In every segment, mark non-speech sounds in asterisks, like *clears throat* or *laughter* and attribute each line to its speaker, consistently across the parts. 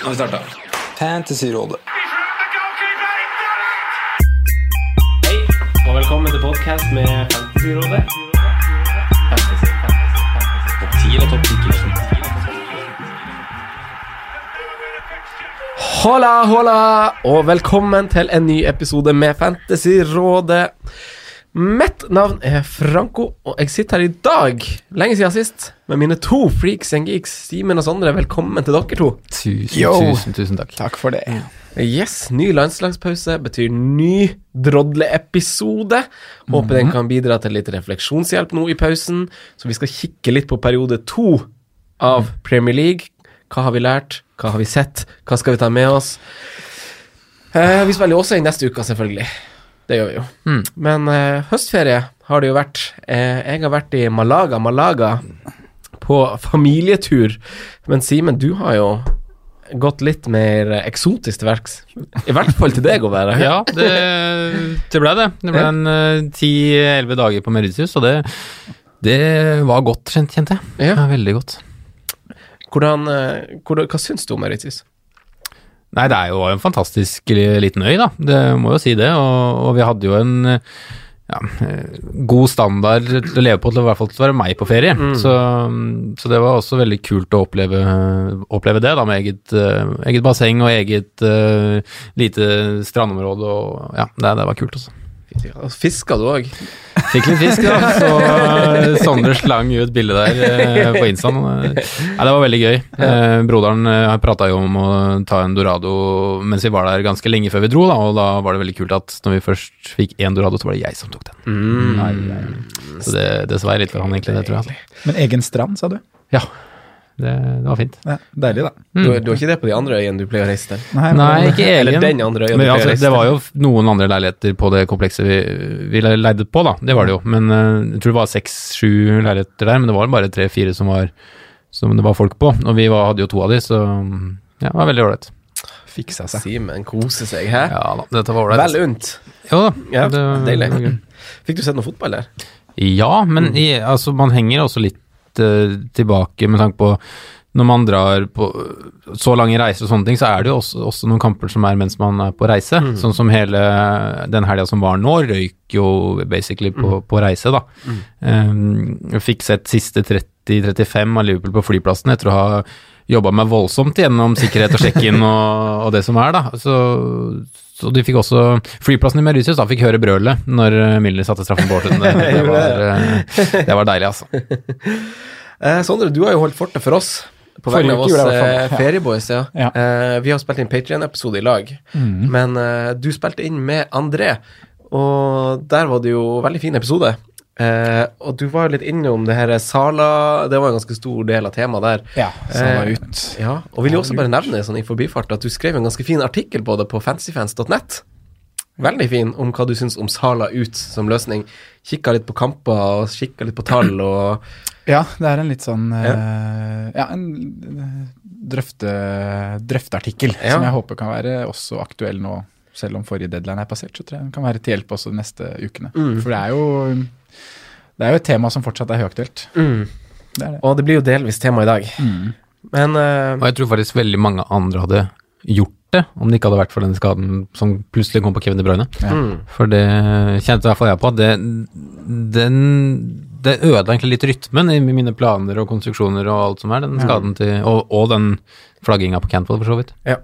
Speaker 1: Nå har vi starta.
Speaker 2: Fantasyrådet.
Speaker 3: Hei, og velkommen til podcast med Fantasyrådet. Hola, hola, og velkommen til en ny episode med Fantasyrådet. Mitt navn er Franco, og jeg sitter her i dag, lenge siden sist, med mine to freaks and geeks, Simen og Sondre. Velkommen til dere to.
Speaker 4: Tusen,
Speaker 2: Yo.
Speaker 4: tusen, tusen takk.
Speaker 2: Takk for det.
Speaker 3: Yes, ny landslagspause betyr ny drodleepisode. Håper den kan bidra til litt refleksjonshjelp nå i pausen. Så vi skal kikke litt på periode to av Premier League. Hva har vi lært? Hva har vi sett? Hva skal vi ta med oss? Eh, vi spiller jo også i neste uke, selvfølgelig. Det gjør vi jo.
Speaker 4: Mm.
Speaker 3: Men eh, høstferie har det jo vært. Eh, jeg har vært i Malaga, Malaga på familietur. Men Simen, du har jo gått litt mer eksotisk til verks. I hvert fall til deg å være.
Speaker 4: *laughs* Ja, det, det ble det. Det ble
Speaker 3: Ja.
Speaker 4: en ti-elleve dager på Meritius, og det, det var godt, kjent- kjente jeg.
Speaker 3: Ja.
Speaker 4: Ja, veldig godt.
Speaker 3: Hvordan, eh, hvordan, hva syns du om Mauritius?
Speaker 4: Nei, det er jo en fantastisk li- liten øy, da. Det må jo si det. Og, og vi hadde jo en ja, eh, god standard til å leve på, til å- i hvert fall til å være meg på ferie.
Speaker 3: Mm.
Speaker 4: Så, så det var også veldig kult å oppleve, oppleve det, da, med eget, eh, eget basseng og eget eh, lite strandområde. Og ja, det, det var kult, altså.
Speaker 3: Fiska du òg?
Speaker 4: Fikk litt fisk, da. Så eh, Sondre slang ut bilde der eh, på Instaen. Nei, det var veldig gøy. Eh, Broderen eh, prata jo om å ta en Dorado mens vi var der ganske lenge før vi dro, da, og da var det veldig kult at når vi først fikk én Dorado, så var det jeg som tok den. Så det, det svei litt for han, egentlig, Mm. det tror jeg. altså.
Speaker 5: Men egen strand, sa du?
Speaker 4: Ja, det, det var fint.
Speaker 5: Ja, deilig, da.
Speaker 3: Du, du har ikke det på de andre øyene du pleier å reise til?
Speaker 5: Nei, men-
Speaker 4: Nei, ikke egen.
Speaker 3: Eller den andre øya du
Speaker 4: Men,
Speaker 3: pleier å
Speaker 4: altså,
Speaker 3: reise
Speaker 4: det var jo f- noen andre leiligheter på det komplekset vi, vi le- leide på, da. Det var det jo. Men eh, jeg tror det var seks-sju leiligheter der, men det var bare tre-fire som, var- som det var folk på. Og vi var, hadde jo to av de, så ja, det var veldig ålreit.
Speaker 3: Fiksa seg. Simen koser seg, hæ?
Speaker 4: Ja da, dette var
Speaker 3: Vel
Speaker 4: ålreit.
Speaker 3: unt.
Speaker 4: Jo da.
Speaker 3: Ja,
Speaker 4: det var-
Speaker 3: deilig. Fikk du sett noe fotball der?
Speaker 4: Ja, men i, altså, man henger også litt eh, tilbake med tanke på når man drar på så lange reiser og sånne ting, så er det jo også, også noen kamper som er mens man er på reise. Sånn som hele den helga som var nå, røyk jo basically på, på reise, da. Eh, jeg fikk sett siste 30-35 av Liverpool på flyplassen etter å ha jobba meg voldsomt gjennom sikkerhet og sjekk-in og, og det som er, da. Så, så de fikk også Flyplassen i Mauritius da fikk høre brølet når eh, Milner satte straffen på *laughs* Horten. Det, det, var, eh, det var deilig, altså.
Speaker 3: Eh, Sondre, du har jo holdt fortet for oss. På
Speaker 5: Forrige
Speaker 3: vegne av
Speaker 5: uke
Speaker 3: oss
Speaker 5: gjorde jeg i hvert
Speaker 3: eh,
Speaker 5: fall, ja.
Speaker 3: ferieboys, ja.
Speaker 5: Ja. Mm.
Speaker 3: Eh, vi har spilt inn Patrion-episode i lag, men eh, du spilte inn med André, og der var det jo veldig fin episode. Eh, og du var jo litt innom det her Sala Det var en ganske stor del av temaet der.
Speaker 5: Ja, Sala
Speaker 3: Eh,
Speaker 5: ut.
Speaker 3: Ja, og vil jo også bare nevne sånn i forbifart at du skrev en ganske fin artikkel på det på fancyfans.net. Veldig fin om hva du syns om Sala ut som løsning. Kikka litt på kamper og kikka litt på tall og
Speaker 5: *laughs* Ja, det er en litt sånn eh, Ja, en eh, drøfte, drøfteartikkel
Speaker 3: Ja.
Speaker 5: som jeg håper kan være også aktuell nå, selv om forrige deadline er passert. Så tror jeg den kan være til hjelp også de neste ukene. For det er jo det er jo et tema som fortsatt er høyaktuelt. Det Mm. er det.
Speaker 3: Og det blir jo delvis tema i dag. Men eh,
Speaker 4: Og jeg tror faktisk veldig mange andre hadde gjort det, om det ikke hadde vært for den skaden som plutselig kom på Kevin De Bruyne.
Speaker 3: mm.
Speaker 4: For det kjente i hvert fall jeg på, at det, den, det ødela egentlig litt rytmen i mine planer og konstruksjoner og alt som er, den skaden til Og, og den flagginga på Cantwell, for så vidt.
Speaker 3: ja.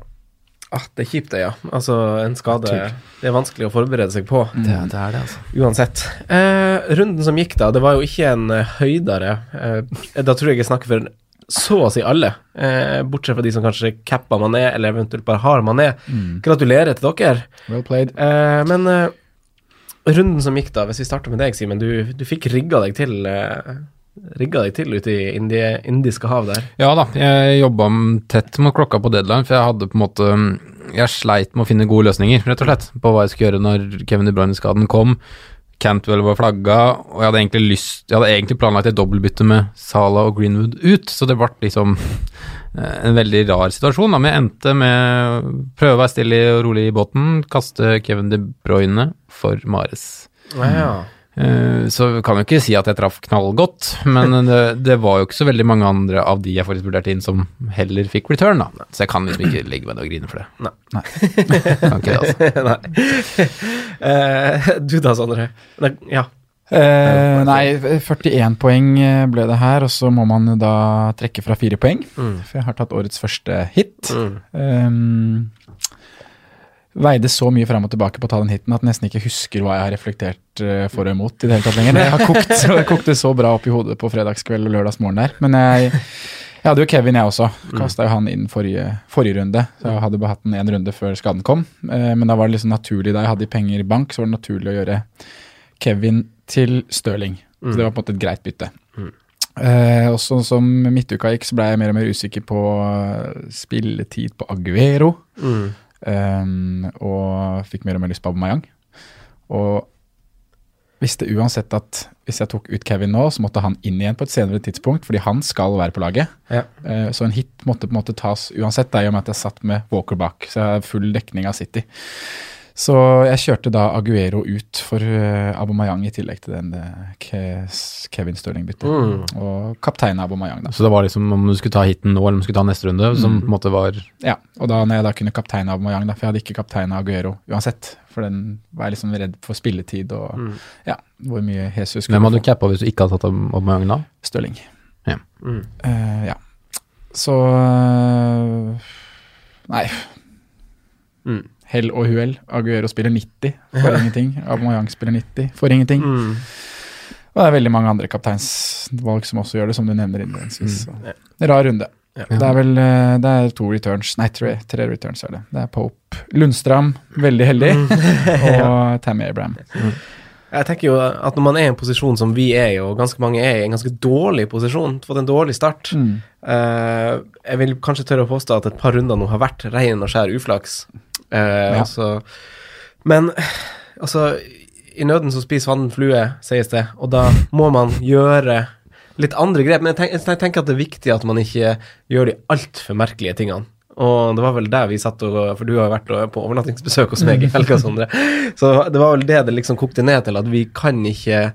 Speaker 3: Ah, det er kjipt, det, ja. Altså, en skade Det er vanskelig å forberede seg på.
Speaker 4: er det, altså.
Speaker 3: Uansett. Eh, runden som gikk, da, det var jo ikke en eh, høydere. Eh, da tror jeg jeg snakker for så å si alle, eh, bortsett fra de som kanskje cappa mané, eller eventuelt bare har mané. Gratulerer til dere.
Speaker 5: Well played.
Speaker 3: Eh, men eh, runden som gikk, da, hvis vi starter med deg, Simen. Du, du fikk rigga deg til. Eh, rigga deg til ute i Indie, indiske hav der.
Speaker 4: Ja da, jeg jobba m- tett mot klokka på deadline, for jeg hadde på en måte Jeg sleit med å finne gode løsninger, rett og slett, på hva jeg skulle gjøre når Kevin De Bruyne-skaden kom. Cantwell var flagga, og jeg hadde egentlig lyst Jeg hadde egentlig planlagt et dobbeltbytte med Sala og Greenwood ut, så det ble liksom eh, en veldig rar situasjon, da. Men jeg endte med å prøve å være stille og rolig i båten, kaste Kevin De Bruyne for Mares.
Speaker 3: Ja, ja.
Speaker 4: Eh, Så kan jeg ikke si at jeg traff knallgodt,
Speaker 3: *laughs*
Speaker 4: men det, det var jo ikke så veldig mange andre av de jeg faktisk vurderte inn som heller fikk return, da. Så jeg kan liksom
Speaker 3: *clears throat*
Speaker 4: ikke legge meg ned og grine for det.
Speaker 3: Nei.
Speaker 4: *laughs* Kan ikke det, altså.
Speaker 3: *laughs* Nei. Eh, du da, Sondre? Nei, ja.
Speaker 5: Eh, nei, 41 poeng eh, ble det her, og så må man jo da trekke fra fire poeng.
Speaker 3: Mm.
Speaker 5: For jeg har tatt årets første hit.
Speaker 3: Mm.
Speaker 5: Ehm, veide så mye fram og tilbake på å ta den hiten at jeg nesten ikke husker hva jeg har reflektert eh, for og imot i det hele tatt lenger. Det har kokt, *laughs* så det kokte så bra opp i hodet på fredagskveld og lørdagsmorgen der. Men jeg, jeg hadde jo Kevin, jeg også. Kasta jo han inn forrige, forrige runde. Så jeg hadde bare hatt den én runde før skaden kom. Eh, men da var det liksom naturlig, da jeg hadde penger i bank, så var det naturlig å gjøre Kevin til Stirling. Så det var på en måte et greit bytte. Eh, og sånn som midtuka gikk, så ble jeg mer og mer usikker på eh, spilletid på Aguero.
Speaker 3: Mm.
Speaker 5: eh, og fikk mer og mer lyst på Aubameyang. Og visste uansett at hvis jeg tok ut Kevin nå, så måtte han inn igjen på et senere tidspunkt, fordi han skal være på laget.
Speaker 3: Ja.
Speaker 5: Eh, så en hit måtte på en måte tas uansett, da, i og med at jeg satt med Walker bak. Så jeg har full dekning av City. Så jeg kjørte da Aguero ut for eh, Aubameyang i tillegg til den eh, Ke- Kevin Stirling-byttet.
Speaker 3: Mm.
Speaker 5: Og kapteinen Aubameyang, da.
Speaker 4: Så det var liksom om du skulle ta hiten nå, eller om du skulle ta neste runde, som på en måte var
Speaker 5: Ja, og da når jeg da kunne kapteine Aubameyang, da, for jeg hadde ikke kapteina Aguero uansett. For den var jeg liksom redd for spilletid og
Speaker 3: Mm.
Speaker 5: ja, hvor mye
Speaker 4: Mm.
Speaker 5: Jesus
Speaker 4: Hvem
Speaker 5: skulle
Speaker 4: hadde du cappa hvis du ikke hadde tatt Aubameyang da?
Speaker 5: Stirling.
Speaker 4: Ja.
Speaker 3: Mm.
Speaker 5: Eh, ja. Så eh, Nei.
Speaker 3: Mm.
Speaker 5: Hell og uhell. Aguero spiller 90
Speaker 4: *laughs*
Speaker 5: for ingenting. Aubameyang spiller 90 for ingenting.
Speaker 3: Mm.
Speaker 5: Og det er veldig mange andre kapteinsvalg som også gjør det, som du nevner innledningsvis.
Speaker 4: Mm.
Speaker 5: Så, Rar runde.
Speaker 3: Ja.
Speaker 5: Det er vel eh, det er to returns, nei tre, tre returns er det. Det er Pope Lundstram, veldig heldig,
Speaker 4: Mm. *laughs*
Speaker 5: og Tammy Abraham.
Speaker 3: Jeg tenker jo at når man er i en posisjon som vi er i, og ganske mange er i, en ganske dårlig posisjon, fått en dårlig start
Speaker 5: Mm.
Speaker 3: eh, Jeg vil kanskje tørre å påstå at et par runder nå har vært rein og skjær uflaks. Eh,
Speaker 5: Ja.
Speaker 3: altså, men altså I nøden så spiser fanden flue, sies det, og da må man gjøre litt andre grep. Men jeg, tenk, jeg tenker at det er viktig at man ikke gjør de altfor merkelige tingene. Og det var vel der vi satt og For du har jo vært og- på overnattingsbesøk hos meg i helga,
Speaker 5: *laughs*
Speaker 3: Sondre. Så det var vel det det liksom kokte ned til, at vi kan ikke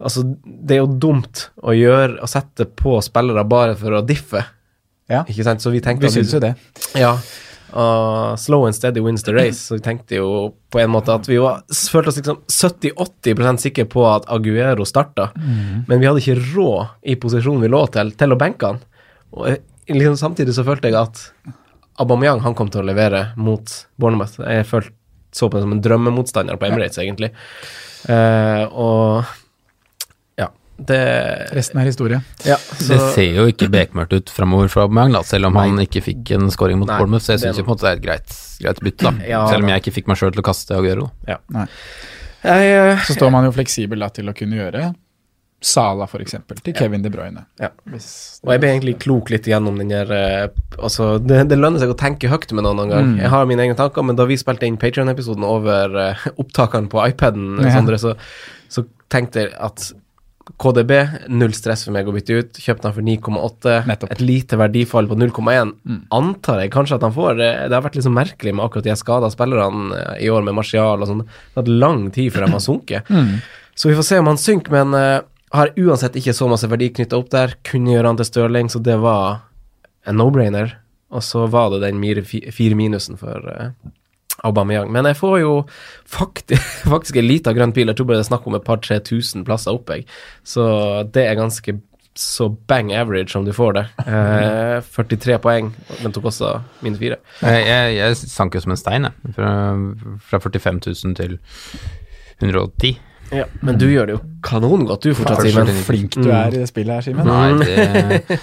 Speaker 3: Altså, det er jo dumt å gjøre Å sette på spillere bare for å diffe,
Speaker 5: Ja,
Speaker 3: ikke sant? Så vi tenkte
Speaker 5: vi syns jo det.
Speaker 3: ja. Og slow and steady wins the race. Så vi tenkte jo på en måte at vi var, følte oss liksom 70-80 sikre på at Aguero starta, men vi hadde ikke råd i posisjonen vi lå til, til å benke han. Og eh, liksom samtidig så følte jeg at Aubameyang han kom til å levere mot Bournemouth. Jeg følte, så på det som en drømmemotstander på Emirates, egentlig. Eh, og ja, det
Speaker 5: Resten er historie.
Speaker 3: ja, så-
Speaker 4: Det ser jo ikke bekmørkt ut framover for Aubameyang, da, selv om han ikke fikk en scoring mot
Speaker 3: Nei,
Speaker 4: Bournemouth, så jeg
Speaker 3: det er
Speaker 4: syns jo på en måte det er et greit, greit bytte, da.
Speaker 3: Ja,
Speaker 4: selv om
Speaker 3: da.
Speaker 4: jeg ikke fikk meg sjøl til å kaste Aguero.
Speaker 3: jeg, eh,
Speaker 5: Så står man jo fleksibel da, til å kunne gjøre Sala, for eksempel, til Kevin De Bruyne.
Speaker 3: Ja.
Speaker 5: Hvis-
Speaker 3: Og jeg ble egentlig klok litt igjennom den der eh, Altså, det, det lønner seg å tenke høyt med noen noen gang. Jeg har mine egne tanker, men da vi spilte inn Patrion-episoden over eh, opptakene på iPaden,
Speaker 5: Ja.
Speaker 3: Sondre, så, så tenkte jeg at KDB, null stress for meg å bytte ut. Kjøpte han for 9,8.
Speaker 5: Nettopp.
Speaker 3: Et lite verdifall på 0,1. Antar jeg kanskje at han får. eh, Det, det har vært litt så merkelig med akkurat de skada spillerne eh, i år, med Martial og sånn. Det har tatt lang tid før de har sunket. Så vi får se om han synker, men eh, har uansett ikke så masse verdi knytta opp der. Kunne gjøre han til Stirling, så det var en no-brainer. Og så var det den mire- fi- fire minusen for eh, Aubameyang. Men jeg får jo faktisk, *laughs* faktisk en liten grønn pil. Jeg tror bare det er snakk om et par-tre tusen plasser opp, jeg. Så det er ganske så bang average om du får det. Eh, 43 poeng, men tok også minus fire.
Speaker 4: Jeg, jeg, jeg sank jo som en stein, jeg. Fra, fra 45 000 til 110.
Speaker 3: Men du gjør det jo kanongodt, du fortsatt,
Speaker 4: Først
Speaker 3: Simen.
Speaker 4: til-
Speaker 5: Flink du er i det spillet her,
Speaker 4: *laughs*
Speaker 5: Simen.
Speaker 4: Nei, det,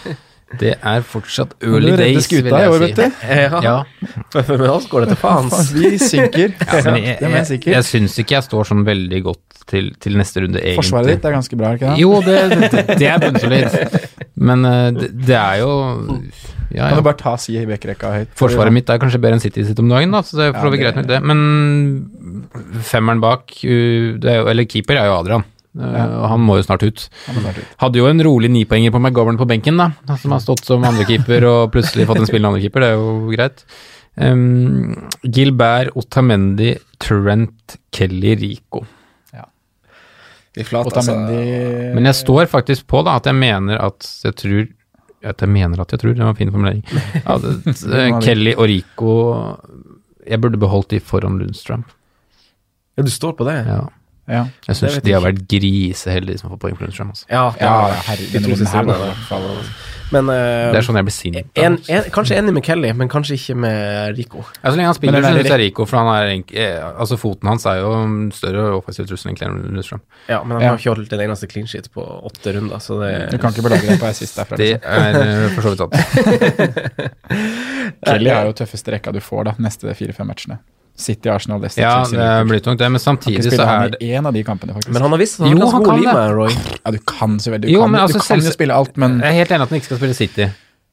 Speaker 4: det er fortsatt early
Speaker 5: Du redder
Speaker 4: days,
Speaker 5: skuta i år, vet du.
Speaker 3: *laughs* Ja.
Speaker 5: *laughs*
Speaker 4: Ja,
Speaker 3: For med oss går det til faens.
Speaker 5: Vi *laughs* synker.
Speaker 4: ja, men jeg,
Speaker 5: det er jeg
Speaker 4: jeg,
Speaker 5: sikker.
Speaker 4: jeg syns ikke jeg står sånn veldig godt til, til neste runde, egentlig.
Speaker 5: Forsvaret ditt er ganske bra, er det ikke det?
Speaker 4: Jo, det, det- det er bunnsolid. Men eh, det, det er jo ja,
Speaker 5: Mm. Kan du
Speaker 4: ja.
Speaker 5: bare ta si i bekkerekka høyt?
Speaker 4: Forsvaret mitt er kanskje bedre enn City sitt om dagen, da, så det er for så vidt
Speaker 5: Ja,
Speaker 4: greit nok, det. Men femmeren bak, uh, det er jo, eller keeper, er jo Adrian. Eh, og Han må jo snart ut.
Speaker 5: Han må ta det ut.
Speaker 4: Hadde jo en rolig nipoenger på McGovern på benken, da. Som har stått som andrekeeper og plutselig fått en spillende andrekeeper, det er jo greit. Um, Gilbert, Otamendi, Trent, Kelly, Rico.
Speaker 3: De flate, altså.
Speaker 5: Otamendi
Speaker 4: Men jeg står faktisk på da, at jeg mener at jeg tror at jeg mener at jeg tror, det var en fin
Speaker 5: *laughs*
Speaker 4: formulering. At, eh, Kelly og Rico Jeg burde beholdt de foran Lundstrøm.
Speaker 3: Ja, du står på det?
Speaker 4: Ja.
Speaker 5: ja.
Speaker 4: Jeg
Speaker 3: Det
Speaker 4: syns
Speaker 3: vet
Speaker 4: de
Speaker 3: jeg
Speaker 4: har vært griseheldige som har fått poeng for Lundstrøm. Altså.
Speaker 3: Ja,
Speaker 5: Ja,
Speaker 3: de
Speaker 5: herregud, den
Speaker 3: to
Speaker 5: runden
Speaker 3: siste
Speaker 5: her var
Speaker 3: rundene. i hvert fall. Men eh,
Speaker 4: Det er sånn jeg blir sint. da.
Speaker 3: en, en, kanskje enig med Kelly, men kanskje ikke med Rico.
Speaker 4: Ja, Altså, så lenge han
Speaker 5: Men
Speaker 4: spiller,
Speaker 5: det er
Speaker 4: så
Speaker 5: veldig
Speaker 4: syns jeg Rico, for han er enk- eh, altså foten hans er jo en større offensiv trussel egentlig enn Lundstrøm.
Speaker 3: Ja, Men han
Speaker 5: Ja.
Speaker 3: har ikke holdt en eneste clean sheet på åtte runder, så det
Speaker 5: Du kan ikke belage deg på ei sist derfra.
Speaker 4: Det
Speaker 5: liksom.
Speaker 4: er eh, for så
Speaker 5: *laughs*
Speaker 4: vidt sant.
Speaker 5: Kelly sånn. er jo tøffeste rekka du får da, neste fire-fem matchene. City, Arsenal, Leicester,
Speaker 4: Ja,
Speaker 5: Chelsea.
Speaker 4: det
Speaker 5: Liverpool.
Speaker 4: blir tungt, det. Men
Speaker 5: Kan
Speaker 4: samtidig
Speaker 5: ikke
Speaker 4: så
Speaker 5: spille
Speaker 4: er
Speaker 5: han
Speaker 4: det
Speaker 5: i én av de kampene, faktisk.
Speaker 3: Men han har visst at han
Speaker 4: Jo,
Speaker 3: har
Speaker 4: han
Speaker 3: god
Speaker 4: kan
Speaker 3: liv
Speaker 4: det.
Speaker 3: med Roy.
Speaker 5: *laughs* ja, du kan så veldig. Du
Speaker 4: Jo,
Speaker 5: kan,
Speaker 4: men altså,
Speaker 5: du kan
Speaker 4: selvsagt-
Speaker 5: jo spille alt, men
Speaker 4: Jeg er helt enig at han ikke skal spille City.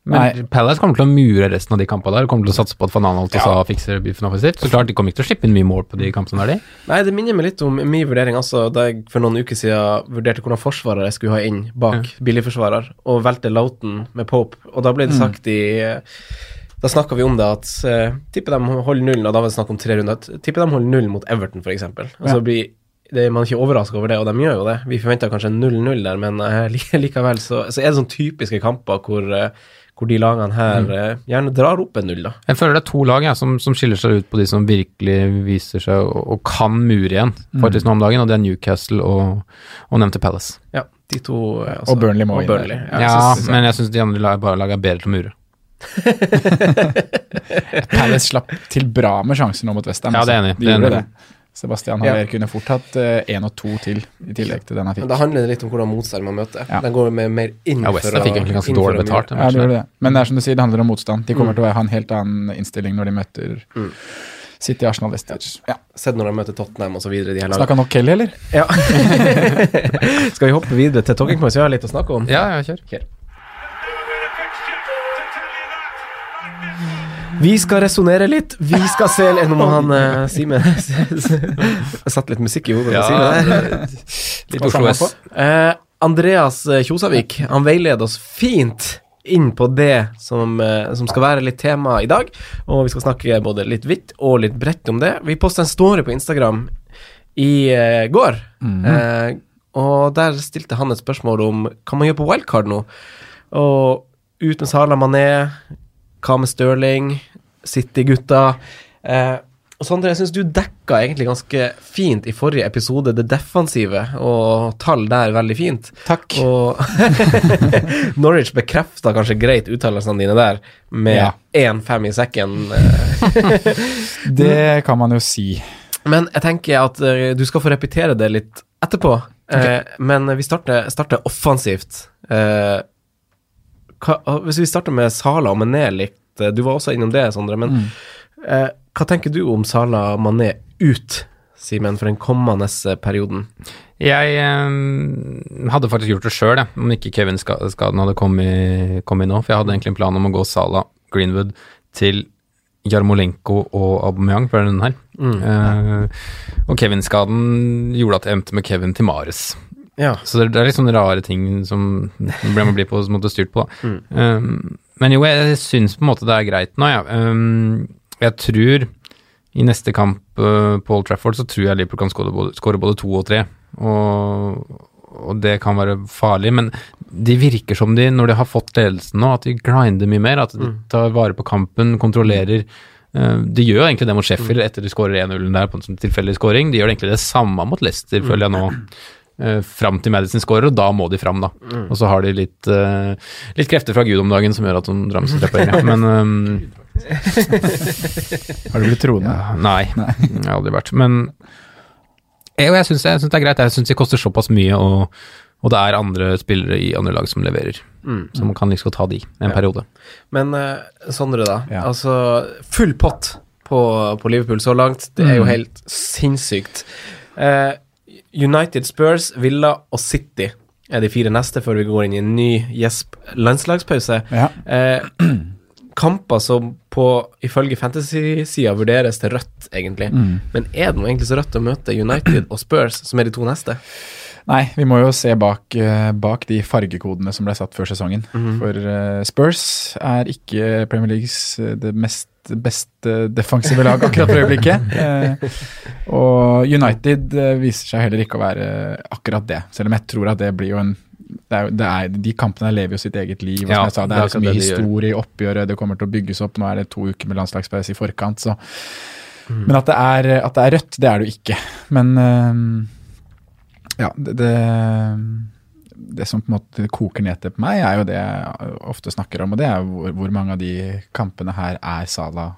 Speaker 4: Men
Speaker 5: Nei.
Speaker 4: Palace kommer til å mure resten av de kampene der. Kommer til å satse på at Van Anholt også fikser biffen offensivt. Så klart, de kommer ikke til å slippe inn mye mål på de kampene der, de.
Speaker 3: Nei, det minner meg litt om min vurdering, altså, da jeg for noen uker siden vurderte hvordan forsvarer jeg skulle ha inn bak billigforsvarer, og valgte Loughton med Pope, og da ble det sagt i eh, da snakka vi om det at uh, tipper de holder nullen, og da var det snakk om tre runder, at tipper de holder nullen mot Everton, f.eks. Altså,
Speaker 5: Ja.
Speaker 3: blir det, man er ikke overraska over det, og de gjør jo det. Vi forventa kanskje en 0-0 der, men eh, *laughs* li- likevel så, så er det sånne typiske kamper hvor, eh, hvor de lagene her eh, gjerne drar opp en null, da.
Speaker 4: Jeg føler det er to lag jeg, som, som skiller seg ut på de som virkelig viser seg og, og kan mure igjen,
Speaker 5: Mm.
Speaker 4: faktisk nå om dagen, og det er Newcastle og, og nevnte Palace.
Speaker 3: Ja, de to eh, altså,
Speaker 5: Og Burnley må
Speaker 3: og
Speaker 5: inn der.
Speaker 3: Burnley.
Speaker 4: Ja, men jeg syns de andre lag, bare lag er bedre til å mure.
Speaker 5: Palace slapp til bra med sjansen nå mot Westham.
Speaker 4: Ja, det er enig.
Speaker 5: De
Speaker 4: Det er
Speaker 5: gjorde
Speaker 4: enig.
Speaker 5: det. Sebastian
Speaker 3: Ja.
Speaker 5: Haller kunne fort hatt én og to til, i tillegg til den han
Speaker 3: Men
Speaker 5: fikk.
Speaker 3: det handler litt om hvordan motstand man møter.
Speaker 5: Ja.
Speaker 3: Den går med mer inn
Speaker 4: Ja, Western fikk egentlig ganske
Speaker 3: inn for
Speaker 4: dårlig
Speaker 3: å mure.
Speaker 4: betalt. den
Speaker 5: Ja, det
Speaker 4: matchen
Speaker 5: gjorde
Speaker 4: der.
Speaker 5: det. Men det er som du sier, det handler om motstand. De
Speaker 3: Mm.
Speaker 5: kommer til å ha en helt annen innstilling når de møter City, Arsenal, Leicester. Ja.
Speaker 3: Sett når de møter Tottenham osv.
Speaker 5: Snakka nok Kelly, eller?
Speaker 3: Ja. *laughs* Skal vi hoppe videre til Talking Points? Vi har litt å snakke om.
Speaker 4: Ja, ja, kjør.
Speaker 3: Ok.
Speaker 1: Never been a fixture to tell you that.
Speaker 3: Vi skal resonnere litt. Vi skal se litt Nå må han eh, Simen *laughs* Jeg satte litt musikk i hodet. på Simen der.
Speaker 4: Litt
Speaker 5: Hva
Speaker 4: Oslo
Speaker 5: samler
Speaker 4: S.
Speaker 5: han på?
Speaker 3: Eh, Andreas eh, Kjosavik han veileder oss fint inn på det som, eh, som skal være litt tema i dag. Og vi skal snakke både litt vidt og litt bredt om det. Vi posta en story på Instagram i eh, går. Eh, og der stilte han et spørsmål om hva man gjør på wildcard nå. Og ut med Sala Mané, hva med Stirling, City-gutta? Eh, og Sondre, jeg syns du dekka egentlig ganske fint i forrige episode det defensive, og tall der veldig fint.
Speaker 5: Takk.
Speaker 3: Og *laughs* Norwich bekrefta kanskje greit uttalelsene dine der,
Speaker 5: Ja.
Speaker 3: med 1-5 i sekken. eh.
Speaker 5: Det kan man jo si.
Speaker 3: Men jeg tenker at eh, du skal få repetere det litt etterpå. Eh, Men vi starter, starter offensivt. Eh, hva, og hvis vi starter med Sala og Mané litt eh, Du var også innom det, Sondre. Men eh, hva tenker du om Sala og Mané ut, Simen, for den kommende eh, perioden?
Speaker 4: Jeg eh, hadde faktisk gjort det sjøl, om ikke Kevin-skaden hadde kommet, kommet nå. For jeg hadde egentlig en plan om å gå Sala Greenwood til Jarmolenko og Aubameyang på denne runden her. Eh, og Kevin-skaden gjorde at jeg endte med Kevin til Mares.
Speaker 3: Ja.
Speaker 4: Så det, det er litt sånne rare ting som ble man blir på, som måtte styrt på, da. Um, men jo, jeg syns på en måte det er greit nå, jeg. Ja. Um, jeg tror i neste kamp uh, på Old Trafford så tror jeg Liverpool kan skåre både, skåre både to og tre. Og, og det kan være farlig, men de virker som de, når de har fått ledelsen nå, at de grinder mye mer. At de tar vare på kampen, kontrollerer. Uh, De gjør jo egentlig det mot Sheffield etter de skårer 1-0 der på en sånn tilfeldig scoring. De gjør egentlig det samme mot Leicester, føler jeg nå eh, fram til Madison scorer, og da må de fram, da. Og så har de litt, eh, litt krefter fra Gud om dagen som gjør at de drar med seg tre poeng. ja. Men ehm,
Speaker 5: Har du blitt troende?
Speaker 4: ja, Nei, det har aldri vært. Men jeg, og jeg syns jeg syns det er greit. Jeg syns det koster såpass mye, og, og det er andre spillere i andre lag som leverer.
Speaker 5: Mm.
Speaker 4: Så man kan liksom ta de en periode.
Speaker 3: Men eh, Sondre, da.
Speaker 5: Ja.
Speaker 3: Altså, full pott på, på Liverpool så langt. Det
Speaker 5: Mm.
Speaker 3: er jo helt sinnssykt. Eh, United, Spurs, Villa og City er de fire neste før vi går inn i en ny gjesp-landslagspause.
Speaker 5: Ja.
Speaker 3: Eh, kamper som på, ifølge fantasy-sida vurderes
Speaker 5: Mm.
Speaker 4: Mm.
Speaker 3: til rødt, egentlig. Men er det nå egentlig så rødt å møte United og Spurs, som er de to neste?
Speaker 5: Nei, vi må jo se bak, eh, bak de fargekodene som ble satt før sesongen.
Speaker 4: Mhm.
Speaker 5: For eh, Spurs er ikke Premier Leagues eh, det mest beste defensive lag akkurat for øyeblikket.
Speaker 4: *laughs*
Speaker 5: Eh, og United eh, viser seg heller ikke å være akkurat det, selv om jeg tror at det blir jo en det er, jo- det er, de kampene her lever jo sitt eget liv. og
Speaker 4: Ja,
Speaker 5: som jeg sa, det
Speaker 4: det er
Speaker 5: er så
Speaker 4: akkurat det
Speaker 5: mye
Speaker 4: de gjør.
Speaker 5: historie i oppgjøret, det kommer til å bygges opp. Nå er det to uker med landslagspause i forkant, så
Speaker 4: Mm.
Speaker 5: Men at det, er, at det er rødt, det er det jo ikke. Men eh, ja, det, det, det som på en måte koker ned til på meg, er jo det jeg ofte snakker om, og det er hvor, hvor mange av de kampene her er Sala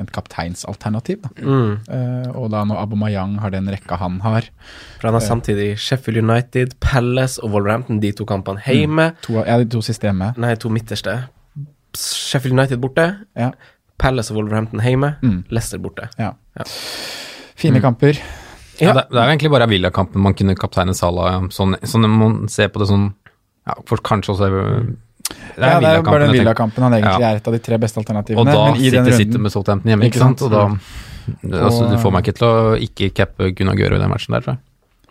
Speaker 5: et kapteinsalternativ. Da.
Speaker 3: Mm.
Speaker 5: Eh, og da når Abomayang har den rekka han har,
Speaker 3: For han har samtidig Sheffield United, Palace og Wolverhampton, de to kampene hjemme.
Speaker 5: to, ja, de to systemet
Speaker 3: Nei, to midterste. Sheffield United borte,
Speaker 5: ja,
Speaker 3: Palace og Wolverhampton hjemme,
Speaker 5: Mm.
Speaker 3: Leicester borte.
Speaker 5: ja.
Speaker 3: Ja.
Speaker 5: Fine kamper.
Speaker 4: Ja.
Speaker 3: Ja.
Speaker 4: Mm. det, det er jo egentlig bare Villa-kampen man kunne kapteine Salah ja. sånn, sånn man ser på det sånn ja, for Kanskje også Det
Speaker 5: Ja, det er
Speaker 4: jeg
Speaker 5: jo bare den
Speaker 4: tenker.
Speaker 5: Villa-kampen han egentlig
Speaker 4: Ja.
Speaker 5: er et av de tre beste alternativene.
Speaker 4: Og da
Speaker 5: men i den
Speaker 4: sitter, sitter
Speaker 5: runden-
Speaker 4: med Southampton hjemme,
Speaker 5: Ikke
Speaker 4: ikke sant?
Speaker 5: sant?
Speaker 4: Og da, altså, du får meg ikke til å ikke cappe Gunnar Gøro i den matchen der, tror jeg.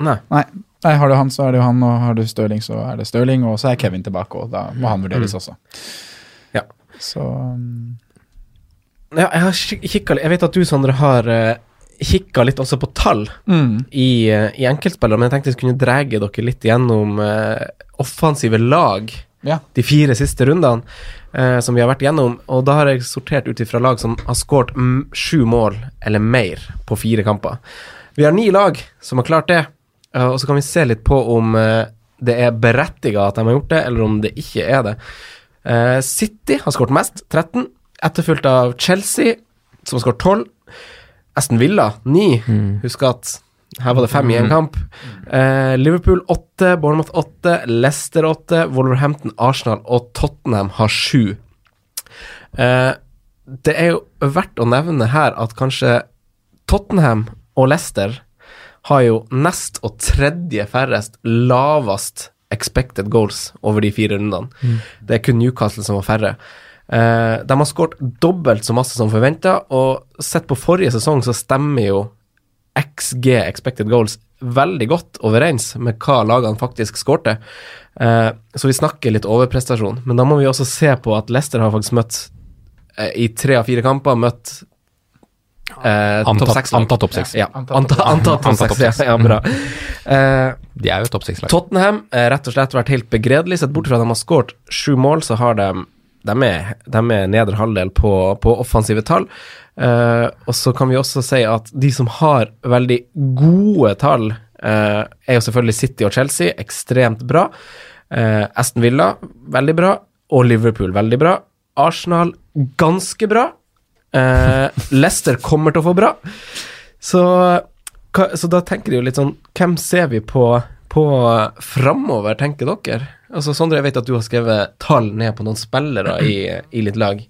Speaker 3: Nei.
Speaker 5: Nei. Nei, har du han, så er det jo han, og har du Stirling, så er det Stirling, og så er Kevin tilbake, og da må han
Speaker 4: Mm.
Speaker 5: vurderes også.
Speaker 3: Ja.
Speaker 5: Så mm,
Speaker 3: Ja, jeg har kik- kikka litt Jeg vet at du, Sondre, har uh, kikka litt også på tall i, eh, i enkeltspillere, men jeg tenkte jeg skulle kunne drege dere litt gjennom eh, offensive lag
Speaker 5: Ja.
Speaker 3: de fire siste rundene eh, som vi har vært gjennom. Og da har jeg sortert ut ifra lag som har skåret mm, sju mål eller mer på fire kamper. Vi har ni lag som har klart det, eh, og så kan vi se litt på om eh, det er berettiga at de har gjort det, eller om det ikke er det. Eh, City har skåret mest, 13, etterfulgt av Chelsea, som har skåret 12. Aston Villa 9. Husk at her var det fem i en kamp. Eh, Liverpool 8, Bournemouth 8, Leicester 8, Wolverhampton, Arsenal og Tottenham har 7. Eh, det er jo verdt å nevne her at kanskje Tottenham og Leicester har jo nest og tredje færrest lavest expected goals over de fire rundene. Det er kun Newcastle som har færre. Eh, de har skåret dobbelt så masse som forventa, og sett på forrige sesong så stemmer jo XG expected goals veldig godt overens med hva lagene faktisk skårte. Eh, så vi snakker litt overprestasjon, men da må vi også se på at Leicester har faktisk møtt eh, i tre av fire kamper møtt eh, topp
Speaker 4: Antatt,
Speaker 3: seks. lag.
Speaker 4: antatt topp seks.
Speaker 3: Ja,
Speaker 5: Antatt
Speaker 3: antatt antatt topp
Speaker 4: Antatt topp Mm.
Speaker 3: seks. Ja, ja, bra. Eh,
Speaker 4: De er jo et topp seks-lag.
Speaker 3: Tottenham har rett og slett vært helt begredelig. Sett bort fra at de har skåret sju mål, så har de de er, de er nedre halvdel på, på offensive tall. Eh, og så kan vi også si at de som har veldig gode tall, eh, er jo selvfølgelig City og Chelsea, ekstremt bra. Eh, Aston Villa, veldig bra. Og Liverpool, veldig bra. Arsenal, ganske bra. Eh, Leicester kommer til å få bra. Så, hva, så da tenker jeg jo litt sånn Hvem ser vi på, på framover, tenker dere? Altså Sondre, jeg vet at du har skrevet tall ned på noen spillere i, i litt lag.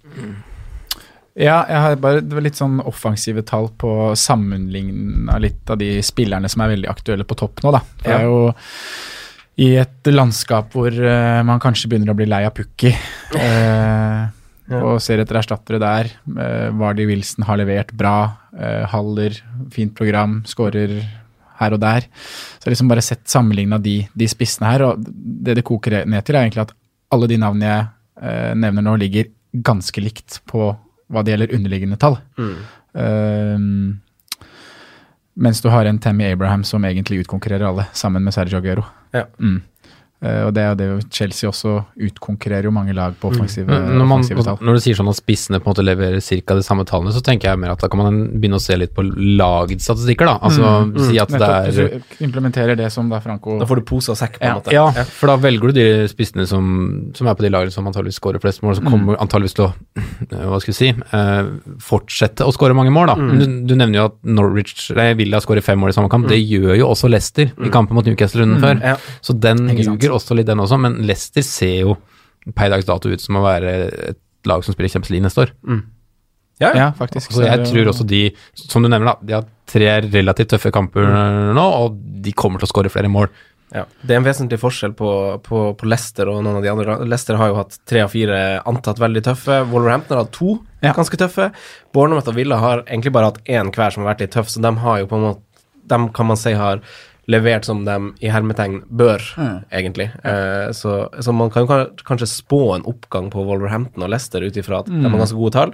Speaker 5: Ja, jeg har bare det var litt sånn offensive tall på sammenligna litt av de spillerne som er veldig aktuelle på topp nå, da. For det
Speaker 3: Ja.
Speaker 5: er jo i et landskap hvor eh, man kanskje begynner å bli lei av Pukki. eh, Og ser etter erstattere der. Eh, Vardy Wilson har levert bra. eh, Haller, fint program, skårer her og der. Så jeg har liksom bare sett sammenligna de, de spissene her, og det det koker ned til, er egentlig at alle de navnene jeg eh, nevner nå, ligger ganske likt på hva det gjelder underliggende tall. Ehm, mens du har en Tammy Abraham som egentlig utkonkurrerer alle, sammen med Sergio Aguero.
Speaker 3: Ja.
Speaker 5: Mm. Eh, og det er jo det Chelsea også utkonkurrerer jo mange lag på offensive,
Speaker 4: Eh, Når, man,
Speaker 5: offensive tall.
Speaker 4: når du sier sånn at spissene på en måte leverer ca. de samme tallene, så tenker jeg mer at da kan man begynne å se litt på lagets statistikker, da. Altså si at det
Speaker 5: Mm, Nettopp,
Speaker 4: er
Speaker 5: hvis du implementerer det som da Franco
Speaker 3: Da får du pose og sekk, på en
Speaker 5: Ja,
Speaker 3: måte.
Speaker 4: ja, for da velger du de spissene som, som er på de lagene som antageligvis skårer flest mål, som
Speaker 5: Mm.
Speaker 4: kommer antageligvis til å *laughs* hva skal vi si, eh, fortsette å skåre mange mål.
Speaker 5: Mm.
Speaker 4: da. Du, du nevner jo at Norwich nei, Villa skårer fem mål i samme kamp. Det
Speaker 5: Mm.
Speaker 4: gjør jo også Leicester i kampen mot Newcastle runden før.
Speaker 3: Ja.
Speaker 4: Så den
Speaker 5: Ikke sant.
Speaker 4: ljuger også litt, den også. Men Leicester ser jo per dags dato ut som å være et lag som spiller Champions League neste år.
Speaker 3: Ja, ja.
Speaker 5: Ja, faktisk.
Speaker 4: Så
Speaker 5: er
Speaker 4: Altså, jeg
Speaker 5: det jo-
Speaker 4: tror også de, som du nevner, da, de har tre relativt tøffe kamper nå, og de kommer til å skåre flere mål.
Speaker 3: Ja. Det er en vesentlig forskjell på, på, på Leicester og noen av de andre. lag. Leicester har jo hatt tre av fire antatt veldig tøffe. Wolverhampton har hatt to
Speaker 5: Ja.
Speaker 3: ganske tøffe. Bournemouth og Villa har egentlig bare hatt én hver som har vært litt tøff, så dem har jo på en måte Dem kan man si har levert som de i hermetegn bør, egentlig. Eh, så, så man kan kan- kanskje spå en oppgang på Wolverhampton og Leicester ut ifra at de har ganske gode tall.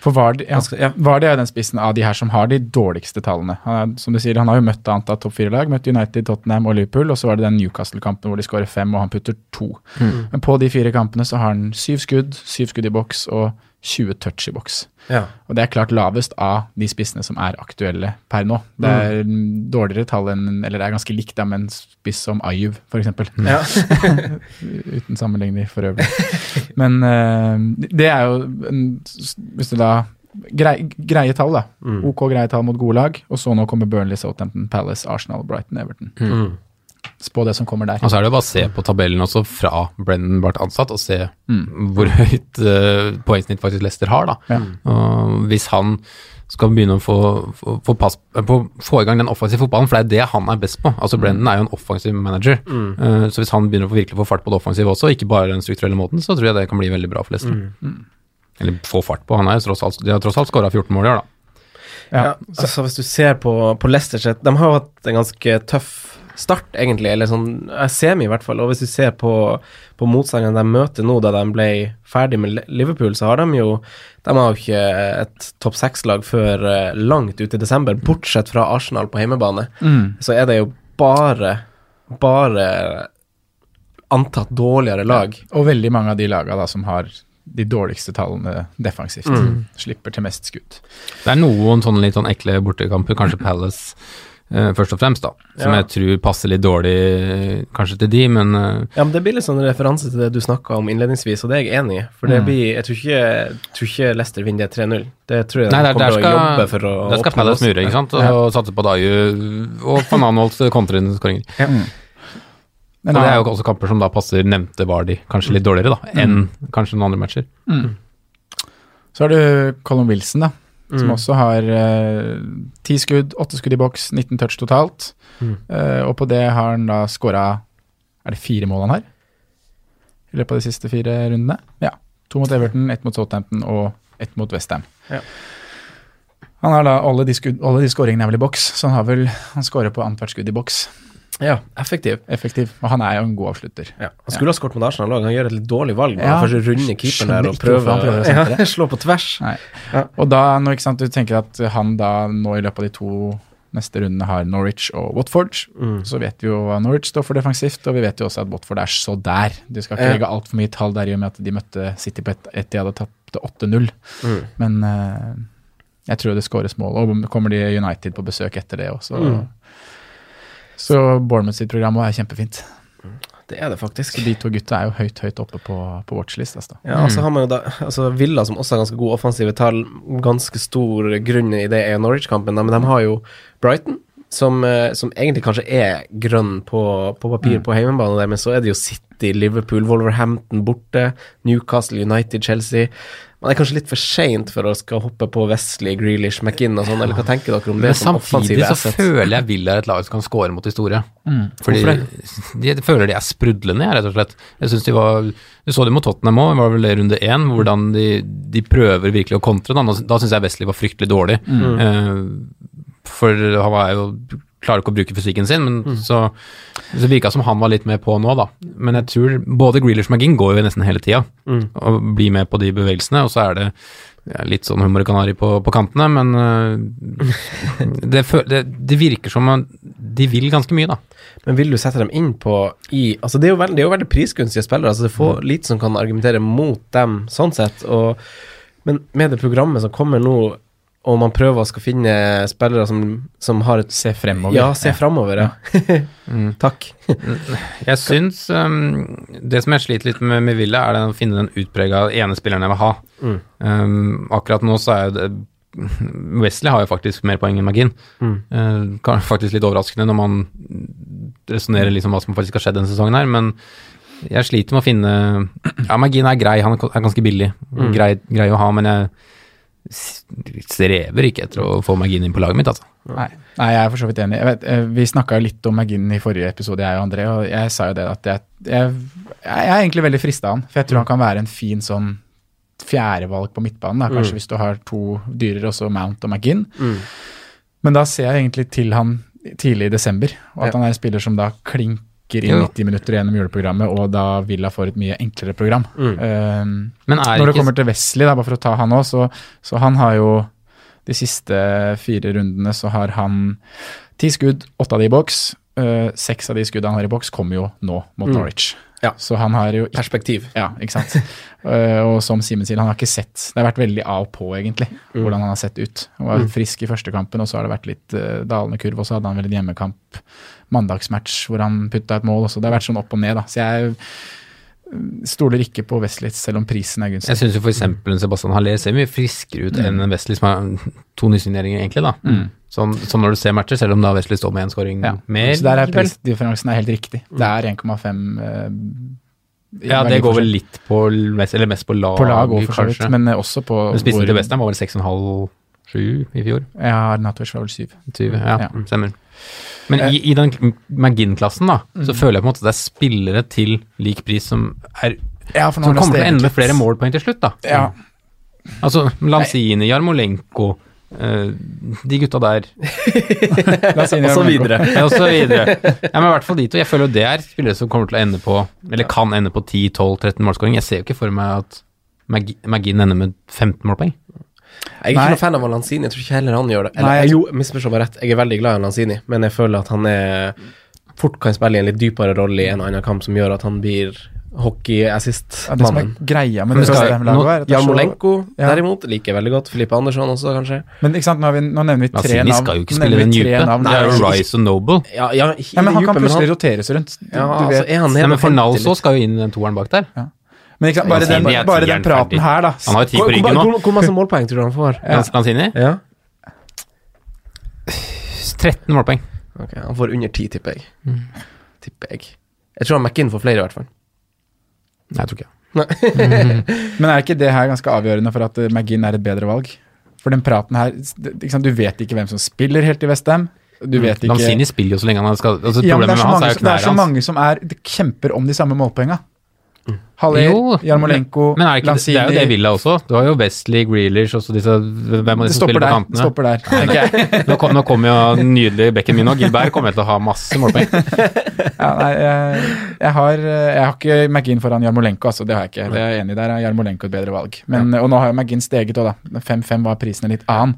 Speaker 5: For Vardy ja,
Speaker 3: Ganske- ja.
Speaker 5: Vardy er jo den spissen av de her som har de dårligste tallene. Han, er, som du sier, han har jo møtt annet av topp fire-lag, møtt United, Tottenham og Liverpool, og så var det den Newcastle-kampen hvor de skårer fem og han putter to.
Speaker 4: Mm.
Speaker 5: Men på de fire kampene så har han syv skudd, syv skudd i boks og 20 touch i boks.
Speaker 3: Ja.
Speaker 5: Og det er klart lavest av de spissene som er aktuelle per nå. Det er mm, dårligere tall enn, eller det er ganske likt da, med en spiss som Ayub, f.eks.
Speaker 3: Mm. Ja.
Speaker 5: *laughs* Uten sammenligning for øvrig. Men eh, det er jo en, Hvis du da grei, Greie tall, da.
Speaker 3: Mm.
Speaker 5: OK greie tall mot gode lag. Og så nå kommer Burnley, Southampton, Palace, Arsenal, Brighton, Everton.
Speaker 3: Mm.
Speaker 5: Spå det som kommer der.
Speaker 4: Og så er det jo bare å se på tabellen også fra Brendan ble ansatt, og se hvor høyt eh, poengsnitt faktisk Leicester har. da.
Speaker 5: Mm. Ja.
Speaker 4: Og hvis han skal begynne å få, få, få, pass, på, få i gang den offensive fotballen, for det er det han er best på.
Speaker 5: Mm.
Speaker 4: Altså Brendan er jo en offensiv manager, Eh, så hvis han begynner å få virkelig få fart på det offensive også, ikke bare den strukturelle måten, så tror jeg det kan bli veldig bra for Leicester.
Speaker 5: Mm.
Speaker 4: Eller få fart på. Han er jo tross alt, de har tross alt skåra 14 mål i år, da.
Speaker 5: Ja.
Speaker 3: Ja, altså hvis du ser på, på Leicester sitt De har jo hatt en ganske tøff start, egentlig, eller sånn eh, semi, i hvert fall. Og hvis du ser på, på motstanderne de møter nå, da de ble ferdig med Le- Liverpool, så har de jo De har jo ikke et topp seks-lag før eh, langt ut i desember, bortsett fra Arsenal på hjemmebane. Så er det jo bare, bare antatt dårligere lag.
Speaker 5: Og veldig mange av de laga da, som har de dårligste tallene defensivt.
Speaker 3: Mm.
Speaker 5: Slipper til mest skudd.
Speaker 4: Det er noen sånne litt sånn ekle bortekamper,
Speaker 3: *clears throat*
Speaker 4: kanskje Palace eh, først og fremst, da. Som
Speaker 3: Ja.
Speaker 4: jeg tror passer litt dårlig eh, kanskje til de, men eh,
Speaker 3: Ja, men Det blir litt sånn referanse til det du snakka om innledningsvis, og det er jeg enig i. For
Speaker 4: Mm.
Speaker 3: det blir, jeg tror ikke, jeg tror ikke Leicester vinner det 3-0. Det tror jeg
Speaker 4: Nei,
Speaker 3: de
Speaker 4: der, der
Speaker 3: kommer til å jobbe
Speaker 4: skal,
Speaker 3: for å
Speaker 4: der skal
Speaker 3: oppnå
Speaker 4: Palace
Speaker 3: også.
Speaker 4: mure, ikke sant? Og, satse på Daju og Fananholts kontrinnskåringer. Og
Speaker 5: Men
Speaker 4: Mm. det
Speaker 5: ja,
Speaker 4: er jo også kamper som da passer nevnte Vardy kanskje litt
Speaker 3: Mm.
Speaker 4: dårligere, da, enn kanskje noen andre matcher.
Speaker 5: Så har du Colin Wilson, da.
Speaker 3: Mm.
Speaker 5: Som også har eh, ti skudd, åtte skudd i boks, 19 touch totalt.
Speaker 3: Mm.
Speaker 5: Eh, og på det har han da scora Er det fire mål han har? I løpet av de siste fire rundene? Ja. To mot Everton, ett mot Southampton og ett mot Westham.
Speaker 3: Ja.
Speaker 5: Han har da alle de, skudd, alle de skåringene er vel i boks, så han har vel Han scorer på annethvert skudd i boks.
Speaker 3: Ja, effektiv.
Speaker 5: Effektiv. Og han er jo en god avslutter.
Speaker 3: Ja. Han skulle ha skåret mot Arsenal òg, han gjør et litt dårlig valg. Ja.
Speaker 5: Ja.
Speaker 3: Først runde keeperen
Speaker 5: Skjønner
Speaker 3: der og
Speaker 5: ikke hvorfor
Speaker 3: prøver,
Speaker 5: han prøver å sentre
Speaker 3: ja, *laughs* slå på tvers.
Speaker 5: Nei.
Speaker 3: Ja.
Speaker 5: Og da, når, ikke sant, du tenker at han da nå i løpet av de to neste rundene har Norwich og Watford,
Speaker 3: Mhm.
Speaker 4: Mm.
Speaker 5: så vet vi jo hva Norwich står for defensivt, og vi vet jo også at Watford er så der. Du skal ikke
Speaker 3: Ja.
Speaker 5: legge altfor mye tall der i og med at de møtte City på ett et de hadde tapt 8-0.
Speaker 3: Mm.
Speaker 5: Men eh, jeg tror det skåres mål, og kommer de United på besøk etter det også. Så Bournemouth sitt program også er kjempefint.
Speaker 3: Det er det faktisk.
Speaker 5: Så de to gutta er jo høyt, høyt oppe på, på watchlist. Altså.
Speaker 3: Ja,
Speaker 4: Mm.
Speaker 3: altså har man jo da altså Villa, som også har ganske gode offensive tall, ganske stor grunn i det er jo Norwich-kampen, da, men de har jo Brighton, som, eh, som egentlig kanskje er grønn på, på
Speaker 4: Mm.
Speaker 3: papir på hjemmebane, der, men så er det jo City, Liverpool, Wolverhampton borte, Newcastle, United, Chelsea. Man er kanskje litt for seint for å skal hoppe på Wesley, Grealish, McInn og sånn, eller hva tenker dere om det
Speaker 4: Men
Speaker 3: som
Speaker 4: samtidig
Speaker 3: offensive
Speaker 4: så
Speaker 3: assets?
Speaker 4: føler jeg Villa er et lag som kan score mot historie. Fordi de jeg føler de er sprudlende, jeg, rett og slett. Jeg synes de var Du så det mot Tottenham òg, var vel det runde én, hvordan de, de prøver virkelig å kontre. Da, da syns jeg Wesley var fryktelig dårlig. Eh, for han var jo klarer ikke å bruke fysikken sin, men så, så virka som han var litt med på nå, da. Men jeg tror både Grealish og McGinn går jo nesten hele tida og blir med på de bevegelsene, og så er det ja, litt sånn hummer og kanari på, på kantene, men eh, det, fø- det, det virker som om de vil ganske mye, da.
Speaker 3: Men vil du sette dem inn på i Altså, det er jo veldig, det er jo veldig prisgunstige spillere. Altså, det er få
Speaker 5: Mm.
Speaker 3: lite som kan argumentere mot dem, sånn sett. Og, men med det programmet som kommer nå, og man prøver å skal finne spillere som, som har et
Speaker 5: Se fremover. Mm,
Speaker 3: Ja, se framover, ja. Takk.
Speaker 4: Jeg syns um, Det som jeg sliter litt med med Villa, er den, å finne den utprega ene spilleren jeg vil ha. Um, akkurat nå så er jo det Wesley har jo faktisk mer poeng enn Magin. Uh, kan- faktisk litt overraskende når man resonnerer liksom hva som faktisk har skjedd denne sesongen her, men jeg sliter med å finne Ja, Magin er grei, han er ko- er ganske billig. Grei, grei å ha, men jeg s- strever ikke etter å få Magin inn på laget mitt, altså.
Speaker 5: Nei. Nei, jeg er for så vidt enig. Jeg vet, eh, vi snakka litt om McGinn i forrige episode, jeg og André, og jeg sa jo det at jeg, jeg, jeg er egentlig veldig frista av han. For jeg tror han kan være en fin sånn fjerdevalg på midtbanen, da,
Speaker 3: Mm,
Speaker 5: kanskje hvis du har to dyrere, også Mount og McGinn. Men da ser jeg egentlig til han tidlig i desember. Og at
Speaker 3: Ja.
Speaker 5: han er en spiller som da klinker inn
Speaker 4: Jo.
Speaker 5: 90 minutter igjennom juleprogrammet, og da Villa får et mye enklere program.
Speaker 3: Mm.
Speaker 5: Eh,
Speaker 4: Men er
Speaker 5: Når det
Speaker 4: ikke
Speaker 5: kommer til Wesley, da, bare for å ta han òg, så, så han har jo de siste fire rundene så har han ti skudd, åtte av de i boks. Eh, Seks av de skuddene han har i boks, kommer jo nå mot
Speaker 3: Mm.
Speaker 5: Norwich.
Speaker 3: Ja.
Speaker 5: Så han har jo ikke
Speaker 3: Perspektiv.
Speaker 5: ja, ikke sant. Eh, og som Simen sier, han har ikke sett Det har vært veldig av og på, egentlig,
Speaker 3: Mm.
Speaker 5: hvordan han har sett ut. Han var
Speaker 3: Mm.
Speaker 5: frisk i første kampen, og så har det vært litt eh, dalende kurv. Og så hadde han vel en hjemmekamp, mandagsmatch, hvor han putta et mål også. Det har vært sånn opp og ned, da. Så jeg eh, stoler ikke på Weslitz, selv om prisen er gunstig.
Speaker 4: Jeg syns jo f.eks. Sebastian Haller ser mye friskere ut enn
Speaker 5: Mm.
Speaker 4: en Wesley, som har to nysigneringer, egentlig, da. Sånn, sånn når du ser matcher, selv om da Wesley står med én scoring
Speaker 5: Ja.
Speaker 4: mer.
Speaker 5: så der er
Speaker 4: vel? Mm.
Speaker 5: prisdifferansen er helt riktig. Det er 1,5 eh,
Speaker 4: ja, det
Speaker 5: verdiforskjell
Speaker 4: går vel litt på mest, eller mest på lag,
Speaker 5: på lag og for så vidt,
Speaker 4: kanskje. Men,
Speaker 5: men eh, også på
Speaker 4: spissen
Speaker 5: hvor-
Speaker 4: til Westham var vel 6,5-7 i fjor?
Speaker 5: Ja, Natovic var vel syv.
Speaker 4: 20, ja,
Speaker 5: Ja.
Speaker 4: stemmer. Men i, i den McGinn-klassen, da, så
Speaker 5: Mm.
Speaker 4: føler jeg på en måte at det er spillere til lik pris som, er,
Speaker 5: Ja, for
Speaker 4: som
Speaker 5: nå har
Speaker 4: kommer til
Speaker 5: det
Speaker 4: å
Speaker 5: steget
Speaker 4: ende med
Speaker 5: litt.
Speaker 4: flere målpoeng til slutt, da.
Speaker 5: Ja,
Speaker 4: Altså Lanzini, Jarmolenko, eh, de gutta der.
Speaker 5: la oss inn i
Speaker 3: Og så
Speaker 5: Jarmolenko.
Speaker 3: videre.
Speaker 4: Ja, *laughs* og så videre. Ja, men i hvert fall de to. Jeg føler jo det er spillere som kommer til å ende på Eller kan ende på 10-12-13 målskåring. Jeg ser jo ikke for meg at Mag- McGinn ender med 15 målpoeng.
Speaker 3: Jeg er ikke
Speaker 5: Nei.
Speaker 3: noen fan av Lanzini. Jeg tror ikke heller han gjør det. Eller,
Speaker 5: Nei, jeg-
Speaker 3: jeg, jo, misforstå meg rett, jeg er veldig glad i Lanzini, men jeg føler at han er fort kan spille i en litt dypere rolle i en og annen kamp som gjør at han blir
Speaker 5: Ja, det som er
Speaker 3: hockey-assist-mannen.
Speaker 5: greia
Speaker 4: Men
Speaker 5: med det
Speaker 4: skal- nå-
Speaker 5: Westham-laget, er at det er så-
Speaker 3: Jarmolenko
Speaker 5: Ja.
Speaker 3: derimot liker jeg veldig godt. Filippe Andersson også, kanskje.
Speaker 5: Men ikke sant, nå, har vi, nå nevner vi tre
Speaker 4: Lanzini
Speaker 5: navn.
Speaker 4: Altså, skal jo ikke
Speaker 5: Nå
Speaker 4: spille
Speaker 5: nevner
Speaker 4: den
Speaker 5: vi tre
Speaker 4: dype.
Speaker 5: navn.
Speaker 4: Det er jo
Speaker 5: Nei,
Speaker 4: Rice og Noble.
Speaker 3: Ja, ja, ikke
Speaker 5: Ja, men han
Speaker 3: dype,
Speaker 5: kan plutselig
Speaker 3: han-
Speaker 5: roteres rundt. Du,
Speaker 3: ja,
Speaker 5: du
Speaker 3: altså,
Speaker 5: vet.
Speaker 3: er han
Speaker 4: Nei,
Speaker 3: nede
Speaker 4: men
Speaker 3: på 50
Speaker 4: Fornalso
Speaker 3: litt?
Speaker 4: skal jo inn i den toeren bak der.
Speaker 5: Men ikke sant,
Speaker 3: altså,
Speaker 5: bare den,
Speaker 4: Lanzini er
Speaker 5: bare den
Speaker 4: tieren
Speaker 5: praten
Speaker 4: ferdig.
Speaker 5: her, da.
Speaker 4: Han har jo ti på
Speaker 3: Hvor,
Speaker 4: ryggen
Speaker 3: hvor,
Speaker 4: nå.
Speaker 3: hvor, hvor masse målpoeng tror du han får?
Speaker 5: Ja.
Speaker 4: Lanzini.
Speaker 3: Ja?
Speaker 4: 13 målpoeng.
Speaker 3: Ok, Han får under ti, tipper jeg. Tipper jeg. Jeg tror han McInn får flere, i hvert fall.
Speaker 4: Nei, jeg tror ikke
Speaker 5: Men er ikke det her ganske avgjørende for at eh, McGinn er et bedre valg? For den praten her s- det- ikke sant, Du vet ikke hvem som spiller helt i Westham. Du vet ikke
Speaker 4: Lanzini spiller jo Mm. så lenge han er skadet. Altså,
Speaker 5: Ja,
Speaker 4: problemet
Speaker 5: men det, er
Speaker 4: med
Speaker 5: så
Speaker 4: hans
Speaker 5: mange,
Speaker 4: er jo
Speaker 5: som- det er så
Speaker 4: knærne hans.
Speaker 5: mange som er, de kjemper om de samme målpoenga. Haller,
Speaker 4: Mm. Jo,
Speaker 5: Jarmolenko,
Speaker 4: Men er det, ikke, det er jo det Villa også. Du har jo Wesley, Grealish også disse Hvem av de
Speaker 5: Det
Speaker 4: som
Speaker 5: stopper
Speaker 4: spiller på
Speaker 5: der.
Speaker 4: kantene?
Speaker 5: Stopper
Speaker 4: *laughs*
Speaker 5: der. tenker jeg.
Speaker 4: Nå kom, nå kom jo den nydelige bekken min og Gilbert kommer til å ha masse målpoeng.
Speaker 5: Ja, nei, jeg, jeg, har, jeg har ikke McGinn foran Jarmolenko, altså. Det har jeg ikke. Det er jeg enig i. Der er Jarmolenko et bedre valg. Men, Og nå har jo McGinn steget òg, da. 5-5 var prisen en litt annen.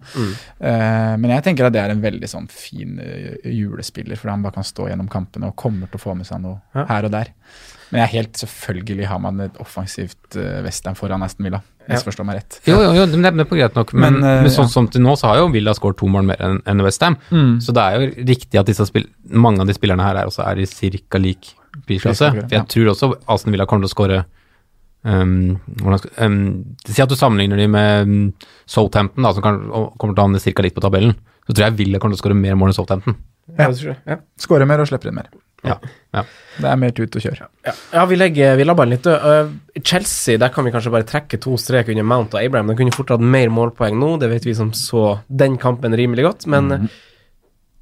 Speaker 5: Eh, men jeg tenker at det er en veldig sånn fin eh, julespiller, fordi han bare kan stå gjennom kampene og kommer til å få med seg noe
Speaker 3: Ja.
Speaker 5: her og der. Men jeg er helt selvfølgelig har man et offensivt uh, Western foran Aston Villa. Misforstå meg rett.
Speaker 4: Jo, jo, jo, men det det er på greit nok, men,
Speaker 5: Men,
Speaker 4: men,
Speaker 5: eh,
Speaker 4: sånn
Speaker 5: ja.
Speaker 4: som til nå, så har jo Villa skåret to mål mer enn enn West Ham. Så det er jo riktig at disse spill, mange av de spillerne her er også er i cirka lik prisklasse.
Speaker 5: Prisklasse,
Speaker 4: For
Speaker 5: ja.
Speaker 4: jeg tror også Aston Villa kommer til å skåre um, hvordan skal- um, Si at du sammenligner de med um, Southampton, da, som kan, og kommer til å havne cirka likt på tabellen. Så tror jeg Villa kommer til å skåre mer mål enn Southampton.
Speaker 3: Ja, det tror jeg. Ja.
Speaker 5: Skårer mer og slipper inn mer.
Speaker 4: Ja. ja.
Speaker 5: Det er mer tut og kjør.
Speaker 3: Ja, ja vi legger vi lar ballen litt død. Øh, Chelsea, der kan vi kanskje bare trekke to strek under Mount og Abraham. De kunne fort hatt mer målpoeng nå, det vet vi som så den kampen rimelig godt. Men
Speaker 4: Mhm.
Speaker 3: eh,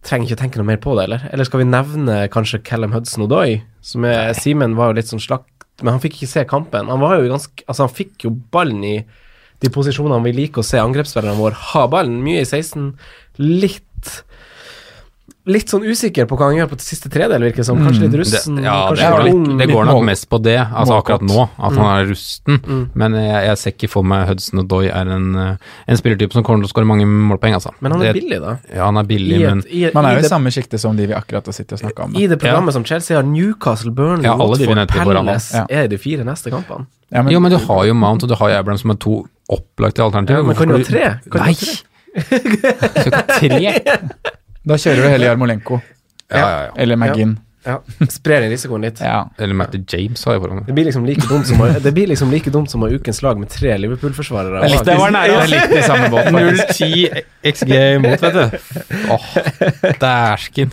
Speaker 3: trenger ikke å tenke noe mer på det, eller? Eller skal vi nevne kanskje Callum Hudson Odoi? Som er Simen var jo litt sånn slakt, men han fikk ikke se kampen. Han var jo ganske Altså, han fikk jo ballen i de posisjonene vi liker å se angrepsspillerne våre ha ballen. Mye i 16, litt Litt sånn usikker på hva han gjør på siste tredel, virker det som. Kanskje litt
Speaker 4: Mm, Det,
Speaker 3: russen.
Speaker 4: ja, det
Speaker 3: kanskje
Speaker 4: går,
Speaker 3: litt
Speaker 4: nok,
Speaker 3: ung,
Speaker 4: det
Speaker 3: litt
Speaker 4: går nok
Speaker 5: mål-
Speaker 4: mest på det, altså akkurat nå, at han er rusten.
Speaker 3: Mm.
Speaker 4: Men jeg, jeg ser ikke for meg Hudson og Doy er en, eh, en spillertype som kommer til å skåre mange målpoeng, altså.
Speaker 3: Men han er
Speaker 4: Det-
Speaker 3: billig, da.
Speaker 4: Ja, han er billig, men
Speaker 3: i, et-
Speaker 5: Man
Speaker 3: i
Speaker 5: er jo i
Speaker 3: det,
Speaker 5: samme sjikte som de vi akkurat har sittet og snakka om. da.
Speaker 3: I det programmet som Chelsea har, Newcastle, Burnley,
Speaker 4: Ja, alle de vinner
Speaker 3: Watford,
Speaker 4: etter hverandre.
Speaker 3: Palace
Speaker 5: Ja.
Speaker 3: er de fire neste kampene.
Speaker 5: Ja, men-
Speaker 4: Jo, men du har jo Mount og du har jo Abraham som er to opplagte alternativer.
Speaker 3: Ja, men
Speaker 4: Hvorfor
Speaker 3: kan du ha
Speaker 4: skal
Speaker 3: tre? Kan du ha
Speaker 4: Nei!
Speaker 3: tre?
Speaker 4: Skal ikke ha tre? Ja,
Speaker 5: Da kjører du heller Jarmolenko
Speaker 4: ja, ja.
Speaker 5: eller McGinn.
Speaker 3: Ja. Sprer den risikoen litt.
Speaker 5: Ja.
Speaker 4: Eller Matty James har jeg foran meg.
Speaker 3: Det blir liksom like dumt som å, det blir liksom like dumt som å ha ukens lag med tre Liverpool-forsvarere.
Speaker 5: Jeg likte-
Speaker 3: bak.
Speaker 5: var nære.
Speaker 4: Det er litt i
Speaker 5: *laughs*
Speaker 4: samme båt, faktisk. 0-10 XG imot, vet du. Åh, dæsken.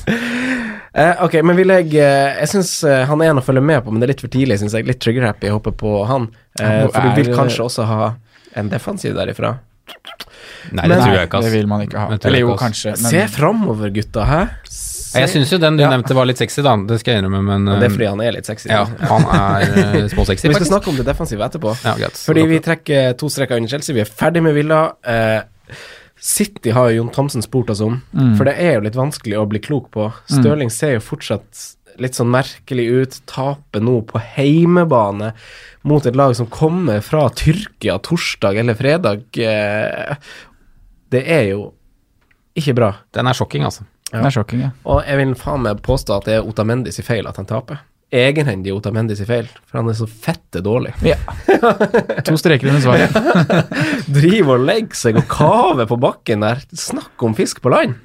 Speaker 3: Eh, ok, men vi legger eh, Jeg syns eh, han er en å følge med på, men det er litt for tidlig, syns jeg. Litt trigger-happy å hoppe på han. Eh,
Speaker 5: Han
Speaker 3: for du vil
Speaker 5: er-
Speaker 3: kanskje også ha en defensiv derifra.
Speaker 4: Nei, det
Speaker 3: Men-
Speaker 4: tror jeg ikke,
Speaker 5: det
Speaker 4: ass.
Speaker 5: vil man ikke ha.
Speaker 4: Det tror
Speaker 5: Eller
Speaker 4: jeg
Speaker 5: jo,
Speaker 4: ikke, ass.
Speaker 5: kanskje.
Speaker 3: Se framover, gutta, hæ? Se.
Speaker 4: Jeg syns jo den du
Speaker 3: Ja.
Speaker 4: nevnte var litt sexy, da. Det skal jeg innrømme, men
Speaker 3: Det er
Speaker 4: eh,
Speaker 3: fordi han er litt sexy.
Speaker 4: Ja, han er eh, småsexy,
Speaker 3: Vi skal
Speaker 4: faktisk.
Speaker 3: snakke om det defensive etterpå.
Speaker 4: Ja, greit.
Speaker 3: Fordi vi trekker to streker under Chelsea. Vi er ferdig med Villa. Eh, City har jo Jon Thomsen spurt oss om, for det er jo litt vanskelig å bli klok på. Stirling ser jo fortsatt litt sånn merkelig ut, taper nå på heimebane mot et lag som kommer fra Tyrkia torsdag eller fredag. Eh, Det er jo ikke bra.
Speaker 4: Den er sjokking, altså.
Speaker 5: Det er sjokking, ja.
Speaker 3: Og jeg vil faen meg påstå at det er Otamendi sin feil at han taper. Egenhendig Otamendi sin feil, for han er så fette dårlig.
Speaker 5: To streker under *laughs* svaret.
Speaker 3: Driver og legger seg og kaver på bakken der. Snakk om fisk på land!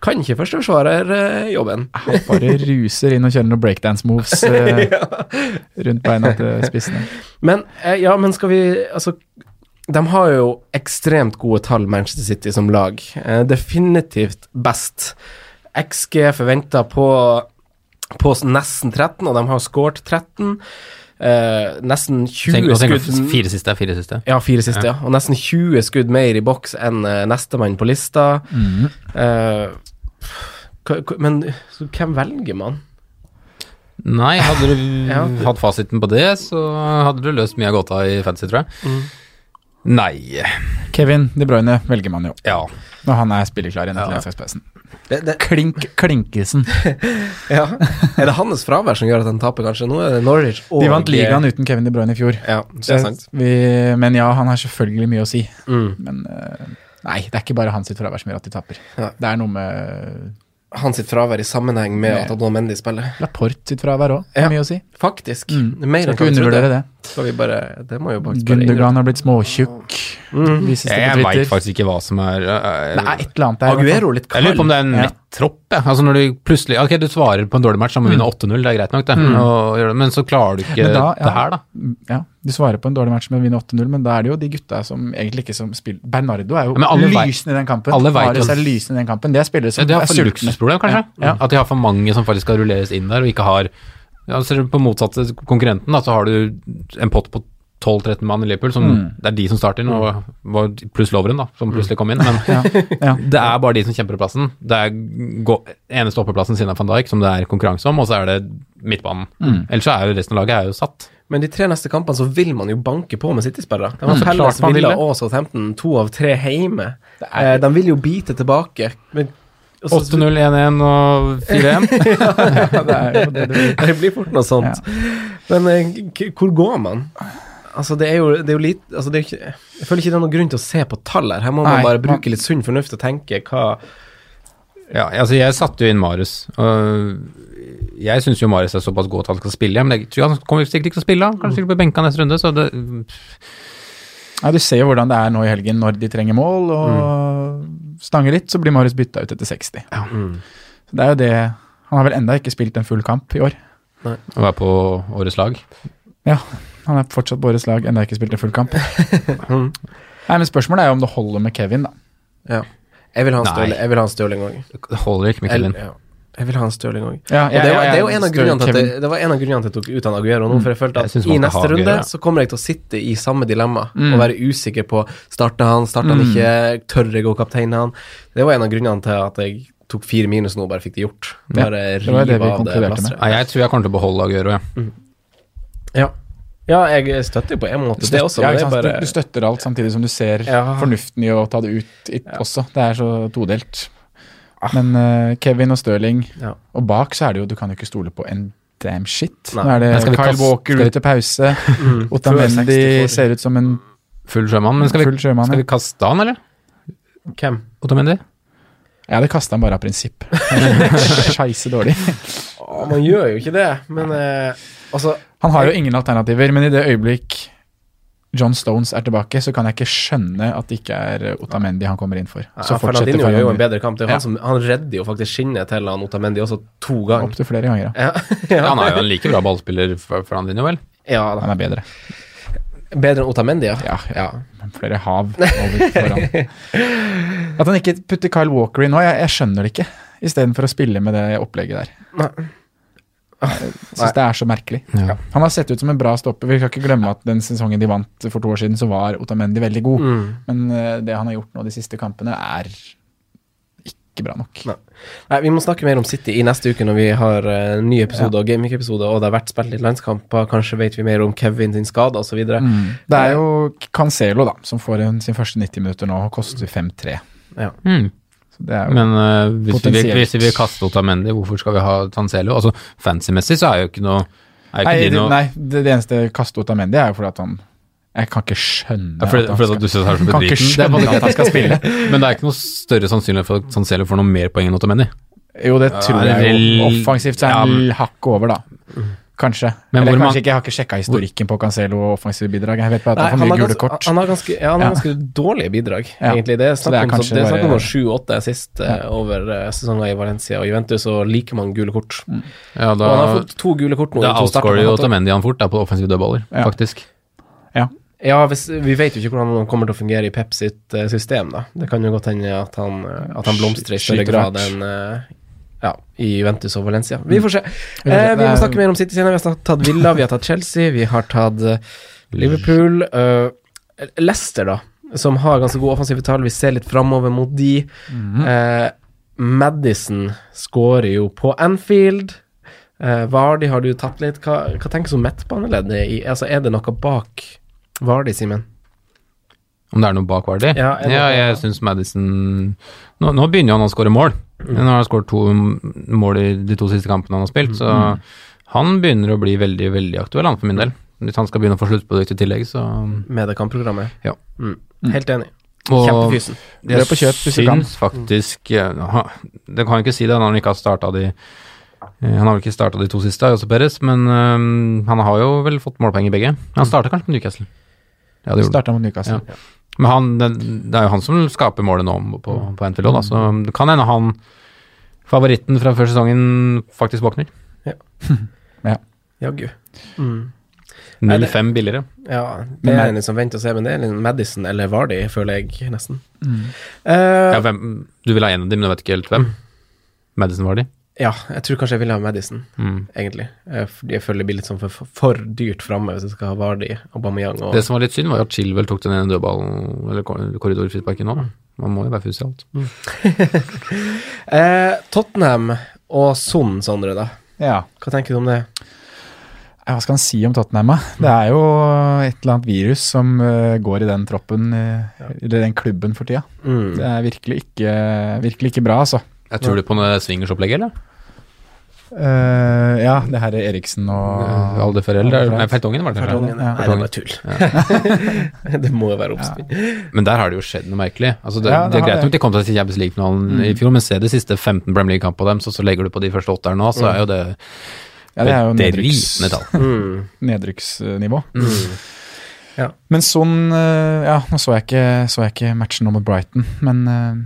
Speaker 3: Kan ikke førsteforsvarerjobben.
Speaker 5: Han bare ruser inn og kjører noen breakdance-moves eh, rundt beina til spissene.
Speaker 3: Men, eh, ja, men skal vi Altså, de har jo ekstremt gode tall, Manchester City, som lag. Eh, definitivt best. XG forventa på, på nesten 13, og de har skåret 13. Eh, nesten 20
Speaker 4: Tenk, og tenk,
Speaker 3: skudd
Speaker 4: fire siste er fire siste.
Speaker 3: Ja, fire siste, ja. Og nesten 20 skudd mer i boks enn eh, nestemann på lista.
Speaker 5: Mhm.
Speaker 3: Eh, hva- hva- men så hvem velger man?
Speaker 4: Nei, hadde
Speaker 5: *laughs*
Speaker 4: du
Speaker 3: Ja.
Speaker 4: hatt fasiten på det, så hadde du løst mye av gåta i fantasy, tror jeg.
Speaker 5: Mm.
Speaker 4: Nei
Speaker 5: Kevin De Bruyne velger man jo
Speaker 4: Ja.
Speaker 5: når han er spilleklar igjen etter
Speaker 4: Ja.
Speaker 5: landslagspausen. Klink Klinkesen.
Speaker 3: Ja. *laughs* Er det hans fravær som gjør at han taper, kanskje? Nå er det Norwich og eh,
Speaker 5: De vant ligaen uten Kevin De Bruyne i fjor.
Speaker 3: Ja, det er sant.
Speaker 5: Vi, men ja, han har selvfølgelig mye å si.
Speaker 3: Mm.
Speaker 5: Men eh, nei, det er ikke bare hans sitt fravær som gjør at de taper.
Speaker 3: Ja.
Speaker 5: Det er noe med
Speaker 3: Hans sitt fravær i sammenheng med at
Speaker 5: Ja.
Speaker 3: Adon Mendy spiller.
Speaker 5: Laporte sitt fravær òg.
Speaker 3: Ja.
Speaker 5: Mye å si.
Speaker 3: Faktisk.
Speaker 5: Mm.
Speaker 3: Det er Mer
Speaker 5: Skal
Speaker 3: enn
Speaker 5: ikke
Speaker 3: hva vi
Speaker 5: undervurdere
Speaker 3: trodde.
Speaker 5: det.
Speaker 3: Skal vi bare Det må jo faktisk bare
Speaker 5: Gundogan har blitt småtjukk.
Speaker 3: Mm.
Speaker 5: Vises det
Speaker 4: Jeg
Speaker 5: på
Speaker 4: veit
Speaker 5: Twitter.
Speaker 4: faktisk ikke hva som er eh,
Speaker 5: Det er et eller annet der. i hvert fall.
Speaker 3: Aguero litt
Speaker 4: Jeg lurer på
Speaker 3: kald.
Speaker 4: om det er en
Speaker 5: Ja.
Speaker 4: nett tropp. jeg. Altså når du plutselig Ok, du svarer på en dårlig match, da må vi vinne 8-0, det er greit nok, det. Og, gjør det. men så klarer du ikke
Speaker 5: Mm. Men da,
Speaker 4: eh,
Speaker 5: ja. Mm,
Speaker 4: det her, da.
Speaker 5: Ja, du svarer på en dårlig match med å vinne 8-0, men da er det jo de gutta som egentlig ikke som spiller Bernardo er jo
Speaker 4: Ja, men alle vet-
Speaker 5: lysende i den kampen.
Speaker 4: alle vet
Speaker 5: Mahrez
Speaker 4: jo-
Speaker 5: er lysende i den kampen. Det er spillere
Speaker 4: Ja,
Speaker 5: som
Speaker 4: de har
Speaker 5: er
Speaker 4: for
Speaker 5: sultne.
Speaker 4: luksusproblem, kanskje.
Speaker 5: Ja, ja.
Speaker 4: At de har for mange som faktisk skal rulleres inn der, og ikke har ja, Ser du på motsatte konkurrenten, da, så har du en pott på 12-13 mann i Liverpool, som det er de som starter inn, og var pluss loveren, da, som plutselig kom inn. *laughs* Men
Speaker 5: Ja, ja.
Speaker 4: det er bare de som kjemper om plassen. Det er gå, eneste oppeplassen siden av van Dijk som det er konkurranse om, og så er det midtbanen. Ellers så er jo resten av laget er jo satt.
Speaker 3: Men de tre neste kampene så vil man jo banke på med City-spillere. De har
Speaker 4: Mm.
Speaker 3: Pelles,
Speaker 4: Klart man vil
Speaker 3: Villa
Speaker 4: det.
Speaker 3: og Southampton, to av tre hjemme. Eh, de vil jo bite tilbake. Men, og så-
Speaker 4: 8-0, 1-1 og *laughs* 4-1.
Speaker 5: Ja, det er jo det det blir.
Speaker 3: *laughs* Det blir fort noe sånt. Men eh, k- hvor går man? Altså, det er jo, det er jo litt altså, det er jo ikke, Jeg føler ikke det er noen grunn til å se på tall her. Her må
Speaker 5: Nei,
Speaker 3: man bare
Speaker 5: man-
Speaker 3: bruke litt sunn fornuft og tenke hva
Speaker 4: Ja, altså jeg satte jo inn Marius. og jeg syns jo Marius er såpass god at han skal spille, men jeg tror han kommer sikkert ikke til å spille. Han kanskje sikkert blir benka neste runde, så det
Speaker 5: Nei, du ser jo hvordan det er nå i helgen når de trenger mål, og
Speaker 4: Mm.
Speaker 5: stanger litt, så blir Marius bytta ut etter 60. Så det er jo det Han har vel enda ikke spilt en full kamp i år.
Speaker 4: å være på årets lag.
Speaker 5: Ja, han er fortsatt på årets lag, enda ikke spilt en full
Speaker 4: *laughs*
Speaker 5: kamp.
Speaker 4: Mm.
Speaker 5: Nei, men spørsmålet er jo om det holder med Kevin, da.
Speaker 3: Ja. Jeg vil ha en
Speaker 4: Nei.
Speaker 3: Stirling- jeg vil ha en Stirling òg.
Speaker 4: Det holder ikke med Kevin.
Speaker 3: Ja. Jeg vil ha en Stirling òg.
Speaker 5: Ja, Mm.
Speaker 3: Og det, var, det er jo en av
Speaker 5: støtter
Speaker 3: grunnene til at
Speaker 5: Kevin.
Speaker 3: jeg, det var en av grunnene til at jeg tok ut han Aguero nå, for jeg følte
Speaker 4: Jeg
Speaker 3: at
Speaker 4: synes
Speaker 3: i
Speaker 4: man skal
Speaker 3: neste
Speaker 4: ha Aguero,
Speaker 3: runde
Speaker 4: ja.
Speaker 3: så kommer jeg til å sitte i samme dilemma
Speaker 5: Mm.
Speaker 3: og være usikker på Starter han, starter han ikke, tør jeg å kapteine han? Det var en av grunnene til at jeg tok fire minus nå og bare fikk det gjort. Bare
Speaker 5: det var det
Speaker 3: rive av
Speaker 5: vi
Speaker 3: det
Speaker 5: konkluderte med.
Speaker 3: plasteret.
Speaker 4: Nei, jeg tror jeg kommer til å beholde Aguero, jeg.
Speaker 3: Ja. ja, jeg støtter jo på en måte det også,
Speaker 5: ja,
Speaker 3: men
Speaker 5: ikke
Speaker 3: det er
Speaker 5: sant?
Speaker 3: bare
Speaker 5: Du, du støtter alt, samtidig som du ser
Speaker 3: Ja.
Speaker 5: fornuften i å ta det ut i, også. Det er så todelt.
Speaker 4: Ah.
Speaker 5: Men eh, Kevin og Stirling
Speaker 3: Ja.
Speaker 5: Og bak så er det jo Du kan jo ikke stole på en damn shit.
Speaker 3: Nei.
Speaker 5: Nå er det
Speaker 4: Men skal vi
Speaker 5: Kyle
Speaker 4: kaste-
Speaker 5: Walker
Speaker 4: skal vi-
Speaker 5: ut til
Speaker 4: *laughs*
Speaker 5: pause.
Speaker 3: Mm. Før 60
Speaker 5: Otamendi
Speaker 3: får-
Speaker 5: ser ut som en
Speaker 4: Full sjømann. Men skal vi,
Speaker 5: Full sjømann,
Speaker 4: skal
Speaker 5: ja.
Speaker 4: vi kaste han, eller?
Speaker 3: Hvem?
Speaker 4: Otamendi?
Speaker 5: Jeg hadde kasta han bare av
Speaker 4: *laughs*
Speaker 5: prinsipp. Scheisse dårlig.
Speaker 3: Å, man gjør jo ikke det, men eh, altså
Speaker 5: Han har jo ingen alternativer, men i det øyeblikk John Stones er tilbake, så kan jeg ikke skjønne at det ikke er Otamendi han kommer inn for. Så
Speaker 3: ja,
Speaker 5: fortsetter
Speaker 3: Fernandinho gjør jo en
Speaker 5: Fernandinho
Speaker 3: bedre kamp. Det er jo
Speaker 5: Ja.
Speaker 3: han, som, han redder jo faktisk skinnet til han Otamendi også to ganger.
Speaker 5: opptil flere ganger. Ja.
Speaker 3: Ja, *laughs* ja.
Speaker 4: Han er jo en like bra ballspiller for, for han din, jo vel?
Speaker 3: ja da.
Speaker 5: Han er bedre.
Speaker 3: Bedre enn Otamendi, ja.
Speaker 5: Ja, ja. men Flere hav over
Speaker 3: *laughs*
Speaker 5: foran. At han ikke putter Kyle Walker inn nå, jeg, jeg skjønner det ikke. Istedenfor å spille med det opplegget der.
Speaker 3: Nei. Ah,
Speaker 5: Jeg syns det er så merkelig.
Speaker 4: Ja.
Speaker 5: Han har sett ut som en bra stopper. Vi skal ikke glemme at den sesongen de vant for to år siden, så var Otamendi veldig god.
Speaker 3: Mm.
Speaker 5: Men eh, det han har gjort nå de siste kampene, er ikke bra nok.
Speaker 3: Nei. Nei, vi må snakke mer om City i neste uke når vi har eh, ny episode og gaming-episode, og det har vært spilt litt landskamper. Kanskje vet vi mer om Kevin sin skade osv.
Speaker 5: Mm. Det er jo Cancelo, da, som får en, sin første 90 minutter nå og koster 5-3.
Speaker 3: Ja.
Speaker 4: Mm.
Speaker 5: Så det er jo
Speaker 4: Men eh, hvis, vi,
Speaker 5: Potensielt.
Speaker 4: hvis vi vil kaste Otamendi, hvorfor skal vi ha Tancelo? Altså, Fancy-messig så er jo ikke noe er jo
Speaker 5: Nei,
Speaker 4: ikke de
Speaker 5: det,
Speaker 4: noe,
Speaker 5: nei det, det eneste jeg kaster ut av Mendy, er jo fordi at han Jeg kan ikke skjønne
Speaker 4: Ja, fordi,
Speaker 5: at han
Speaker 4: fordi at du synes
Speaker 5: skal,
Speaker 4: det er så
Speaker 5: kan ikke
Speaker 4: bedriten. Det er
Speaker 5: skjønne
Speaker 4: bare-
Speaker 5: at han skal spille.
Speaker 4: Men det er ikke noe større sannsynlighet for at Tancelo får noe mer poeng enn Otamendi.
Speaker 5: Jo, det tror
Speaker 4: det er
Speaker 5: jeg jo.
Speaker 4: vel-
Speaker 5: Offensivt så er
Speaker 4: Ja,
Speaker 5: han
Speaker 4: men-
Speaker 5: hakket over, da. Kanskje.
Speaker 4: Men
Speaker 5: Eller
Speaker 4: hvor
Speaker 5: kanskje
Speaker 4: mange-
Speaker 5: ikke, jeg har ikke sjekka historikken på Cancelo og offensive bidrag. Jeg vet bare at
Speaker 3: Nei,
Speaker 5: han
Speaker 3: han, har
Speaker 5: får mye gule
Speaker 3: ganske,
Speaker 5: kort.
Speaker 3: han har ganske, ja, han har
Speaker 5: Ja.
Speaker 3: ganske dårlige bidrag,
Speaker 5: Ja.
Speaker 3: egentlig. Det er
Speaker 5: Så det er
Speaker 3: snakk om,
Speaker 5: kanskje
Speaker 3: så- det er snakk om
Speaker 5: bare-
Speaker 3: sju-åtte sist eh, over eh, sesonger i Valencia og Juventus, og like mange gule kort.
Speaker 5: Mm.
Speaker 4: Ja,
Speaker 3: Og han har
Speaker 4: da,
Speaker 3: fått to gule kort nå. i
Speaker 4: da
Speaker 3: to starter
Speaker 4: outscorer
Speaker 3: han
Speaker 4: jo
Speaker 3: har hatt.
Speaker 4: Otamendi han fort da, på offensive dødballer,
Speaker 5: Ja.
Speaker 4: faktisk.
Speaker 5: Ja.
Speaker 3: Ja, hvis, vi vet jo ikke hvordan han kommer til å fungere i Pep sitt eh, system, da. Det kan jo godt hende at han, eh, at han blomstrer i større
Speaker 5: Skyter
Speaker 3: grad
Speaker 5: hardt.
Speaker 3: enn eh, ja, i Juventus og Valencia. Vi får se.
Speaker 5: Vi får se.
Speaker 3: Eh, vi
Speaker 5: Det
Speaker 3: må
Speaker 5: er-
Speaker 3: snakke mer om City senere. Vi har snakket- tatt Villa, vi har tatt Chelsea, vi har tatt eh, Liverpool. eh, Leicester, da, som har ganske gode offensive tall. Vi ser litt framover mot de.
Speaker 5: Mhm.
Speaker 3: eh, Madison skårer jo på Anfield. Eh, Vardy har du tatt litt. Hva, hva tenker du om midtbaneleddet? i- Altså, er det noe bak Vardy, Simen?
Speaker 4: Om det er noe bak Vardy?
Speaker 3: Ja, er det-
Speaker 4: ja, jeg syns Madison nå, nå begynner jo han å skåre mål.
Speaker 3: Mm.
Speaker 4: Nå har han skåret to mål i de to siste kampene han har spilt,
Speaker 3: Mm,
Speaker 4: så han begynner å bli veldig, veldig aktuell, han for min del. Hvis han skal begynne å få sluttprodukt i tillegg, så
Speaker 3: Med det kampprogrammet?
Speaker 4: Ja.
Speaker 3: Mm. Helt enig.
Speaker 4: Og-
Speaker 3: Kjempefysen.
Speaker 5: Løp og kjøp hvis du kan.
Speaker 4: syns faktisk eh, ha- Det kan jo ikke si det når han ikke har starta de eh, han har vel ikke starta de to siste, Jose Perez, men eh, han har jo vel fått målpoeng i begge. Han starta kanskje med Newcastle. Ja, det gjorde han.
Speaker 5: Starta mot Newcastle.
Speaker 4: Men han, det, det er jo han som skaper målet nå på, på Anfield også, da, så det kan hende han favoritten fra før sesongen faktisk våkner.
Speaker 3: Jaggu.
Speaker 4: 0-5 billigere.
Speaker 3: Ja, det
Speaker 5: Men
Speaker 3: er
Speaker 5: Mad-
Speaker 3: en liksom vent og se, men det er en Madison eller Vardy, føler jeg nesten.
Speaker 4: Ja,
Speaker 3: Eh,
Speaker 4: hvem, du vil ha en av dem, men du vet ikke helt hvem.
Speaker 5: Mm.
Speaker 4: Madison var de.
Speaker 3: ja, jeg tror kanskje jeg ville ha Madison,
Speaker 4: Mm.
Speaker 3: egentlig. Eh, Fordi jeg føler det blir litt sånn for, for dyrt framme hvis jeg skal ha Vardy, Aubameyang og
Speaker 4: Det som var litt synd, var jo at Chilwell tok den ene dødballen, eller kor- korridorfrisparken nå. da. Man må jo være fus i alt.
Speaker 3: Eh, Tottenham og Son, Sondre, da.
Speaker 5: Ja.
Speaker 3: Hva tenker du om det?
Speaker 5: Ja, Hva skal han si om Tottenham? da?
Speaker 4: Mm.
Speaker 5: Det er jo et eller annet virus som eh, går i den troppen, eh, eller den klubben for tida.
Speaker 3: Mm.
Speaker 5: Det er virkelig ikke, virkelig ikke bra, altså.
Speaker 4: Jeg tror du på noe swingersopplegg, eller?
Speaker 5: Eh, ja, det her er Eriksen og
Speaker 4: Alde Ferrell,
Speaker 5: Alder
Speaker 4: det er-
Speaker 5: Ferrell.
Speaker 4: nei, Fertongen var det
Speaker 5: Fertongen.
Speaker 4: kanskje.
Speaker 3: Nei, det er bare tull. *laughs* det må jo være oppspinn.
Speaker 4: Men der har det jo skjedd noe merkelig. Altså, det,
Speaker 5: Ja, det
Speaker 4: det er
Speaker 5: har
Speaker 4: greit
Speaker 5: det. Mm.
Speaker 4: nok de kom seg til Champions League-finalen i fjor, men se de siste 15 Premier League-kampene deres, og så legger du på de første åtte her nå, så er jo det
Speaker 5: Mm. Ja, det er jo nedrykks,
Speaker 4: bedrivende
Speaker 5: *laughs*
Speaker 4: tall.
Speaker 3: Mm.
Speaker 5: nedrykksnivå.
Speaker 3: Mm.
Speaker 5: Men sånn eh, Ja, nå så jeg ikke, så jeg ikke matchen nå mot Brighton, men eh,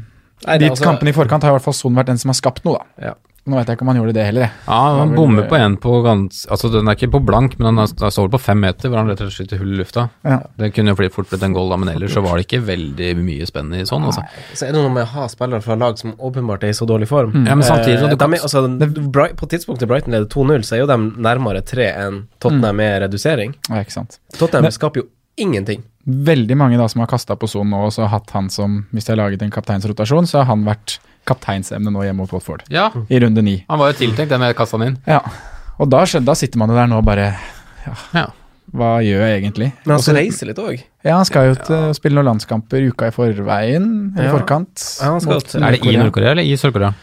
Speaker 3: Nei, det
Speaker 5: de
Speaker 3: er altså-
Speaker 5: kampene i forkant har i hvert fall Son vært den som har skapt noe, da.
Speaker 3: Ja.
Speaker 5: Nå vet jeg ikke om han gjorde det heller, jeg.
Speaker 4: Ja,
Speaker 5: Ja,
Speaker 4: han
Speaker 5: vel,
Speaker 4: bommer
Speaker 5: det-
Speaker 4: på en på gans... Altså, den er ikke på blank, men han er- han står på fem meter, hvor han rett og slett skyter hull i lufta.
Speaker 5: Ja.
Speaker 4: Det kunne jo fort- fort blitt en goal, da, men ellers så var det ikke veldig mye spenn i sånn, altså.
Speaker 3: Så er det noe med å ha spillere fra lag som åpenbart er i så dårlig form.
Speaker 4: Ja, men samtidig så
Speaker 3: eh,
Speaker 4: du kan-
Speaker 3: de er, altså, Bright- På tidspunktet Brighton leder 2-0, så er jo de nærmere 3 enn Tottenham med redusering.
Speaker 5: Ja, ikke sant.
Speaker 3: Tottenham
Speaker 5: Men-
Speaker 3: skaper jo ingenting.
Speaker 5: Veldig mange da som har kasta på Son nå, og så har hatt han som Hvis de har laget en kapteinsrotasjon, så har han vært kapteinsemne nå hjemme mot Watford.
Speaker 4: Ja,
Speaker 5: I runde ni.
Speaker 4: han var jo tiltenkt, den jeg kastet han inn.
Speaker 5: Ja. Og da, skjøn- da sitter man jo der nå og bare
Speaker 4: Ja.
Speaker 5: Hva gjør jeg egentlig?
Speaker 3: Men han
Speaker 5: Og så-
Speaker 3: skal reise litt òg.
Speaker 5: Ja, han skal jo til å spille noen landskamper uka i forveien,
Speaker 3: Ja.
Speaker 5: eller forkant.
Speaker 3: Ja, han skal
Speaker 5: mot
Speaker 3: til-
Speaker 4: Er det i
Speaker 5: Nord-Korea.
Speaker 4: Nord-Korea eller i Sør-Korea?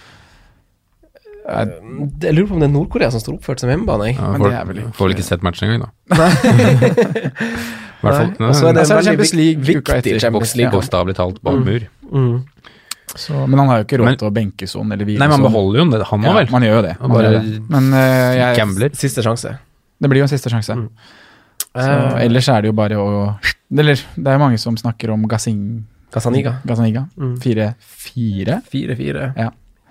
Speaker 3: Jeg lurer på om det er Nord-Korea som står oppført som hjemmebane. jeg.
Speaker 4: Ja,
Speaker 5: Men
Speaker 4: får,
Speaker 5: det er vel ikke-
Speaker 4: får vel ikke sett matchen
Speaker 5: *laughs*
Speaker 4: engang, da. *laughs* I hvert fall
Speaker 3: Nei, og så er
Speaker 4: nei,
Speaker 3: det
Speaker 5: Altså,
Speaker 3: en
Speaker 5: er
Speaker 3: veldig
Speaker 5: det Champions
Speaker 3: vik-
Speaker 5: League
Speaker 3: viktig
Speaker 5: uka etter.
Speaker 3: Champions
Speaker 4: boks-
Speaker 3: League.
Speaker 4: Bokstavelig talt bak mur.
Speaker 3: Mm.
Speaker 5: Så, men han har jo ikke
Speaker 4: Men-
Speaker 5: råd til å benke Son eller hvile
Speaker 4: Nei, man
Speaker 5: Son.
Speaker 4: beholder jo den, han nå
Speaker 5: ja,
Speaker 4: vel.
Speaker 5: Man gjør jo det.
Speaker 4: Og
Speaker 5: Man
Speaker 4: bare
Speaker 5: gjør det. Men eh, jeg,
Speaker 4: Gambler.
Speaker 3: Siste sjanse.
Speaker 5: det blir jo en siste sjanse. Så,
Speaker 3: Mm. Eh,
Speaker 5: ellers er det jo bare å Eller det er jo mange som snakker om Gassing,
Speaker 3: Casaniga.
Speaker 5: Gazzaniga.
Speaker 3: Mm.
Speaker 5: Fire, fire?
Speaker 3: 4-4.
Speaker 5: Ja.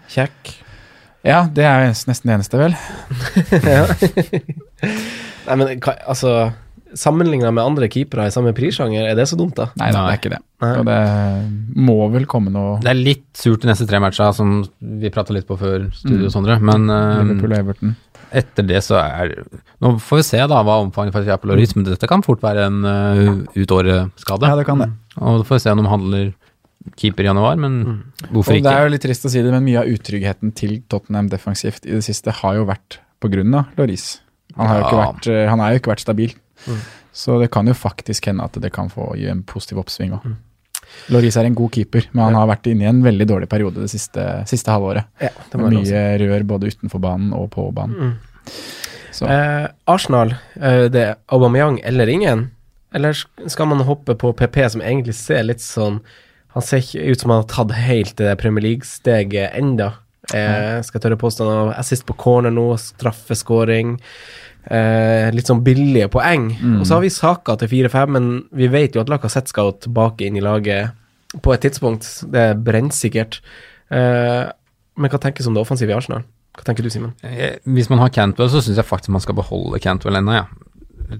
Speaker 3: Kjekk.
Speaker 5: Ja, det er jo nesten det eneste, vel.
Speaker 3: *laughs* Ja. Nei, men hva- altså Sammenligna med andre keepere i samme prissjanger, er det så dumt, da?
Speaker 5: Nei da, det
Speaker 4: Nei.
Speaker 5: er ikke det.
Speaker 3: Nei.
Speaker 5: Og det må vel komme noe
Speaker 4: Det er litt surt de neste tre matcha, som vi prata litt på før studio, Sondre. Men eh,
Speaker 5: Mm. Liverpool og Everton.
Speaker 4: etter det så er Nå får vi se da hva omfanget faktisk er på Loris, men dette kan fort være en uh, utåret-skade.
Speaker 5: Mm. Ja, det kan det.
Speaker 4: Og da får vi se om de handler keeper i januar, men hvorfor
Speaker 5: Mm. Og det
Speaker 4: ikke?
Speaker 5: er jo litt trist å si det, men mye av utryggheten til Tottenham defensivt i det siste har jo vært på grunn av Loris. Han har jo ikke
Speaker 4: Ja.
Speaker 5: vært, eh, han
Speaker 3: Mm. Mm.
Speaker 5: er jo ikke vært stabil. Så det kan jo faktisk hende at det kan få gi en positiv oppsving òg. Loris er en god keeper, men han har vært inne i en veldig dårlig periode det siste, siste halvåret.
Speaker 3: Ja, det må jeg lov å si. Mm.
Speaker 5: Mye rør både utenfor banen og på banen. Så
Speaker 3: Eh, Arsenal, eh, det er Aubameyang eller ingen? Eller sk- skal man hoppe på PP, som egentlig ser litt sånn Han ser ikke ut som han har tatt helt det Premier League-steget enda. Eh, skal jeg tørre påstå han har assist på corner nå, straffeskåring. Eh, litt sånn billige poeng. Og så har vi Saka til 4-5, men vi vet jo at Lacassette skal jo tilbake inn i laget på et tidspunkt. Det er brennsikkert. Eh, men hva tenkes om det offensive i Arsenal? Hva tenker du, Simen?
Speaker 4: Eh, Hvis man har Cantwell, så syns jeg faktisk man skal beholde Cantwell ennå, ja.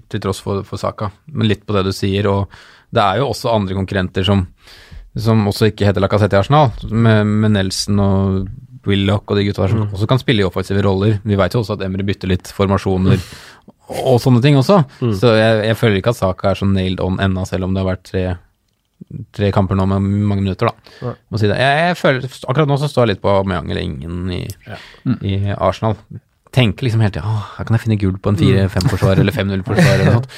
Speaker 4: til tross for, for saka. Men litt på det du sier, og det er jo også andre konkurrenter som, som også ikke heter Lacassette i Arsenal, med, med Nelson og Willoch og de gutta der som også kan spille i offensive roller. Vi veit jo også at Emre bytter litt formasjoner og sånne ting også. Så jeg, jeg føler ikke at saka er så nailed on ennå, selv om det har vært tre, tre kamper nå med mange minutter, da.
Speaker 3: Nei.
Speaker 4: Må si det. Jeg, jeg føler, akkurat nå så står jeg litt på Aubameyang eller ingen i, i Arsenal. Tenker liksom hele tida Åh, her kan jeg finne gull på en
Speaker 5: Mm.
Speaker 4: 4-5-forsvar eller 5-0-forsvar eller noe
Speaker 5: *laughs*
Speaker 4: sånt.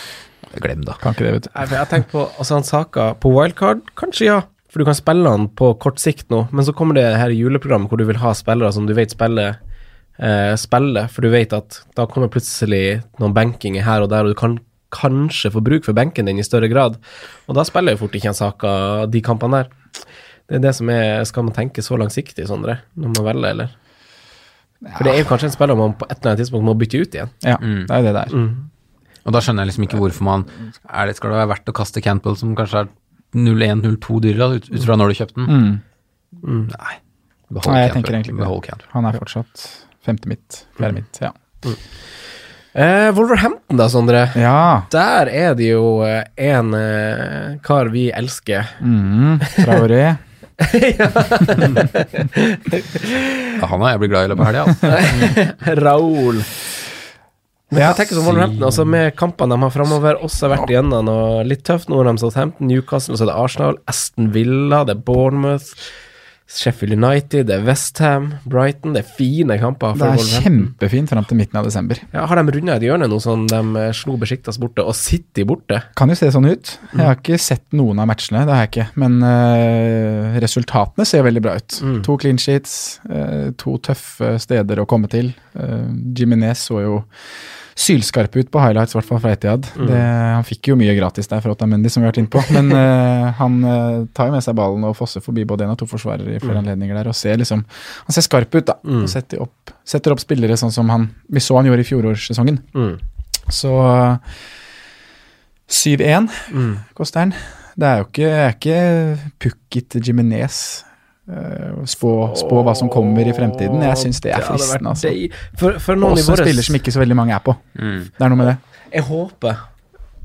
Speaker 4: Glem det.
Speaker 5: kan ikke det, vet du.
Speaker 3: Nei, for Jeg tenker på altså han Saka på wildcard, kanskje ja. For du kan spille han på kort sikt nå, men så kommer det her juleprogrammet hvor du vil ha spillere som du vet spiller, eh, spiller for du vet at da kommer plutselig noen benkinger her og der, og du kan kanskje få bruk for benken din i større grad. Og da spiller jo fort ikke han Saka de kampene der. Det er det som er Skal man tenke så langsiktig, Sondre, når man velger, eller? For det er jo kanskje en spiller man på et eller annet tidspunkt må bytte ut igjen.
Speaker 5: Ja, det er jo det det er.
Speaker 3: Mm.
Speaker 4: Og da skjønner jeg liksom ikke hvorfor man er det, Skal det være verdt å kaste Cantwell, som kanskje er 0-1-0-2 dyrere, da, ut, ut fra når du kjøpte den? Mm, Nei. Behold
Speaker 5: Mm. Nei, jeg tenker
Speaker 4: Cantwell.
Speaker 5: egentlig ikke
Speaker 4: Behold
Speaker 5: det.
Speaker 4: Cantwell.
Speaker 5: Han er fortsatt femte mitt,
Speaker 3: Mm.
Speaker 5: fjerde mitt. Ja.
Speaker 3: Eh, Wolverhampton da, Sondre.
Speaker 5: ja.
Speaker 3: Der er det jo eh, en eh, kar vi elsker. *laughs*
Speaker 5: Mm, Traoré.
Speaker 4: Ja, han har jeg blitt glad i i løpet av helga.
Speaker 5: *laughs*
Speaker 4: Altså.
Speaker 3: Raoul.
Speaker 5: Ja.
Speaker 3: Jeg tenker som Wolverhampton, altså med kampene de har framover, også har vært igjennom og litt tøft. Nå har de Southampton, Newcastle, og så er det Arsenal, Aston Villa, det er Bournemouth, Sheffield United, det er Westham, Brighton. Det er fine kamper.
Speaker 5: Det
Speaker 3: for
Speaker 5: er
Speaker 3: Wolverhampton.
Speaker 5: kjempefint fram til midten av desember.
Speaker 3: Ja, har de runda et hjørne nå, sånn de eh, slo Besjiktas borte, og City borte?
Speaker 5: Kan jo se sånn ut. Jeg har ikke sett noen av matchene, det har jeg ikke. Men eh, resultatene ser veldig bra ut. To clean sheets, eh, to tøffe steder å komme til. Uh, Jiminez så jo sylskarp ut på highlights, i hvert fall fra Etiad. Det, han fikk jo mye gratis der fra Otamendi, som vi har vært inne på. Men eh, han eh, tar jo med seg ballen og fosser forbi både én og to forsvarere i flere anledninger der, og ser liksom Han ser skarp ut, da. Og setter opp, setter opp spillere sånn som han Vi så han gjorde i fjorårssesongen.
Speaker 3: Mm.
Speaker 5: Så eh, 7-1
Speaker 3: mm.
Speaker 5: koster den. Det er jo ikke, er ikke Pukket Jiminez. Spå, spå hva som kommer i fremtiden. Jeg syns det er
Speaker 3: hadde vært
Speaker 5: fristende. Altså.
Speaker 3: deilig. For, for noen i
Speaker 5: Også en
Speaker 3: våres-
Speaker 5: spiller som ikke så veldig mange er på.
Speaker 4: Mm.
Speaker 5: Det er noe med det.
Speaker 3: Jeg håper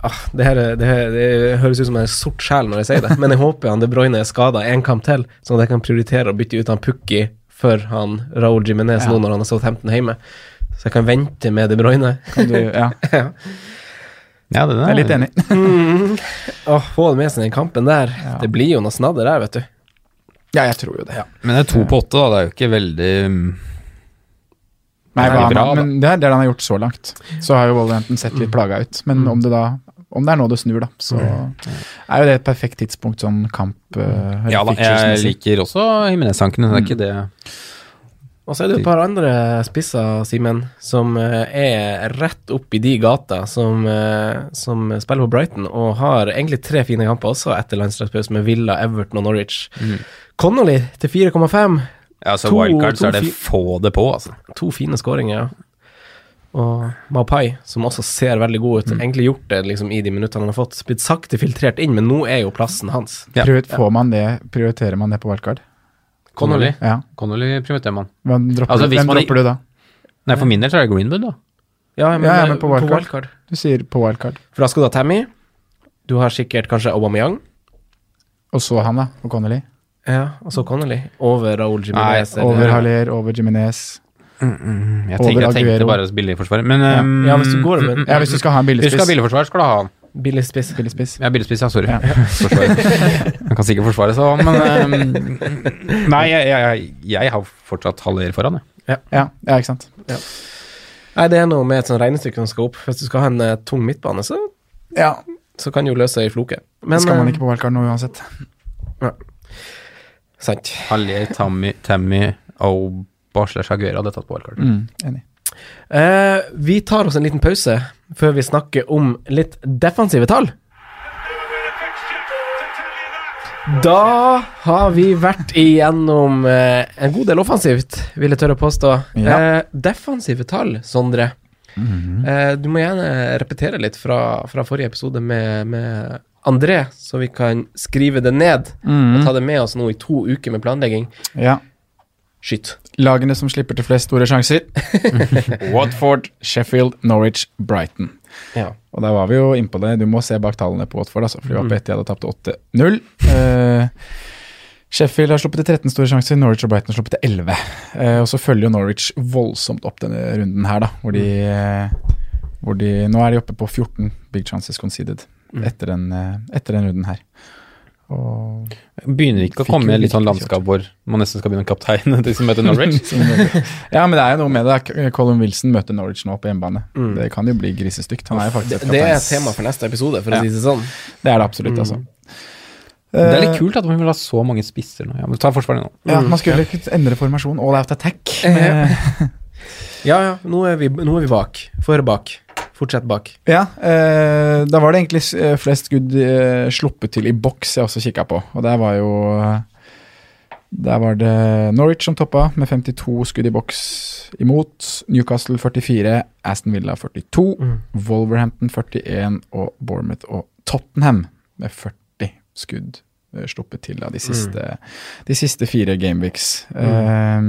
Speaker 3: ah, det, her, er- det, her, det høres ut som jeg er sort sjel når jeg sier det, men jeg håper han De Bruyne er skada en kamp til, sånn at jeg kan prioritere å bytte ut han Pukki for han Raúl Jimenez nå når han har Southampton hjemme. Så jeg kan vente med De Bruyne.
Speaker 5: Kan
Speaker 4: *laughs*
Speaker 5: du, ja, jeg
Speaker 4: Ja, det,
Speaker 5: er litt enig.
Speaker 3: Åh, få det med seg den kampen der. Det blir jo noe snadder der, vet du.
Speaker 5: Ja, jeg tror jo det.
Speaker 4: Men det er to på åtte, da. Det er jo ikke veldig mm, Det
Speaker 5: Nei,
Speaker 4: er
Speaker 5: hva
Speaker 4: veldig
Speaker 5: han,
Speaker 4: bra, da. Mm.
Speaker 5: men det er det han har gjort så langt. Så har jo Wolverhampton sett litt plaga ut. Men om det da om det er nå det snur, da, så
Speaker 4: Mm.
Speaker 5: er jo det et perfekt tidspunkt sånn kamp eh,
Speaker 4: Ja da, jeg
Speaker 5: fixtures-messig.
Speaker 4: liker også Himinez-tankene. Det er
Speaker 5: Mm.
Speaker 4: ikke det
Speaker 3: Og så er det et par andre spisser, Simen, som eh, er rett opp i de gata, som, eh, som spiller på Brighton og har egentlig tre fine kamper også etter landslagspause med Villa, Everton og Norwich.
Speaker 4: mm.
Speaker 3: Connolly til 4,5.
Speaker 4: Ja, så
Speaker 3: To-
Speaker 4: wildcard så er det
Speaker 3: to-
Speaker 4: få det på, altså.
Speaker 3: To fine skåringer. Og Mapai, som også ser veldig god ut. Egentlig gjort det liksom, i de minuttene han har fått. Blitt sakte filtrert inn, men nå er jo plassen hans.
Speaker 4: Ja.
Speaker 5: Prior- Får man det, prioriterer man det på wildcard?
Speaker 3: Connolly.
Speaker 5: Ja.
Speaker 4: Connolly prioriterer man.
Speaker 5: Hvem dropper,
Speaker 4: Altså,
Speaker 5: du-
Speaker 4: hvis
Speaker 5: hvem
Speaker 4: man i-
Speaker 5: dropper du da?
Speaker 4: Nei, for min del så er det Greenwood, da.
Speaker 3: Ja, men,
Speaker 5: Ja, ja,
Speaker 3: eh,
Speaker 5: men på
Speaker 3: på
Speaker 5: wildcard.
Speaker 3: wildcard.
Speaker 5: Du sier på wildcard.
Speaker 3: For da skal du ha Tammy. Du har sikkert kanskje Aubameyang.
Speaker 5: Og så han, da. Og Connolly.
Speaker 3: Ja, og så Connolly. Over Raúl Jiménez. eller-
Speaker 5: Over Haller, over Jiminez.
Speaker 4: Jeg,
Speaker 5: Over
Speaker 4: tenker, jeg tenkte
Speaker 5: Aguero.
Speaker 4: bare å spille i forsvaret, men ehm,
Speaker 3: Ja, hvis du går med
Speaker 5: Ja, hvis du skal ha en
Speaker 4: Hvis du skal ha
Speaker 5: billigspiss.
Speaker 4: billigforsvar, skal du ha han.
Speaker 3: billig spiss
Speaker 5: Billig spiss.
Speaker 4: Jeg er billigspiss, ja. Sorry. *laughs* Forsvarer. Han kan sikkert forsvare seg, også, men ehm, Nei, jeg, jeg, jeg har fortsatt halver foran, jeg.
Speaker 5: Ja, ja, ikke sant.
Speaker 3: Nei, det er noe med et sånt regnestykke som skal opp. Hvis du skal ha en eh, tung midtbane, så,
Speaker 5: Ja,
Speaker 3: så kan du jo løse ei floke. Men
Speaker 5: Det skal man
Speaker 3: eh,
Speaker 5: ikke på wildcard nå uansett.
Speaker 3: Sant.
Speaker 4: Hallier, Tammy, Tammy Auba slash Aguero hadde tatt på wildcard.
Speaker 5: Mm, enig.
Speaker 3: Eh, vi tar oss en liten pause før vi snakker om litt defensive tall.
Speaker 1: Never been a fixture to tell you that.
Speaker 3: Da har vi vært igjennom eh, en god del offensivt, vil jeg tørre å påstå.
Speaker 5: Ja. Mhm.
Speaker 3: Eh, defensive tall, Sondre. eh, du må gjerne repetere litt fra, fra forrige episode med, med André, så vi kan skrive det ned
Speaker 5: Mhm.
Speaker 3: og ta det med oss nå i to uker med planlegging.
Speaker 5: Ja.
Speaker 3: Skyt.
Speaker 5: Lagene som slipper til flest
Speaker 3: *laughs*
Speaker 5: store sjanser. Watford, Sheffield, Norwich, Brighton.
Speaker 3: Ja. Mm.
Speaker 5: Og der var vi jo innpå det. Du må se bak tallene på Watford, altså, for de var på ett, de hadde tapt 8-0. Eh, Sheffield har sluppet til 13 store sjanser, Norwich og Brighton har sluppet til 11. Eh, og så følger jo Norwich voldsomt opp denne runden her, da, hvor de, eh, hvor de Nå er de oppe på 14 big chances conceded
Speaker 3: Mm.
Speaker 5: etter den, eh, etter den runden her. Og
Speaker 4: Begynner ikke å
Speaker 5: Fikk
Speaker 4: komme
Speaker 5: jo
Speaker 4: litt sånn
Speaker 5: virkelig
Speaker 4: landskap hvor man nesten skal begynne kaptein til som møter
Speaker 5: *laughs*
Speaker 4: Norwich.
Speaker 3: *laughs*
Speaker 5: ja, men det er jo noe med det. Colin Wilson møter Norwich nå på hjemmebane.
Speaker 3: Mm.
Speaker 5: Det kan jo bli grisestygt. Han er jo
Speaker 3: Det,
Speaker 5: faktisk
Speaker 3: det er
Speaker 5: kapteins-
Speaker 3: tema for Mm. neste episode, for
Speaker 5: Ja.
Speaker 3: å si det sånn.
Speaker 5: Det er det absolutt, altså. Eh,
Speaker 4: Det er litt kult at man vil ha så mange spisser nå. Ja, men ta forsvaret nå.
Speaker 5: Ja, man skulle ikke endre formasjon all out attack.
Speaker 3: Mm. Ja.
Speaker 5: Eh,
Speaker 3: Ja, ja, nå er vi, nå er vi bak. For bak. Fortsett bak.
Speaker 5: Ja, eh, da var det egentlig eh, flest skudd eh, sluppet til i boks jeg også kikka på, og der var jo eh, Der var det Norwich som toppa med 52 skudd i boks imot. Newcastle 44, Aston Villa 42,
Speaker 3: Mm.
Speaker 5: Wolverhampton 41 og Bournemouth og Tottenham med 40 skudd eh, sluppet til av de siste, de siste fire gameweeks. Eh,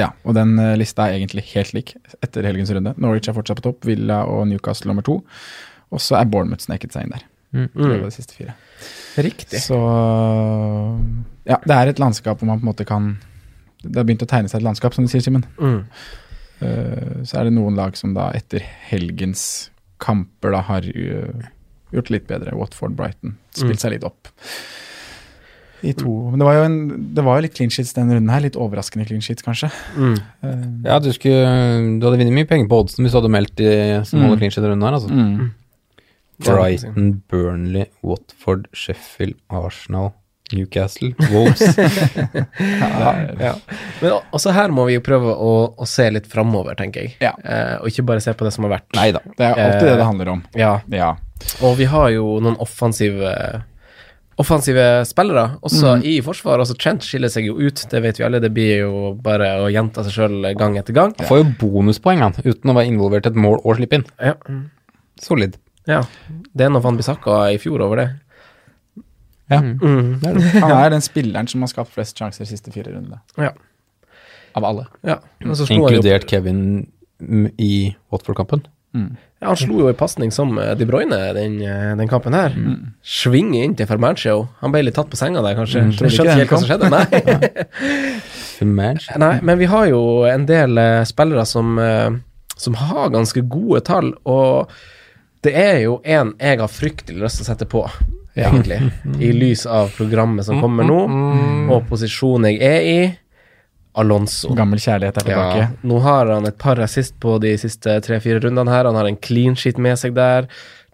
Speaker 5: ja, og den eh, lista er egentlig helt lik etter helgens runde. Norwich er fortsatt på topp, Villa og Newcastle nummer to. Og så er Bournemouth sneket seg inn der.
Speaker 3: Mm,
Speaker 5: i løpet av de siste fire.
Speaker 3: Riktig.
Speaker 5: Så ja, det er et landskap hvor man på en måte kan Det har begynt å tegne seg et landskap, som du sier, Simen.
Speaker 3: Mm.
Speaker 5: Eh, så er det noen lag som da etter helgens kamper da har eh, gjort det litt bedre. Watford, Brighton. Spilt seg litt opp. I to. Men det var jo, en, det var jo litt clean sheets denne runden her. Litt overraskende clean sheets, kanskje.
Speaker 3: Mm.
Speaker 5: Eh,
Speaker 4: Ja, du, skulle, du hadde vunnet mye penger på oddsen hvis du hadde meldt de som
Speaker 5: Mm.
Speaker 4: holder clean shit rundt her. Altså.
Speaker 5: mm.
Speaker 4: Brighton, Burnley, Watford, Sheffield, Arsenal, Newcastle, Wolves.
Speaker 3: Ja. Men o- også her må vi jo prøve å, å se litt framover, tenker jeg.
Speaker 5: Ja.
Speaker 3: Eh, og ikke bare se på det som har vært.
Speaker 4: Nei da.
Speaker 5: Det er alltid
Speaker 3: Eh,
Speaker 5: det det handler om.
Speaker 3: Ja.
Speaker 5: Ja.
Speaker 3: Og vi har jo noen offensive Offensive spillere, også i forsvar. Altså Trent skiller seg jo ut, det vet vi alle. Det blir jo bare å gjenta seg sjøl gang etter gang.
Speaker 4: Han får jo bonuspoeng, han, uten å være involvert i et mål og slippe inn.
Speaker 3: Ja.
Speaker 4: Solid.
Speaker 3: ja. Det er noe Van Bissaka i fjor over det.
Speaker 5: Ja.
Speaker 3: Mm.
Speaker 5: Han er den spilleren som har skapt flest sjanser de siste fire rundene.
Speaker 3: Ja. Mm.
Speaker 5: Av alle.
Speaker 3: ja. Men så slo han jo
Speaker 4: Inkludert Kevin mm, i Watford-kampen.
Speaker 3: Ja, han slo jo en pasning som eh, De Bruyne den, eh, den kampen her. Svinge inn til Fermancio. Han ble litt tatt på senga der, kanskje.
Speaker 5: tror
Speaker 3: Mm. Jeg
Speaker 5: ikke
Speaker 3: skjønte
Speaker 5: den
Speaker 3: ikke helt hva som skjedde. Nei. *laughs*
Speaker 4: Fimage.
Speaker 3: Nei, men vi har jo en del eh, spillere som, eh, som har ganske gode tall, og det er jo en jeg har fryktelig lyst til å sette på, egentlig, *laughs* i lys av programmet som kommer nå, og posisjonen jeg er i. Alonso.
Speaker 5: Gammel kjærlighet er tilbake.
Speaker 3: Ja, nå har han et par assist på de siste tre-fire rundene her. Han har en clean sheet med seg der.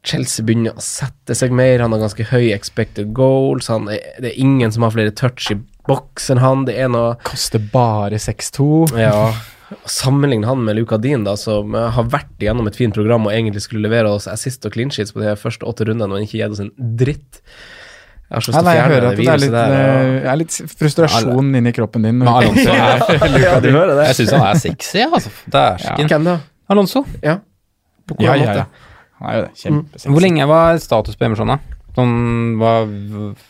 Speaker 3: Chelsea begynner å sette seg mer. Han har ganske høy expected goals. Han er, det er ingen som har flere touch i boks enn han. Det er noe
Speaker 5: Koster bare 6-2.
Speaker 3: Ja. Sammenligne han med Luka Dean, da, som eh, har vært igjennom et fint program og egentlig skulle levere oss assist og clean sheets på de første åtte rundene, men ikke gitt oss en dritt. Jeg har så lyst
Speaker 5: Ja,
Speaker 3: til å
Speaker 5: nei, jeg
Speaker 3: fjerne
Speaker 5: hører
Speaker 3: det
Speaker 5: at det er
Speaker 3: viruset
Speaker 5: litt,
Speaker 3: der.
Speaker 5: *laughs* eh, er litt frustrasjon inni kroppen din.
Speaker 4: Men Alonso er
Speaker 3: og- *laughs* Ja, du hører
Speaker 4: Jeg
Speaker 3: det.
Speaker 4: syns han er sexy, altså. Dæsken.
Speaker 3: Hvem da?
Speaker 4: Alonso.
Speaker 3: Ja.
Speaker 5: på ja, ja, ja. Han er jo det. Kjempesexy.
Speaker 4: Mm. Hvor lenge var status på Emerson, da? Sånn, hva,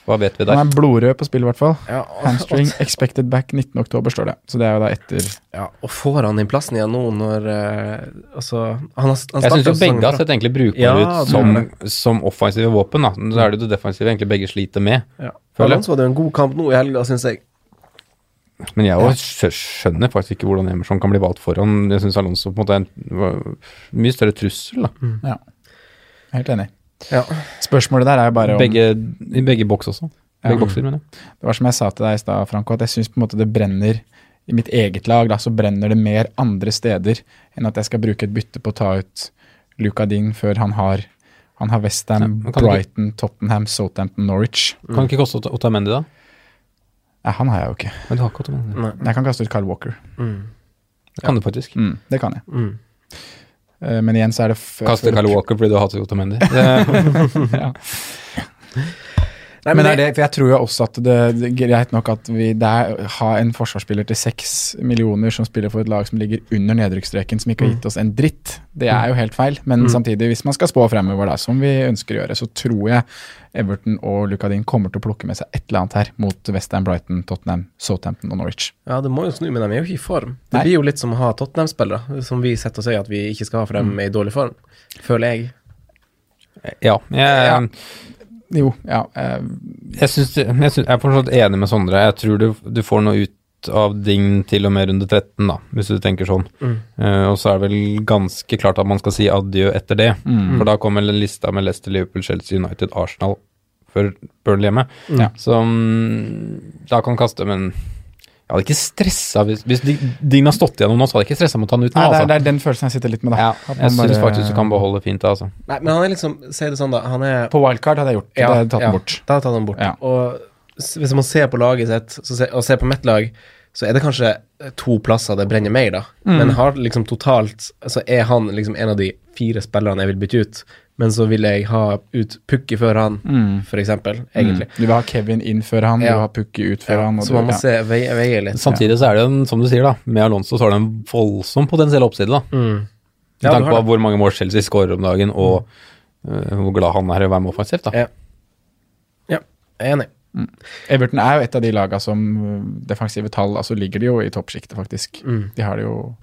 Speaker 4: hva vet vi
Speaker 5: Han
Speaker 4: der?
Speaker 5: er blodrød på spill, i hvert fall.
Speaker 3: ja og-
Speaker 4: *laughs*
Speaker 5: Hamstring expected back 19. oktober, står det. Så det er jo da etter
Speaker 3: Ja, og får han den plassen igjen nå når eh, Altså, han har han
Speaker 4: Jeg syns jo
Speaker 3: startet sesongen
Speaker 4: begge har
Speaker 3: bra.
Speaker 4: sett egentlig brukbare
Speaker 3: altså, sånn Ja,
Speaker 4: ut
Speaker 3: det
Speaker 4: som,
Speaker 3: er
Speaker 4: som offensive våpen, da. Så er det jo det defensive egentlig begge sliter med.
Speaker 3: ja.
Speaker 4: Føler jeg.
Speaker 3: Alonso hadde jo en god kamp nå i helga, syns jeg.
Speaker 4: Men jeg jo skjø- skjønner faktisk ikke hvordan Emerson kan bli valgt foran. Jeg syns Alonso på en måte er en var- mye større trussel, da.
Speaker 3: Mm.
Speaker 5: Ja. Jeg er Helt enig.
Speaker 3: Ja.
Speaker 5: Spørsmålet der er jo bare om
Speaker 4: Begge, I begge boks også. Begge bokser, mener jeg.
Speaker 5: Det var som jeg sa til deg i stad, Franco, at jeg syns på en måte det brenner i mitt eget lag, da, så brenner det mer andre steder enn at jeg skal bruke et bytte på å ta ut Luka Ding før han har Han har Westham,
Speaker 4: Ja, kan du-
Speaker 5: Brighton, Tottenham, Southampton, Norwich.
Speaker 4: Kan det ikke koste Ot- Otamendi, da?
Speaker 5: Nei, han har jeg jo ikke.
Speaker 4: Men du har ikke Otamendi.
Speaker 3: Nei.
Speaker 5: Jeg kan kaste ut Carl Walker.
Speaker 3: Mm.
Speaker 4: Det kan du faktisk.
Speaker 5: Mm, det kan jeg.
Speaker 3: Mm.
Speaker 5: Eh, Men igjen så er det f-
Speaker 4: Kaste Carl Walker fordi du hater Otamendi. Det,
Speaker 5: ja.
Speaker 3: Nei,
Speaker 5: men
Speaker 3: men
Speaker 5: det er
Speaker 3: jeg,
Speaker 5: det, for jeg tror jo også at det, det er greit nok at vi der har en forsvarsspiller til seks millioner som spiller for et lag som ligger under nedrykksstreken, som ikke har gitt oss en dritt. Det er jo helt feil, men samtidig, hvis man skal spå fremover, da, som vi ønsker å gjøre, så tror jeg Everton og Lucadin kommer til å plukke med seg et eller annet her mot Westham, Brighton, Tottenham, Southampton og Norwich.
Speaker 3: ja, det må jo snu, men de er jo ikke i form. Det
Speaker 5: Nei.
Speaker 3: blir jo litt som å ha Tottenham-spillere, som vi setter oss i at vi ikke skal ha, for de er i dårlig form, føler jeg.
Speaker 4: ja. Jeg,
Speaker 5: Ja. Jo, ja. eh,
Speaker 4: Jeg, synes, det- jeg, synes, jeg er fortsatt enig med Sondre. Jeg tror du, du får noe ut av Dign til og med runde 13, da, hvis du tenker sånn. Eh, og så er det vel ganske klart at man skal si adjø etter det.
Speaker 5: Mm.
Speaker 4: For da kommer lista med Leicester, Liverpool, Chelsea, United, Arsenal før Burnley hjemme.
Speaker 5: Ja.
Speaker 4: Så mm, da kan kaste, men jeg hadde ikke stressa hvis, hvis Dig- Dign har stått igjennom nå, så hadde jeg ikke stressa med å ta den ut nå,
Speaker 5: Nei, det, er,
Speaker 4: altså.
Speaker 5: det er den følelsen jeg sitter litt med, da.
Speaker 4: Ja,
Speaker 5: At
Speaker 4: jeg
Speaker 5: man
Speaker 4: syns
Speaker 5: bare-
Speaker 4: faktisk du kan beholde fint, altså.
Speaker 3: Nei, men han er liksom, si det sånn da, han er
Speaker 5: På wildcard hadde jeg gjort det.
Speaker 3: Ja,
Speaker 5: hadde jeg tatt
Speaker 3: ja,
Speaker 5: den bort.
Speaker 3: Da hadde jeg tatt den bort.
Speaker 5: Ja.
Speaker 3: Og s- hvis man ser på laget sitt, så se, og ser på mitt lag, så er det kanskje to plasser det brenner mer, da.
Speaker 5: Mm.
Speaker 3: Men har liksom totalt Så er han liksom en av de fire spillerne jeg vil bytte ut. Men så vil jeg ha ut Pukki før han,
Speaker 5: Mm.
Speaker 3: for eksempel, egentlig.
Speaker 5: Du vil ha Kevin inn før han,
Speaker 3: Ja.
Speaker 5: du vil ha Pukki ut før Mm. han. og
Speaker 3: Så
Speaker 5: du-
Speaker 3: man må
Speaker 5: ja.
Speaker 3: se, veie, veie litt.
Speaker 4: Samtidig så er det jo, en- som du sier, da, med Alonso så har det en voldsom potensiell oppside, da. Med
Speaker 3: Mm. Ja, du
Speaker 4: tanke
Speaker 3: har
Speaker 4: på
Speaker 3: det. Mm.
Speaker 4: hvor mange mål Chelsea skårer om dagen, og øh, hvor glad han er i å være med offensivt. da.
Speaker 3: Ja. Ja, jeg er enig.
Speaker 5: Everton er jo et av de laga som øh, defensive tall altså ligger de jo i toppsjiktet, faktisk.
Speaker 4: Mm.
Speaker 5: De har det jo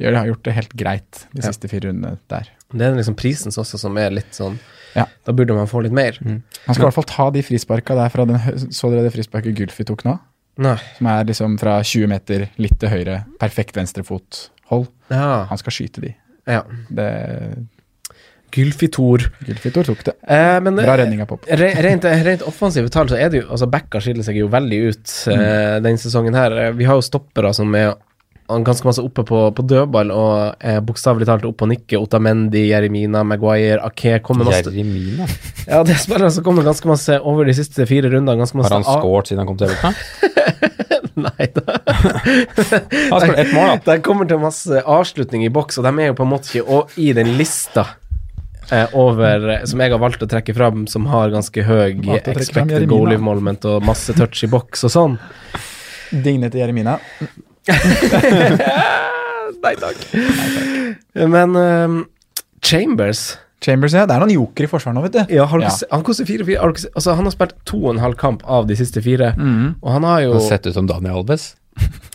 Speaker 5: gjør- de har gjort det helt greit de
Speaker 3: Ja.
Speaker 5: siste fire rundene der.
Speaker 3: Det er liksom prisen også som er litt sånn
Speaker 5: Ja. Mm.
Speaker 3: Da burde man få litt mer.
Speaker 5: Han skal i hvert fall ta de frisparka der fra den hø- Så dere det frisparket Gulfi tok nå?
Speaker 3: Nei.
Speaker 5: Som er liksom fra 20 meter litt til høyre, perfekt venstrefothold.
Speaker 3: Ja.
Speaker 5: Han skal skyte de.
Speaker 3: ja.
Speaker 5: Det,
Speaker 3: Gylfi Thor.
Speaker 5: Gylfitor tok det.
Speaker 3: Eh, men,
Speaker 5: Bra redning av Pop.
Speaker 3: Re- Rent, rent offensive tall så er det jo altså Backa skiller seg jo veldig ut
Speaker 4: Mm.
Speaker 3: eh, denne sesongen her. Eh, Vi har jo stoppere som er eh, ganske masse oppe på, på dødball og eh, bokstavelig talt oppe og nikker. Otamendi, Jeremina, Maguire, Ake kommer masse
Speaker 4: Jeremina.
Speaker 3: Ja, det er spillere som kommer ganske masse over de siste fire rundene. Ganske masse
Speaker 4: Har han
Speaker 3: av-
Speaker 4: skåret siden han kom
Speaker 3: *laughs*
Speaker 4: til Everton?
Speaker 3: Nei da.
Speaker 4: Han skåret ett mål,
Speaker 3: *laughs*
Speaker 4: da.
Speaker 3: De kommer til masse avslutning i boks, og de er jo på en måte ikke og i den lista eh, over, eh, som jeg har valgt å trekke fram, som har ganske høy
Speaker 5: Valgt å trekke fram
Speaker 3: expected
Speaker 5: Jeremina.
Speaker 3: goal involvement og masse touch i boks og sånn.
Speaker 5: Digne til Jeremina.
Speaker 3: Nei takk. Men eh, Chambers
Speaker 5: Chambers, ja. Det er noen joker i forsvaret nå, vet du.
Speaker 3: ja, har du
Speaker 5: Ja.
Speaker 3: ikke se- Han koster 4-4. har du ikke se- Altså, han har spilt to og en halv kamp av de siste fire, og han har jo
Speaker 4: Han har sett ut som Daniel Alves.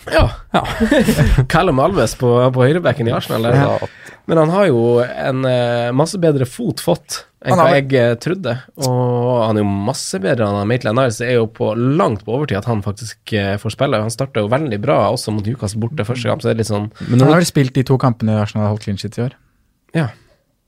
Speaker 3: Ja. *laughs* Callum Alves på, på høyrebacken i Arsenal. Der,
Speaker 4: Ja.
Speaker 3: Men han har jo en eh, masse bedre fot fått enn
Speaker 5: Han har
Speaker 3: hva jeg eh, trodde. Og han er jo masse bedre enn han Maitland Niles. Det er jo på, langt på overtid at han faktisk eh, får spille. Han starta jo veldig bra også mot Newcastle borte første kamp, så det er litt sånn
Speaker 4: Men
Speaker 5: Han
Speaker 4: når
Speaker 5: har
Speaker 4: du,
Speaker 5: vel spilt de to kampene Arsenal har holdt clean sheet i år.
Speaker 3: Ja.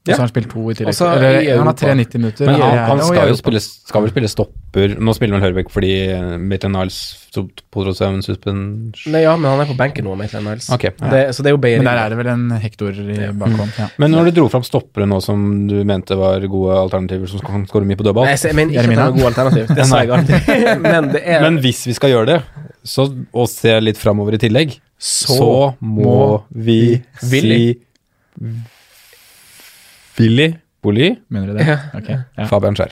Speaker 5: Og
Speaker 3: Ja.
Speaker 5: så har han spilt to i tillegg.
Speaker 3: Og så
Speaker 5: Eller,
Speaker 3: i Europa.
Speaker 5: han har 93 minutter.
Speaker 4: men
Speaker 5: i-
Speaker 4: han, han
Speaker 5: og i
Speaker 4: skal jo
Speaker 5: Europa.
Speaker 4: spille, skal vel spille stopper. Nå spiller han høyrebekk fordi eh, Maitland Niles tok Podrosevn suspens...
Speaker 3: Nei, ja, men han er på benken nå, Maitland Niles.
Speaker 4: Ok, ja.
Speaker 3: det, så det er jo Bayer.
Speaker 5: Men der er det vel en hektor i bakhånd. Ja.
Speaker 4: Men når du dro fram stoppere nå som du mente var gode alternativer som kan skåre mye på dødball
Speaker 3: Nei, jeg mener ikke at han er
Speaker 5: Jeremina.
Speaker 3: noe god
Speaker 4: *laughs*
Speaker 3: alternativ, det sa jeg aldri. men det er
Speaker 4: Men hvis vi skal gjøre det, så, og se litt framover i tillegg, så, må vi
Speaker 3: Willy.
Speaker 4: si Willy Bolly,
Speaker 5: Mener du det?
Speaker 3: Ja.
Speaker 5: Ok. Ja.
Speaker 4: Fabian Skjær.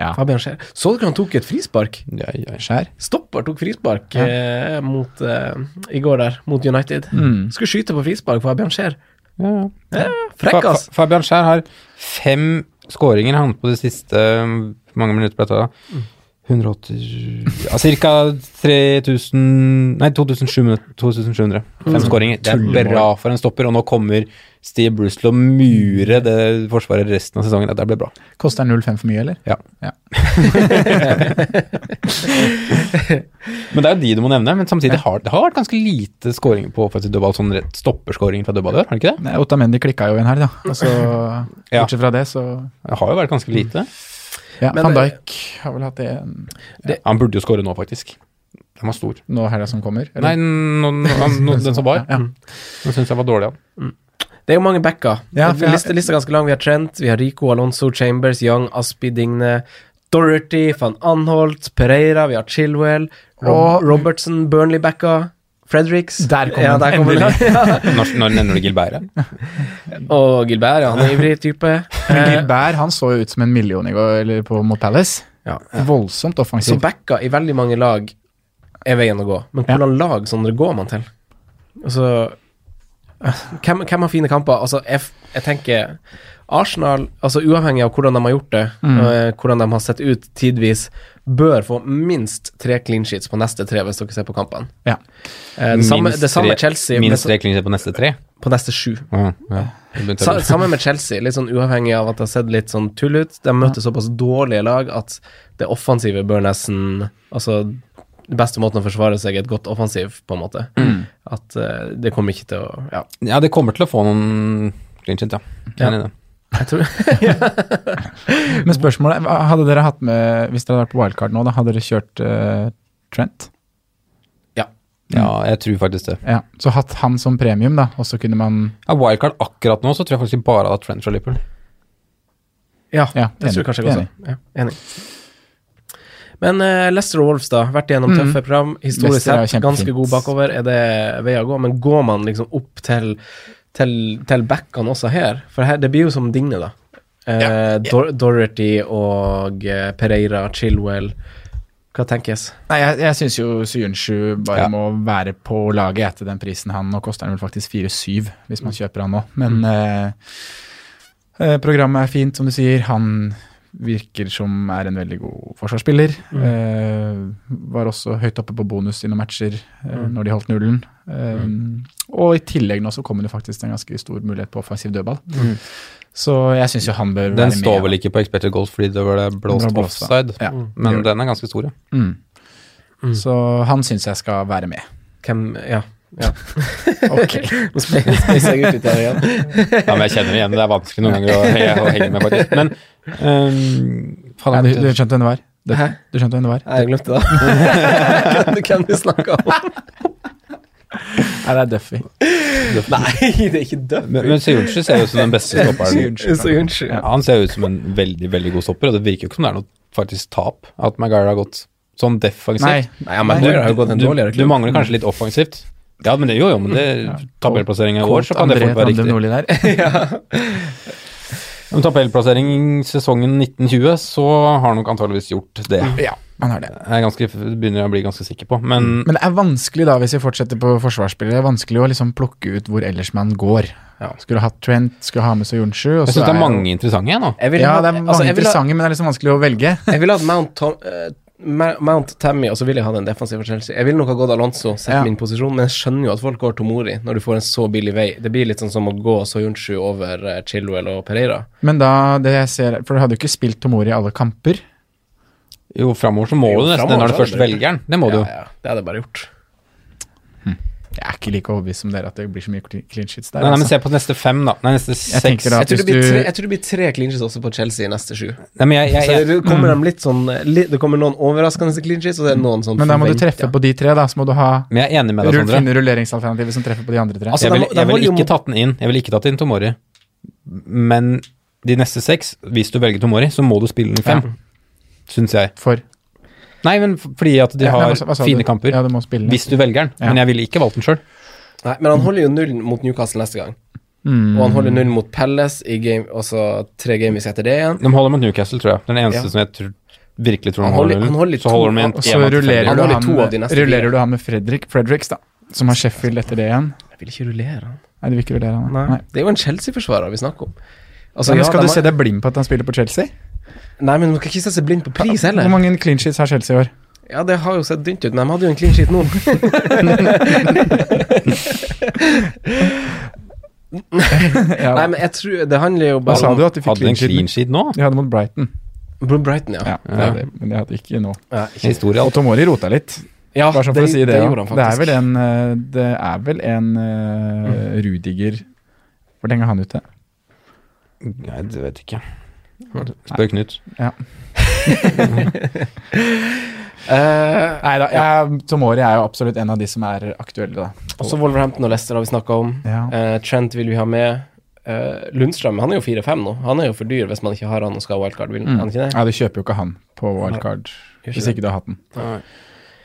Speaker 5: ja.
Speaker 3: Fabian Skjær. Så dere han tok et frispark?
Speaker 4: Ja, ja.
Speaker 5: Skjær.
Speaker 3: Stopper tok frispark eh, mot, eh, i går der, mot United.
Speaker 5: Mm.
Speaker 3: Skulle skyte på frispark for Fabian Skjær.
Speaker 4: Ja, ja. Fa
Speaker 3: Frekk,
Speaker 4: Fa-
Speaker 3: ass!
Speaker 4: Fabian Skjær har fem skåringer han på de siste um, mange minutter på dette. da. 180 ja, Ca. 3000 Nei, 2700. 2700. Fem skåringer. Det er bra for en stopper, og nå kommer Steve Bruce til å mure det forsvaret resten av sesongen. Det blir bra.
Speaker 5: Koster 0,5 for mye, eller?
Speaker 4: Ja.
Speaker 5: Ja.
Speaker 4: men det er jo de du må nevne. Men samtidig har det har vært ganske lite skåringer på offensiv dødball, sånn rett stopperskåringer fra dødball i år, har det ikke det?
Speaker 5: Nei, Ottamendi klikka jo en her, da. Og så,
Speaker 4: Ja.
Speaker 5: bortsett fra det, så
Speaker 4: Det har jo vært ganske lite.
Speaker 5: ja,
Speaker 3: Men- eh,
Speaker 5: Van Dijk har vel hatt det en-
Speaker 4: Han burde jo skåre nå, faktisk. Den var stor.
Speaker 5: nå helga som kommer?
Speaker 4: *laughs* Nei, nå, nå, han- nå, den som var.
Speaker 5: Ja.
Speaker 4: Den syns jeg var dårlig, han.
Speaker 3: Det er jo mange backer.
Speaker 5: Ja, for jeg-
Speaker 3: lista, lista er ganske lang. Vi har Trent, vi har Rico, Alonso, Chambers, Young, Aspi, Digne, Dorothy, van Anholt, Pereira, vi har Chilwell, Rob
Speaker 5: Og-
Speaker 3: Robertson, Burnley-backa, Fredericks
Speaker 5: Der kom
Speaker 3: ja,
Speaker 5: den,
Speaker 3: der kom den.
Speaker 5: endelig.
Speaker 3: *laughs* Ja.
Speaker 4: Når, når nevner du Gilbert?
Speaker 3: Og Gilbert, ja, han er ivrig type.
Speaker 5: Men Gilbert han så jo ut som en million i går eller på, mot Palace.
Speaker 3: Ja.
Speaker 5: Voldsomt
Speaker 3: Så
Speaker 5: offensiv.
Speaker 3: backa i veldig mange lag er veien å gå. Men
Speaker 5: Ja.
Speaker 3: hvordan lag sånn det går man til? Altså Hvem, hvem har fine kamper? Altså, jeg, f- jeg tenker Arsenal, altså uavhengig av hvordan de har gjort det, eh, hvordan de har sett ut tidvis, bør få minst tre clean sheets på neste tre, hvis dere ser på kampene.
Speaker 5: Ja.
Speaker 3: Eh, det, samme, det samme
Speaker 4: tre-
Speaker 3: med Chelsea men
Speaker 4: Minst
Speaker 3: så-
Speaker 4: tre klinger på neste tre.
Speaker 3: på neste sju.
Speaker 4: Ja, ja. Det begynte
Speaker 3: Sa,
Speaker 4: å-
Speaker 3: samme med Chelsea, litt sånn uavhengig av at det har sett litt sånn tull ut. De møter såpass dårlige lag at det offensive bør nesten Altså, den beste måten å forsvare seg er et godt offensiv, på en måte. At eh, det kommer ikke til å Ja.
Speaker 4: Ja, det kommer til å få noen clinchit, ja.
Speaker 3: Ja.
Speaker 4: Enig i det.
Speaker 3: Jeg tror,
Speaker 5: Men spørsmålet er, hva- hadde dere hatt med Hvis dere hadde vært på wildcard nå, da hadde dere kjørt eh, Trent?
Speaker 4: Ja, jeg tror faktisk det.
Speaker 5: Ja. Så hatt han som premium, da, og så kunne man
Speaker 4: Ja, wildcard akkurat nå, så tror jeg faktisk jeg bare at Trent fra Liverpool.
Speaker 3: *laughs* ja,
Speaker 5: Ja,
Speaker 3: det tror jeg
Speaker 5: enig,
Speaker 3: kanskje jeg også. Ja, enig. Men eh, Leicester og Wolves, da. Vært gjennom tøffe program. Historisk
Speaker 5: Leicester er jo
Speaker 3: sett ganske
Speaker 5: kjempefint.
Speaker 3: god bakover. Er det vei å gå? Men går man liksom opp til, til, til backene også her? For her, det blir jo som Digne, da. Eh, Dor Dorothy og eh, Pereira, Chilwell. Hva tenkes?
Speaker 5: Nei, jeg, jeg syns jo Syunshu bare
Speaker 4: Ja.
Speaker 5: må være på laget jeg, til den prisen han Nå koster han vel faktisk 4-7 hvis
Speaker 4: Mm.
Speaker 5: man kjøper han nå, men eh, eh, programmet er fint, som du sier. Han virker som er en veldig god forsvarsspiller.
Speaker 4: Mm.
Speaker 5: Eh, var også høyt oppe på bonus i noen matcher eh,
Speaker 4: Mm.
Speaker 5: når de holdt nullen. Eh, Og i tillegg nå så kom det faktisk en ganske stor mulighet på offensiv dødball. Så jeg syns jo han bør være
Speaker 4: Mm. Den
Speaker 5: med.
Speaker 4: står vel ikke på expected goals fordi det ble blåst
Speaker 5: Den ble blåst, da.
Speaker 4: offside, Mm.
Speaker 5: Ja.
Speaker 4: men den er ganske stor, ja.
Speaker 5: Mm. Så han syns jeg skal
Speaker 4: *laughs*
Speaker 5: være med.
Speaker 3: Hvem Ja. ja.
Speaker 5: Ok.
Speaker 3: Nå spe- speiser jeg ut litt her igjen.
Speaker 4: *laughs* Ja, men jeg kjenner det igjen, det er vanskelig noen *laughs* ganger å, å henge med, faktisk. Men ehm, faen,
Speaker 5: Ja, du,
Speaker 4: jeg
Speaker 5: du
Speaker 4: vet ikke.
Speaker 5: skjønte hvem det var? Du,
Speaker 3: Hæ?
Speaker 5: du skjønte hvem det var?
Speaker 3: Nei, Jeg glemte det. Hvem du- Hvem du snakker om?
Speaker 5: Nei, det er Duffy.
Speaker 3: Nei, det er ikke dødt.
Speaker 4: Men, men Sjurci ser jo ut som den beste
Speaker 3: *laughs*
Speaker 4: stopperen.
Speaker 3: Så unnskyld.
Speaker 4: Ja, han ser jo ut som en veldig, veldig god stopper, og det virker jo ikke som det er noe faktisk tap at Maguire har gått sånn defensivt.
Speaker 5: Nei,
Speaker 3: Nei, men
Speaker 5: Nei,
Speaker 3: Maguire har jo gått en
Speaker 4: du,
Speaker 3: dårligere
Speaker 4: du
Speaker 3: klubb. Mm.
Speaker 4: mangler kanskje litt offensivt. Ja, men det jo, jo, men det tabellplassering i år, så kan det
Speaker 5: André
Speaker 4: fort være riktig.
Speaker 5: Tandem Nordli
Speaker 4: *laughs*
Speaker 5: der.
Speaker 4: Om tabellplassering sesongen 1920, så har han nok antageligvis gjort det.
Speaker 3: Mm.
Speaker 5: Ja, *laughs* han har det.
Speaker 4: Jeg er ganske, begynner jeg å bli ganske sikker på, men
Speaker 3: Mm.
Speaker 5: Men det er vanskelig da, hvis vi fortsetter på forsvarsspillere, det er vanskelig å liksom plukke ut hvor ellers man går. Skulle hatt Trent, skulle ha med seg Jonsju. og
Speaker 4: jeg
Speaker 5: så
Speaker 4: syns det er
Speaker 5: jo-
Speaker 4: mange interessante, jeg, nå.
Speaker 3: Jeg ville
Speaker 5: Ja,
Speaker 3: ha-
Speaker 5: det er mange
Speaker 3: altså, jeg ville ha-
Speaker 5: interessante, men det er liksom vanskelig å velge.
Speaker 3: Jeg ville hatt Mount, Tom, eh, Ma- Mount Tammy, og så ville jeg hatt en defensiv for Chelsea. Jeg ville nok ha gått Alonso, sett
Speaker 5: Ja.
Speaker 3: min posisjon, men jeg skjønner jo at folk går Tomori når du får en så billig vei. Det blir litt sånn som å gå Soyuncu over eh, Chilwell og Pereira.
Speaker 5: Men da, det jeg ser For du hadde jo ikke spilt Tomori i alle kamper.
Speaker 4: Jo, framover så må
Speaker 3: Jo,
Speaker 4: du nesten det
Speaker 3: fremover
Speaker 4: når du
Speaker 3: så er
Speaker 4: først
Speaker 3: det det.
Speaker 4: velger den. Det må du
Speaker 3: Ja,
Speaker 4: jo.
Speaker 3: ja, det hadde jeg bare gjort.
Speaker 5: Jeg er ikke like overbevist som dere at det blir så mye clean clean sheets der.
Speaker 4: Nei, nei, men
Speaker 5: altså.
Speaker 4: se på neste fem, da. Nei, neste seks.
Speaker 5: tenker da-
Speaker 3: Jeg tror,
Speaker 5: hvis
Speaker 3: det blir
Speaker 5: du-
Speaker 3: tre, jeg tror det blir tre clinches også på Chelsea i neste sju.
Speaker 4: Nei, men jeg, jeg,
Speaker 3: Så
Speaker 5: Altså,
Speaker 4: jeg,
Speaker 3: det kommer, dem litt sånn, li, det kommer noen overraskende clinches, og det er noen sånn
Speaker 5: Men da må du treffe
Speaker 3: forventet.
Speaker 5: på de tre, da. Så må du ha
Speaker 4: men jeg er enig med deg,
Speaker 5: rull-
Speaker 4: Sondre.
Speaker 5: finne rulleringsalternativet som treffer på de andre tre.
Speaker 3: Altså,
Speaker 4: Jeg
Speaker 3: de
Speaker 4: ville
Speaker 3: må- de
Speaker 4: jeg vil
Speaker 3: holder jo
Speaker 4: ikke
Speaker 3: mot-
Speaker 4: tatt den inn. Jeg ville ikke tatt inn Tomori. Men de neste seks, hvis du velger Tomori, så må du spille den i fem. Syns jeg.
Speaker 5: for
Speaker 4: Nei, men f- fordi at de
Speaker 5: Ja, nei,
Speaker 4: har
Speaker 5: hva sa- hva sa
Speaker 4: fine
Speaker 5: du?
Speaker 4: kamper.
Speaker 5: Ja, du må spille.
Speaker 4: Hvis du velger den.
Speaker 5: Ja.
Speaker 4: Men jeg ville ikke valgt den sjøl.
Speaker 3: Nei, men han holder jo nullen mot Newcastle neste gang.
Speaker 5: Mm.
Speaker 3: Og han holder nullen mot Palace, i game, og så tre gameweeks etter det igjen.
Speaker 4: De holder mot Newcastle, tror jeg. Den eneste
Speaker 3: Ja.
Speaker 4: som jeg tror, virkelig tror
Speaker 3: Han
Speaker 4: han
Speaker 3: holder-
Speaker 4: holder
Speaker 3: han holder
Speaker 4: nullen.
Speaker 3: to-
Speaker 4: Så holder de med en
Speaker 5: Og så
Speaker 4: en av de fem.
Speaker 5: rullerer, du
Speaker 3: Han har
Speaker 5: han,
Speaker 3: de to av de
Speaker 5: med,
Speaker 3: neste
Speaker 5: rullerer
Speaker 3: fire.
Speaker 5: du han med Fredrik, Fredriks, da, som har Sheffield etter det igjen.
Speaker 3: Jeg vil ikke rullere han.
Speaker 5: Nei, du vil ikke rullere han. da. Nei.
Speaker 3: Det er jo en Chelsea-forsvarer vi snakker om. Altså,
Speaker 5: Men
Speaker 3: ja,
Speaker 5: skal
Speaker 3: de
Speaker 5: du
Speaker 3: har-
Speaker 5: se deg blind på at han spiller på Chelsea?
Speaker 3: Nei, men man skal ikke se seg blind på pris
Speaker 5: Hvor
Speaker 3: heller.
Speaker 5: mange clean sheets har Chelsea i år? *laughs*
Speaker 3: Ja, det har jo sett dynt ut, men de hadde jo en clean sheet nå.
Speaker 5: Ja,
Speaker 3: Nei, men jeg tror Det handler jo
Speaker 5: Hva
Speaker 3: bare
Speaker 5: sa
Speaker 3: om
Speaker 5: du at de fikk
Speaker 4: Hadde
Speaker 5: clean
Speaker 4: en clean
Speaker 5: sheet?
Speaker 4: sheet nå?
Speaker 5: De hadde mot Brighton.
Speaker 3: Bro- Brighton, ja.
Speaker 5: Ja, det hadde, de, men de hadde ikke nå.
Speaker 3: Ja, ikke-
Speaker 4: Historie,
Speaker 5: Og
Speaker 4: alt.
Speaker 5: Tomori rota litt,
Speaker 3: ja
Speaker 5: bare sånn for å si det. ja.
Speaker 3: gjorde han
Speaker 5: det er
Speaker 3: faktisk.
Speaker 5: vel en, eh, det er vel en eh,
Speaker 4: Mm.
Speaker 5: Rudiger Hvor lenge er han ute?
Speaker 4: Nei, det vet jeg ikke. Spør Knut.
Speaker 3: Eh,
Speaker 5: Nei da, jeg, Tomori er jo absolutt en av de som er aktuelle, da.
Speaker 3: også Wolverhampton og Leicester har vi snakka om.
Speaker 5: Ja.
Speaker 3: Eh, Trent vil vi ha med. eh, Lundstrøm han er jo 4-5 nå. Han er jo for dyr hvis man ikke har han og skal ha wildcard.
Speaker 5: Mm.
Speaker 4: Mm.
Speaker 3: Vil han ikke det?
Speaker 5: Nei, du kjøper jo ikke han på wildcard hvis ikke du har hatt den.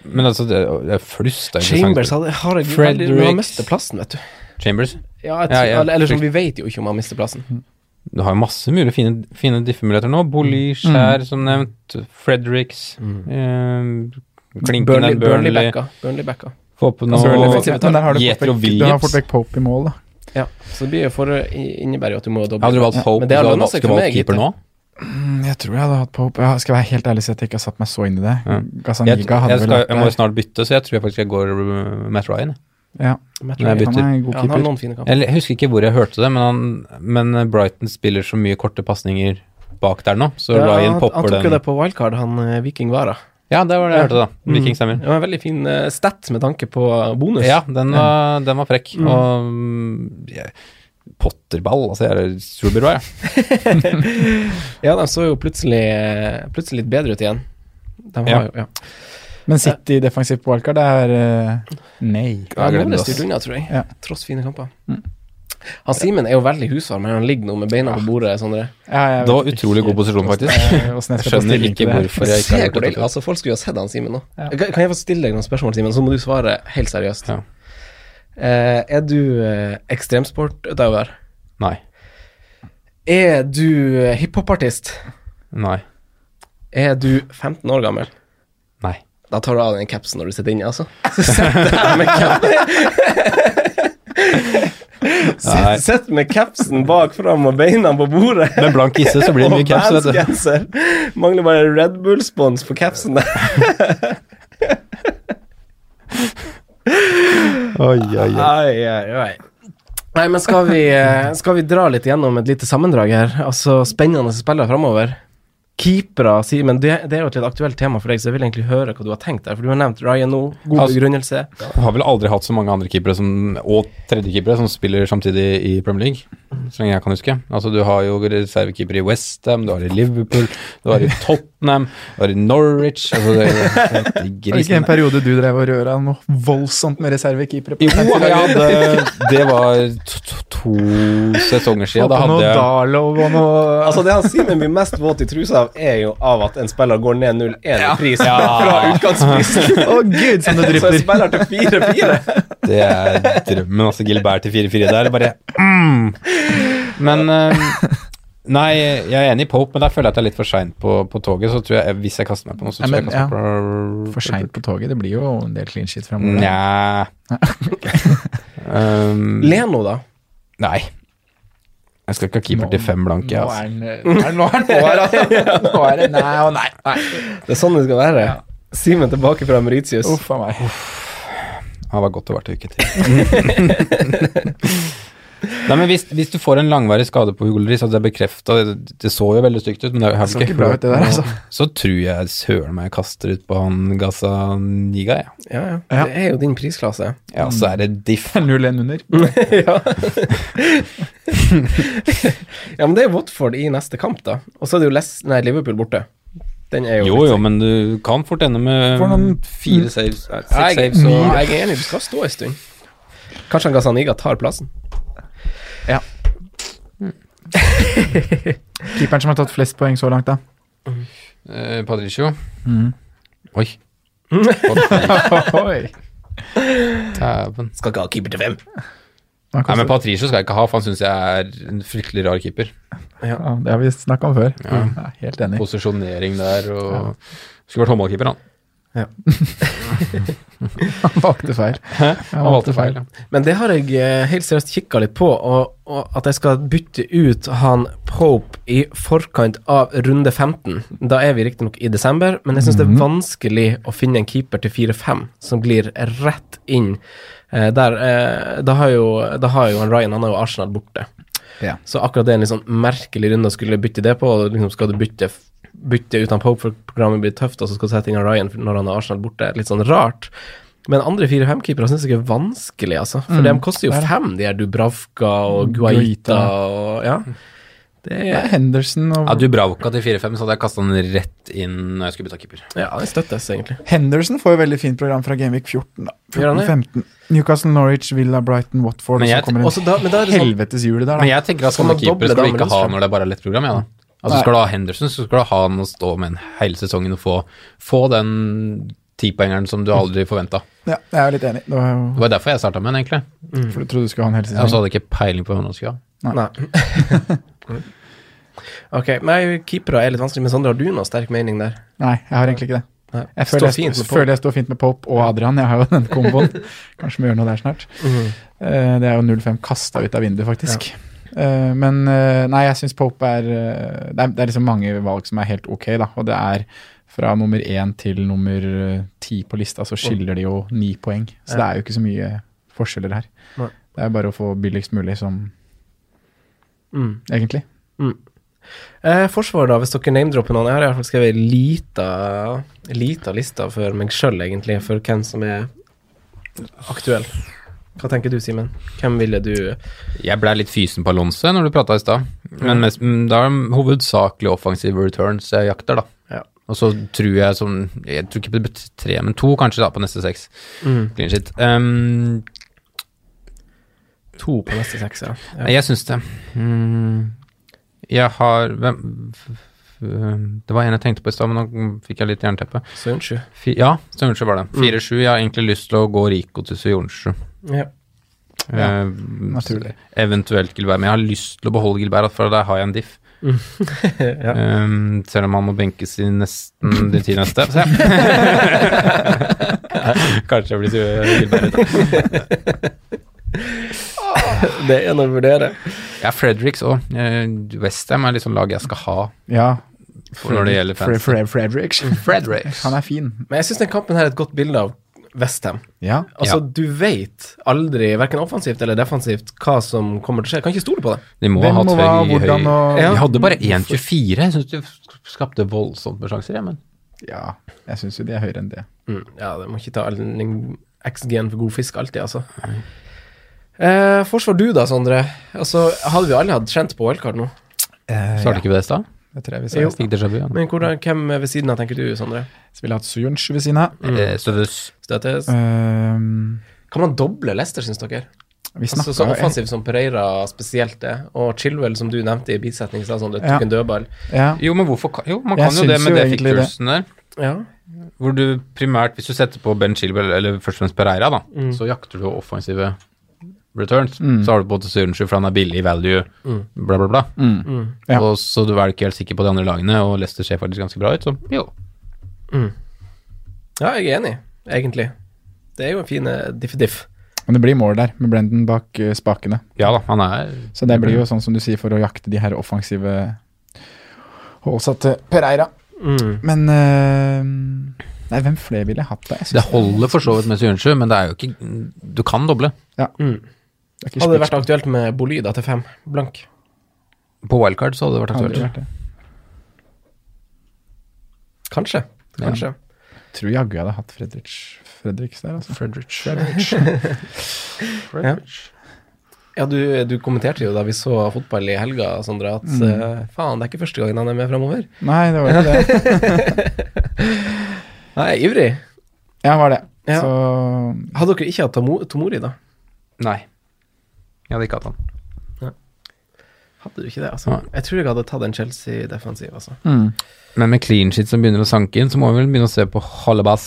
Speaker 4: Men altså, det, det er flust det er interessant.
Speaker 3: Chambers hadde, har jeg,
Speaker 4: Fredericks.
Speaker 3: veldig- Han mister plassen, vet du.
Speaker 4: Chambers?
Speaker 3: Ja, jeg,
Speaker 4: Ja,
Speaker 3: tror-
Speaker 4: ja.
Speaker 3: Eller, eller sånn, vi vet jo ikke om han mister plassen.
Speaker 5: Mm.
Speaker 4: Du har jo masse mulige fine, fine diffemuligheter nå.
Speaker 5: Mm.
Speaker 4: Bolly, Skjær, som nevnt. Fredericks. Eh, Klinken
Speaker 3: Burnley,
Speaker 4: er
Speaker 3: Mm. Burnley
Speaker 4: Burnley.
Speaker 3: backa. Burnley backa.
Speaker 4: Få på noe
Speaker 5: Altså,
Speaker 3: Burnley fikk-
Speaker 5: effektivt, men der har du fått
Speaker 4: Jethro
Speaker 5: vekk, du har
Speaker 4: Williams.
Speaker 5: fått vekk Pope i mål, da.
Speaker 3: Ja, så det blir jo for innebærer jo at du må doble.
Speaker 4: Hadde du valgt Pope,
Speaker 3: Men det
Speaker 4: så
Speaker 3: har
Speaker 4: hadde
Speaker 3: lønnet
Speaker 4: du
Speaker 3: seg
Speaker 4: ikke
Speaker 3: for
Speaker 4: valgt
Speaker 3: meg,
Speaker 4: keeper
Speaker 3: gitt.
Speaker 4: nå?
Speaker 5: Mm, Jeg tror jeg hadde hatt Pope. Jeg skal være helt ærlig si at jeg ikke har satt meg så inn i det.
Speaker 4: Ja. Jeg, jeg,
Speaker 5: Gazaniga
Speaker 4: skal,
Speaker 5: hadde vel vært
Speaker 4: jeg må jo
Speaker 5: der.
Speaker 4: snart bytte, så jeg tror jeg faktisk jeg går uh, Matt Ryan. jeg.
Speaker 5: Ja,
Speaker 4: Når jeg
Speaker 5: han
Speaker 4: bytter.
Speaker 5: er en god
Speaker 3: Ja, han har
Speaker 5: keeper.
Speaker 3: noen fine kamper.
Speaker 4: Jeg husker ikke hvor jeg hørte det, men, han, men Brighton spiller så mye korte pasninger bak der nå, så
Speaker 3: Ja,
Speaker 4: Ryan
Speaker 3: han, han
Speaker 4: popper
Speaker 3: tok jo
Speaker 4: den.
Speaker 3: det Mm. på wildcard, han eh, Viking Vara.
Speaker 4: Ja, det var det jeg hørte, da. Viking
Speaker 3: Det var en veldig fin eh, stat med tanke på bonus.
Speaker 4: Ja, den
Speaker 3: Mm.
Speaker 4: var, den var frekk. Og mm, jeg- Potterball, altså jeg er Struberud, jeg.
Speaker 3: Ja, de så jo plutselig, eh, plutselig litt bedre ut igjen. De har
Speaker 4: Ja.
Speaker 3: jo, ja.
Speaker 5: Men City defensivt på wildcard, det er eh, Nei.
Speaker 3: Ja, nå
Speaker 4: Jeg
Speaker 3: ble
Speaker 4: glemmer
Speaker 3: det
Speaker 4: det,
Speaker 3: styrt unna, tror jeg.
Speaker 5: Ja.
Speaker 3: Tross fine kamper.
Speaker 4: Mm.
Speaker 3: Han Simen er jo veldig husvarm, men han ligger nå med beina på bordet. Sondre.
Speaker 5: Ja, jeg
Speaker 4: Det var
Speaker 5: vet ikke
Speaker 4: utrolig god posisjon,
Speaker 3: *laughs*
Speaker 5: hvordan-
Speaker 4: faktisk.
Speaker 5: eh, hvordan jeg
Speaker 4: Jeg
Speaker 5: skal ta
Speaker 4: skjønner
Speaker 5: stilling til
Speaker 4: ikke
Speaker 5: det her.
Speaker 4: hvorfor jeg ikke
Speaker 3: Se
Speaker 4: har
Speaker 3: hvor
Speaker 4: gjort det.
Speaker 3: deilig. Altså, folk skulle jo ha sett han Simen nå. Kan kan jeg få stille deg noen spørsmål, Simen, så må du svare helt seriøst.
Speaker 4: Ja.
Speaker 3: Eh, er du eh, ekstremsportutøver?
Speaker 4: Nei.
Speaker 3: Er du eh, hiphopartist?
Speaker 4: Nei.
Speaker 3: Er du 15 år gammel?
Speaker 4: Nei.
Speaker 3: Da tar du av den capsen når du sitter inne, altså. *laughs* Så sett deg med *laughs* capsen.
Speaker 4: Nei.
Speaker 3: Sett, sett med capsen bak fram og beina på bordet.
Speaker 4: Med blank isse så blir det mye
Speaker 3: Og
Speaker 4: caps, vet du.
Speaker 3: verdensgenser. Mangler bare Red Bull-spons på capsen der. Ai, ai, ai. Nei, men skal vi, eh, skal vi dra litt gjennom et lite sammendrag her? Altså spennende spillere framover. Keepere, Simen. Det, det er jo et litt aktuelt tema for deg, så jeg vil egentlig høre hva du har tenkt der. For du har nevnt Ryan nå. God
Speaker 4: Altså-
Speaker 3: begrunnelse.
Speaker 4: Jeg har vel aldri hatt så mange andre keepere som, og tredjekeepere som spiller samtidig i Premier League, så lenge jeg kan huske. Altså, du har jo reservekeepere i Westham, du har i Liverpool, du har i Tottenham, du har i Norwich altså, det
Speaker 5: *laughs*
Speaker 4: er, det liksom er
Speaker 5: Var det ikke
Speaker 4: grisen.
Speaker 5: en periode du drev og røra noe voldsomt med reservekeepere? på
Speaker 4: Jo,
Speaker 5: fantasy-laget?
Speaker 4: jeg hadde Det var to, to, to sesonger siden.
Speaker 5: Få
Speaker 4: Da
Speaker 5: på noe
Speaker 4: hadde jeg
Speaker 5: Darlow og noe
Speaker 3: Altså Det han Simen blir mest våt i trusa av, er jo av at en spiller går ned 0-1 i pris *laughs* fra utgangsprisen. *laughs*
Speaker 5: Å gud,
Speaker 4: *laughs*
Speaker 3: Så
Speaker 5: som det
Speaker 3: en
Speaker 5: drypper.
Speaker 3: spiller til 4-4.
Speaker 4: Det er drømmen, altså. Gilbert til 4-4 der, bare mm. Men eh, Nei, jeg er enig i Pope, men der føler jeg at jeg er litt for sein på, på toget. Så tror jeg, hvis jeg kaster meg på noe, så
Speaker 5: Ja,
Speaker 4: tror jeg
Speaker 5: men,
Speaker 4: jeg kaster meg på
Speaker 5: For seint på toget. Det blir jo en del clean shit
Speaker 4: Mm,
Speaker 5: framover. *laughs*
Speaker 4: Nja um,
Speaker 3: Leno, da.
Speaker 4: Nei. Jeg skal ikke ha keeper til fem blanke,
Speaker 5: Nå
Speaker 4: altså.
Speaker 5: er den eh, Nå er den på her, *laughs* altså. Nå er det nei og nei. nei.
Speaker 3: Det er sånn det skal være. Simen tilbake fra Mauritius.
Speaker 5: Uff a meg.
Speaker 4: Han var godt å være til *laughs* uke til. Nei, men hvis, hvis du får en langvarig skade på Hugolry, så hadde jeg bekrefta det, det så jo veldig stygt ut, men det har
Speaker 5: Så
Speaker 4: jeg
Speaker 5: ikke bra ut det der, altså.
Speaker 4: Så tror jeg søren meg jeg kaster ut på han Gazaniga, jeg.
Speaker 3: Ja, ja.
Speaker 5: Ja.
Speaker 3: Det er jo din prisklasse.
Speaker 4: Ja, så er det *laughs* diff.
Speaker 5: 0-1 under.
Speaker 3: ja. *laughs* ja, men det er Watford i neste kamp, da. Og så er det jo Les nei, Liverpool borte. Den er jo
Speaker 4: Jo jo, men du kan fort ende med
Speaker 5: Får noen
Speaker 4: fire saves, nei,
Speaker 3: Nei,
Speaker 4: seks
Speaker 3: jeg,
Speaker 4: saves og
Speaker 3: jeg er enig, du skal stå en stund. Kanskje han Gazaniga tar plassen.
Speaker 5: Keeperen som har tatt flest poeng så langt, da.
Speaker 4: Eh, Patricio. Mm.
Speaker 5: Mhm.
Speaker 4: *laughs* Oi.
Speaker 5: *laughs* Oi.
Speaker 4: Dæven.
Speaker 3: Skal ikke ha keeper til fem.
Speaker 5: Han
Speaker 4: Nei, men
Speaker 5: koster-
Speaker 4: Patricio skal jeg ikke ha, for han syns jeg er en fryktelig rar keeper.
Speaker 5: Ja, det har vi snakka om før. Ja, helt enig.
Speaker 4: Posisjonering der og Skulle vært håndballkeeper, han.
Speaker 5: Han valgte feil.
Speaker 4: *laughs* Han valgte feil. ja.
Speaker 3: Men det har jeg eh, helt seriøst kikka litt på, og, og at jeg skal bytte ut han Pope i forkant av runde 15. Da er vi riktignok i desember, men jeg syns det er vanskelig å finne en keeper til 4-5 som glir rett inn. Eh, der, eh, da, har jo, da har jo han Ryan Han har jo Arsenal borte.
Speaker 5: Ja.
Speaker 3: Så akkurat det er en litt sånn merkelig runde å skulle bytte det på. og Liksom skal du bytte, bytte ut han Pope for programmet blir tøft, og så skal du sette inn han Ryan for- når han har Arsenal borte. Litt sånn rart. Men andre fire-fem-keepere syns jeg er Mm. vanskelig, altså. For de koster jo fem, de her Dubravka og Mm. Guaita
Speaker 5: Guaita.
Speaker 3: og ja. Det
Speaker 5: Det er
Speaker 3: er,
Speaker 5: Henderson og
Speaker 4: Hadde du Brauka til 4-5, så hadde jeg kasta den rett inn når jeg skulle bytte keeper.
Speaker 3: ja, det støttes egentlig.
Speaker 5: Henderson får jo veldig fint program fra Genvik 14, da.
Speaker 3: Gjør han det?
Speaker 5: 14-15. Newcastle, Norwich, Villa, Brighton, Watford.
Speaker 4: Men
Speaker 5: Og så
Speaker 4: jeg-
Speaker 5: kommer
Speaker 3: Også da, men da er
Speaker 5: en
Speaker 3: det sånn
Speaker 5: helveteshjul der, da.
Speaker 4: Men jeg tenker at
Speaker 3: Skal
Speaker 4: sånne
Speaker 3: man doble
Speaker 4: keepere skal du
Speaker 3: damer
Speaker 4: ikke ha
Speaker 3: eller?
Speaker 4: når det bare er lett program, ja da. Altså
Speaker 5: Nei.
Speaker 4: Skal du ha Henderson, så skal du ha han å stå med en hele sesongen og få, få den tipoengeren som du aldri forventa.
Speaker 5: Ja, jeg er litt enig. Det var jo
Speaker 4: Det var derfor jeg starta med den, egentlig. Mm.
Speaker 5: for du trodde du skulle ha en hel
Speaker 4: Jeg også
Speaker 5: sesong.
Speaker 4: hadde ikke peiling på hvem jeg skulle ha.
Speaker 3: Nei. *laughs* ok, nei, keepere er litt vanskelig, men Sondre, har du noen sterk mening der?
Speaker 5: Nei, jeg har egentlig ikke det.
Speaker 3: Nei.
Speaker 5: Jeg
Speaker 3: Står
Speaker 5: føler, jeg,
Speaker 3: fint
Speaker 5: st-
Speaker 3: med Pope.
Speaker 5: føler jeg står fint med Pope og Adrian. Jeg har jo den
Speaker 3: *laughs*
Speaker 5: komboen. Kanskje vi gjør noe der snart.
Speaker 3: Mhm.
Speaker 5: Eh, Det er jo 0-5 kasta ut av vinduet, faktisk. Eh, Men eh, nei, jeg syns Pope er eh, det, er det er liksom mange valg som er helt ok, da. Og det er fra nummer én til nummer eh, ti på lista, så skiller de jo ni poeng. Så
Speaker 3: Mm.
Speaker 5: det
Speaker 3: Ja.
Speaker 5: er jo ikke så mye forskjeller her.
Speaker 3: Nei.
Speaker 5: Det er bare å få billigst mulig som
Speaker 3: Mm.
Speaker 5: Egentlig.
Speaker 3: Eh, forsvar, da, hvis dere name-dropper noen. Jeg har i hvert fall skrevet ei lita, lita liste for meg sjøl, egentlig, for hvem som er aktuell. Hva tenker du, Simen? Hvem ville du
Speaker 4: Jeg blei litt fysen på Alonso når du prata i stad, men
Speaker 3: Ja.
Speaker 4: mest, mm, da er det hovedsakelig offensive returns jeg jakter, da.
Speaker 3: Ja.
Speaker 4: Og så tror jeg som Jeg tror ikke det blir tre, men to kanskje, da, på neste seks.
Speaker 3: Mm.
Speaker 4: Clean shit. Um,
Speaker 3: To på neste seks, ja. ja.
Speaker 4: Nei, Jeg syns det. Mm, jeg har hvem, f- f- Det var en jeg tenkte på i stad, men nå fikk jeg litt jernteppe.
Speaker 3: Så unnskyld.
Speaker 4: Fi, ja, Sørensjø var det. 4-7. Jeg har egentlig lyst til å gå Rico til Sørensjø.
Speaker 3: Ja. *laughs*
Speaker 5: Ja,
Speaker 4: Eh,
Speaker 5: naturlig.
Speaker 4: Eventuelt Gilbert. Men jeg har lyst til å beholde Gilbert, for der har jeg en diff.
Speaker 3: ja.
Speaker 4: Ehm, selv om han må benkes i nesten de ti neste. Se. *laughs* Kanskje jeg blir sur eh, Gilbert.
Speaker 3: *laughs* Det er en å vurdere.
Speaker 4: Ja, Fredericks òg. Westham er liksom lag jeg skal ha
Speaker 5: Ja.
Speaker 4: for når det gjelder
Speaker 5: Fre-
Speaker 4: fans.
Speaker 5: Fre- Fredericks.
Speaker 3: Mm.
Speaker 4: Fredericks.
Speaker 5: Han er fin.
Speaker 3: Men jeg syns den kampen her er et godt bilde av Westham.
Speaker 5: Ja.
Speaker 3: Altså,
Speaker 4: Ja.
Speaker 3: du veit aldri, verken offensivt eller defensivt, hva som kommer til å skje. Kan ikke stole på det.
Speaker 4: De må
Speaker 5: Hvem
Speaker 4: ha
Speaker 5: og
Speaker 4: hatt
Speaker 5: hva,
Speaker 4: høy, høy
Speaker 5: hvordan og
Speaker 3: Ja.
Speaker 4: Vi hadde bare 1,24. Jeg syns du skapte voldsomt med sjanser, jeg, men
Speaker 5: Ja, jeg syns jo de er høyere enn det.
Speaker 3: Mm, ja, det må ikke ta all den XG-en for god fisk alltid, altså. Eh, forsvar du da, Sondre. Altså, hadde vi alle hatt kjent på OL-kart nå?
Speaker 4: svarte ikke vi det i stad?
Speaker 5: Det tror Eh, jeg vi
Speaker 3: Jo.
Speaker 5: sa.
Speaker 4: Fikk déjà vu, ja.
Speaker 3: Men hvordan, hvem ved siden av tenker du, Sondre?
Speaker 5: Så ville jeg hatt Sujunch ved siden av.
Speaker 4: Eh, Støttes.
Speaker 5: Eh.
Speaker 3: Støtes?
Speaker 5: Ehm,
Speaker 3: Kan man doble Lester, syns dere?
Speaker 5: vi
Speaker 3: Altså,
Speaker 5: snakket
Speaker 3: så
Speaker 5: jo-
Speaker 3: offensiv som Pereira spesielt er, og Chilwell, som du nevnte i bisetning, sa Sondre,
Speaker 5: Ja.
Speaker 3: tok en dødball.
Speaker 5: Ja,
Speaker 4: Jo, men hvorfor kan Jo, man
Speaker 5: Jeg
Speaker 4: kan jo det
Speaker 5: syns
Speaker 4: med
Speaker 5: jo
Speaker 4: det
Speaker 5: egentlig det.
Speaker 4: Fikkelsen der.
Speaker 3: Ja.
Speaker 4: Hvor du primært, hvis du setter på Ben Chilwell, eller først og fremst Pereira, da,
Speaker 3: Mm.
Speaker 4: så jakter du offensive returns.
Speaker 5: Mm.
Speaker 4: Så har du på en måte Sørensjø, for han er billig i value,
Speaker 3: Mm.
Speaker 4: bla, bla, bla.
Speaker 5: mm.
Speaker 3: Mm.
Speaker 5: Ja.
Speaker 4: Og så du er ikke helt sikker på de andre lagene, og Leicester ser faktisk ganske bra ut, så jo.
Speaker 3: Mm. ja, jeg er enig, egentlig. Det er jo en fin eh, diff-diff.
Speaker 5: Men det blir mål der, med Brendan bak eh, spakene.
Speaker 4: Ja da, han er
Speaker 5: Så det blir jo sånn som du sier, for å jakte de her offensive hålsatte Pereira.
Speaker 3: Mm.
Speaker 5: Men ehm, Nei, hvem flere ville jeg hatt da? Jeg synes
Speaker 4: Det holder for så vidt med Sørensjø, men det er jo ikke Du kan doble.
Speaker 3: Mm.
Speaker 5: det er ikke
Speaker 3: Hadde det
Speaker 5: spiks-
Speaker 3: vært aktuelt med Boly da til fem blank?
Speaker 4: På wildcard så hadde det vært
Speaker 5: hadde det
Speaker 4: aktuelt.
Speaker 5: vært det.
Speaker 3: Kanskje. Kanskje.
Speaker 5: Jeg tror jaggu jeg hadde hatt Fredriks Fredriks der, altså.
Speaker 4: Fredrich.
Speaker 3: Ja, du, du kommenterte jo da vi så fotball i helga, Sondre, at eh, faen, det er ikke første gangen han er med framover.
Speaker 5: Nei, det var jo
Speaker 3: *laughs*
Speaker 5: det.
Speaker 3: Nei, ivrig.
Speaker 5: Ja, var det.
Speaker 3: Ja.
Speaker 5: Så
Speaker 3: Hadde dere ikke hatt Tomo- Tomori, da?
Speaker 4: Nei. Jeg hadde ikke hatt han.
Speaker 3: Hadde du ikke det, altså?
Speaker 4: Nei.
Speaker 3: Jeg tror jeg hadde tatt en Chelsea-defensiv, altså.
Speaker 5: mm.
Speaker 4: Men med clean sheet som begynner å sanke inn, så må vi vel begynne å se på Hallebass.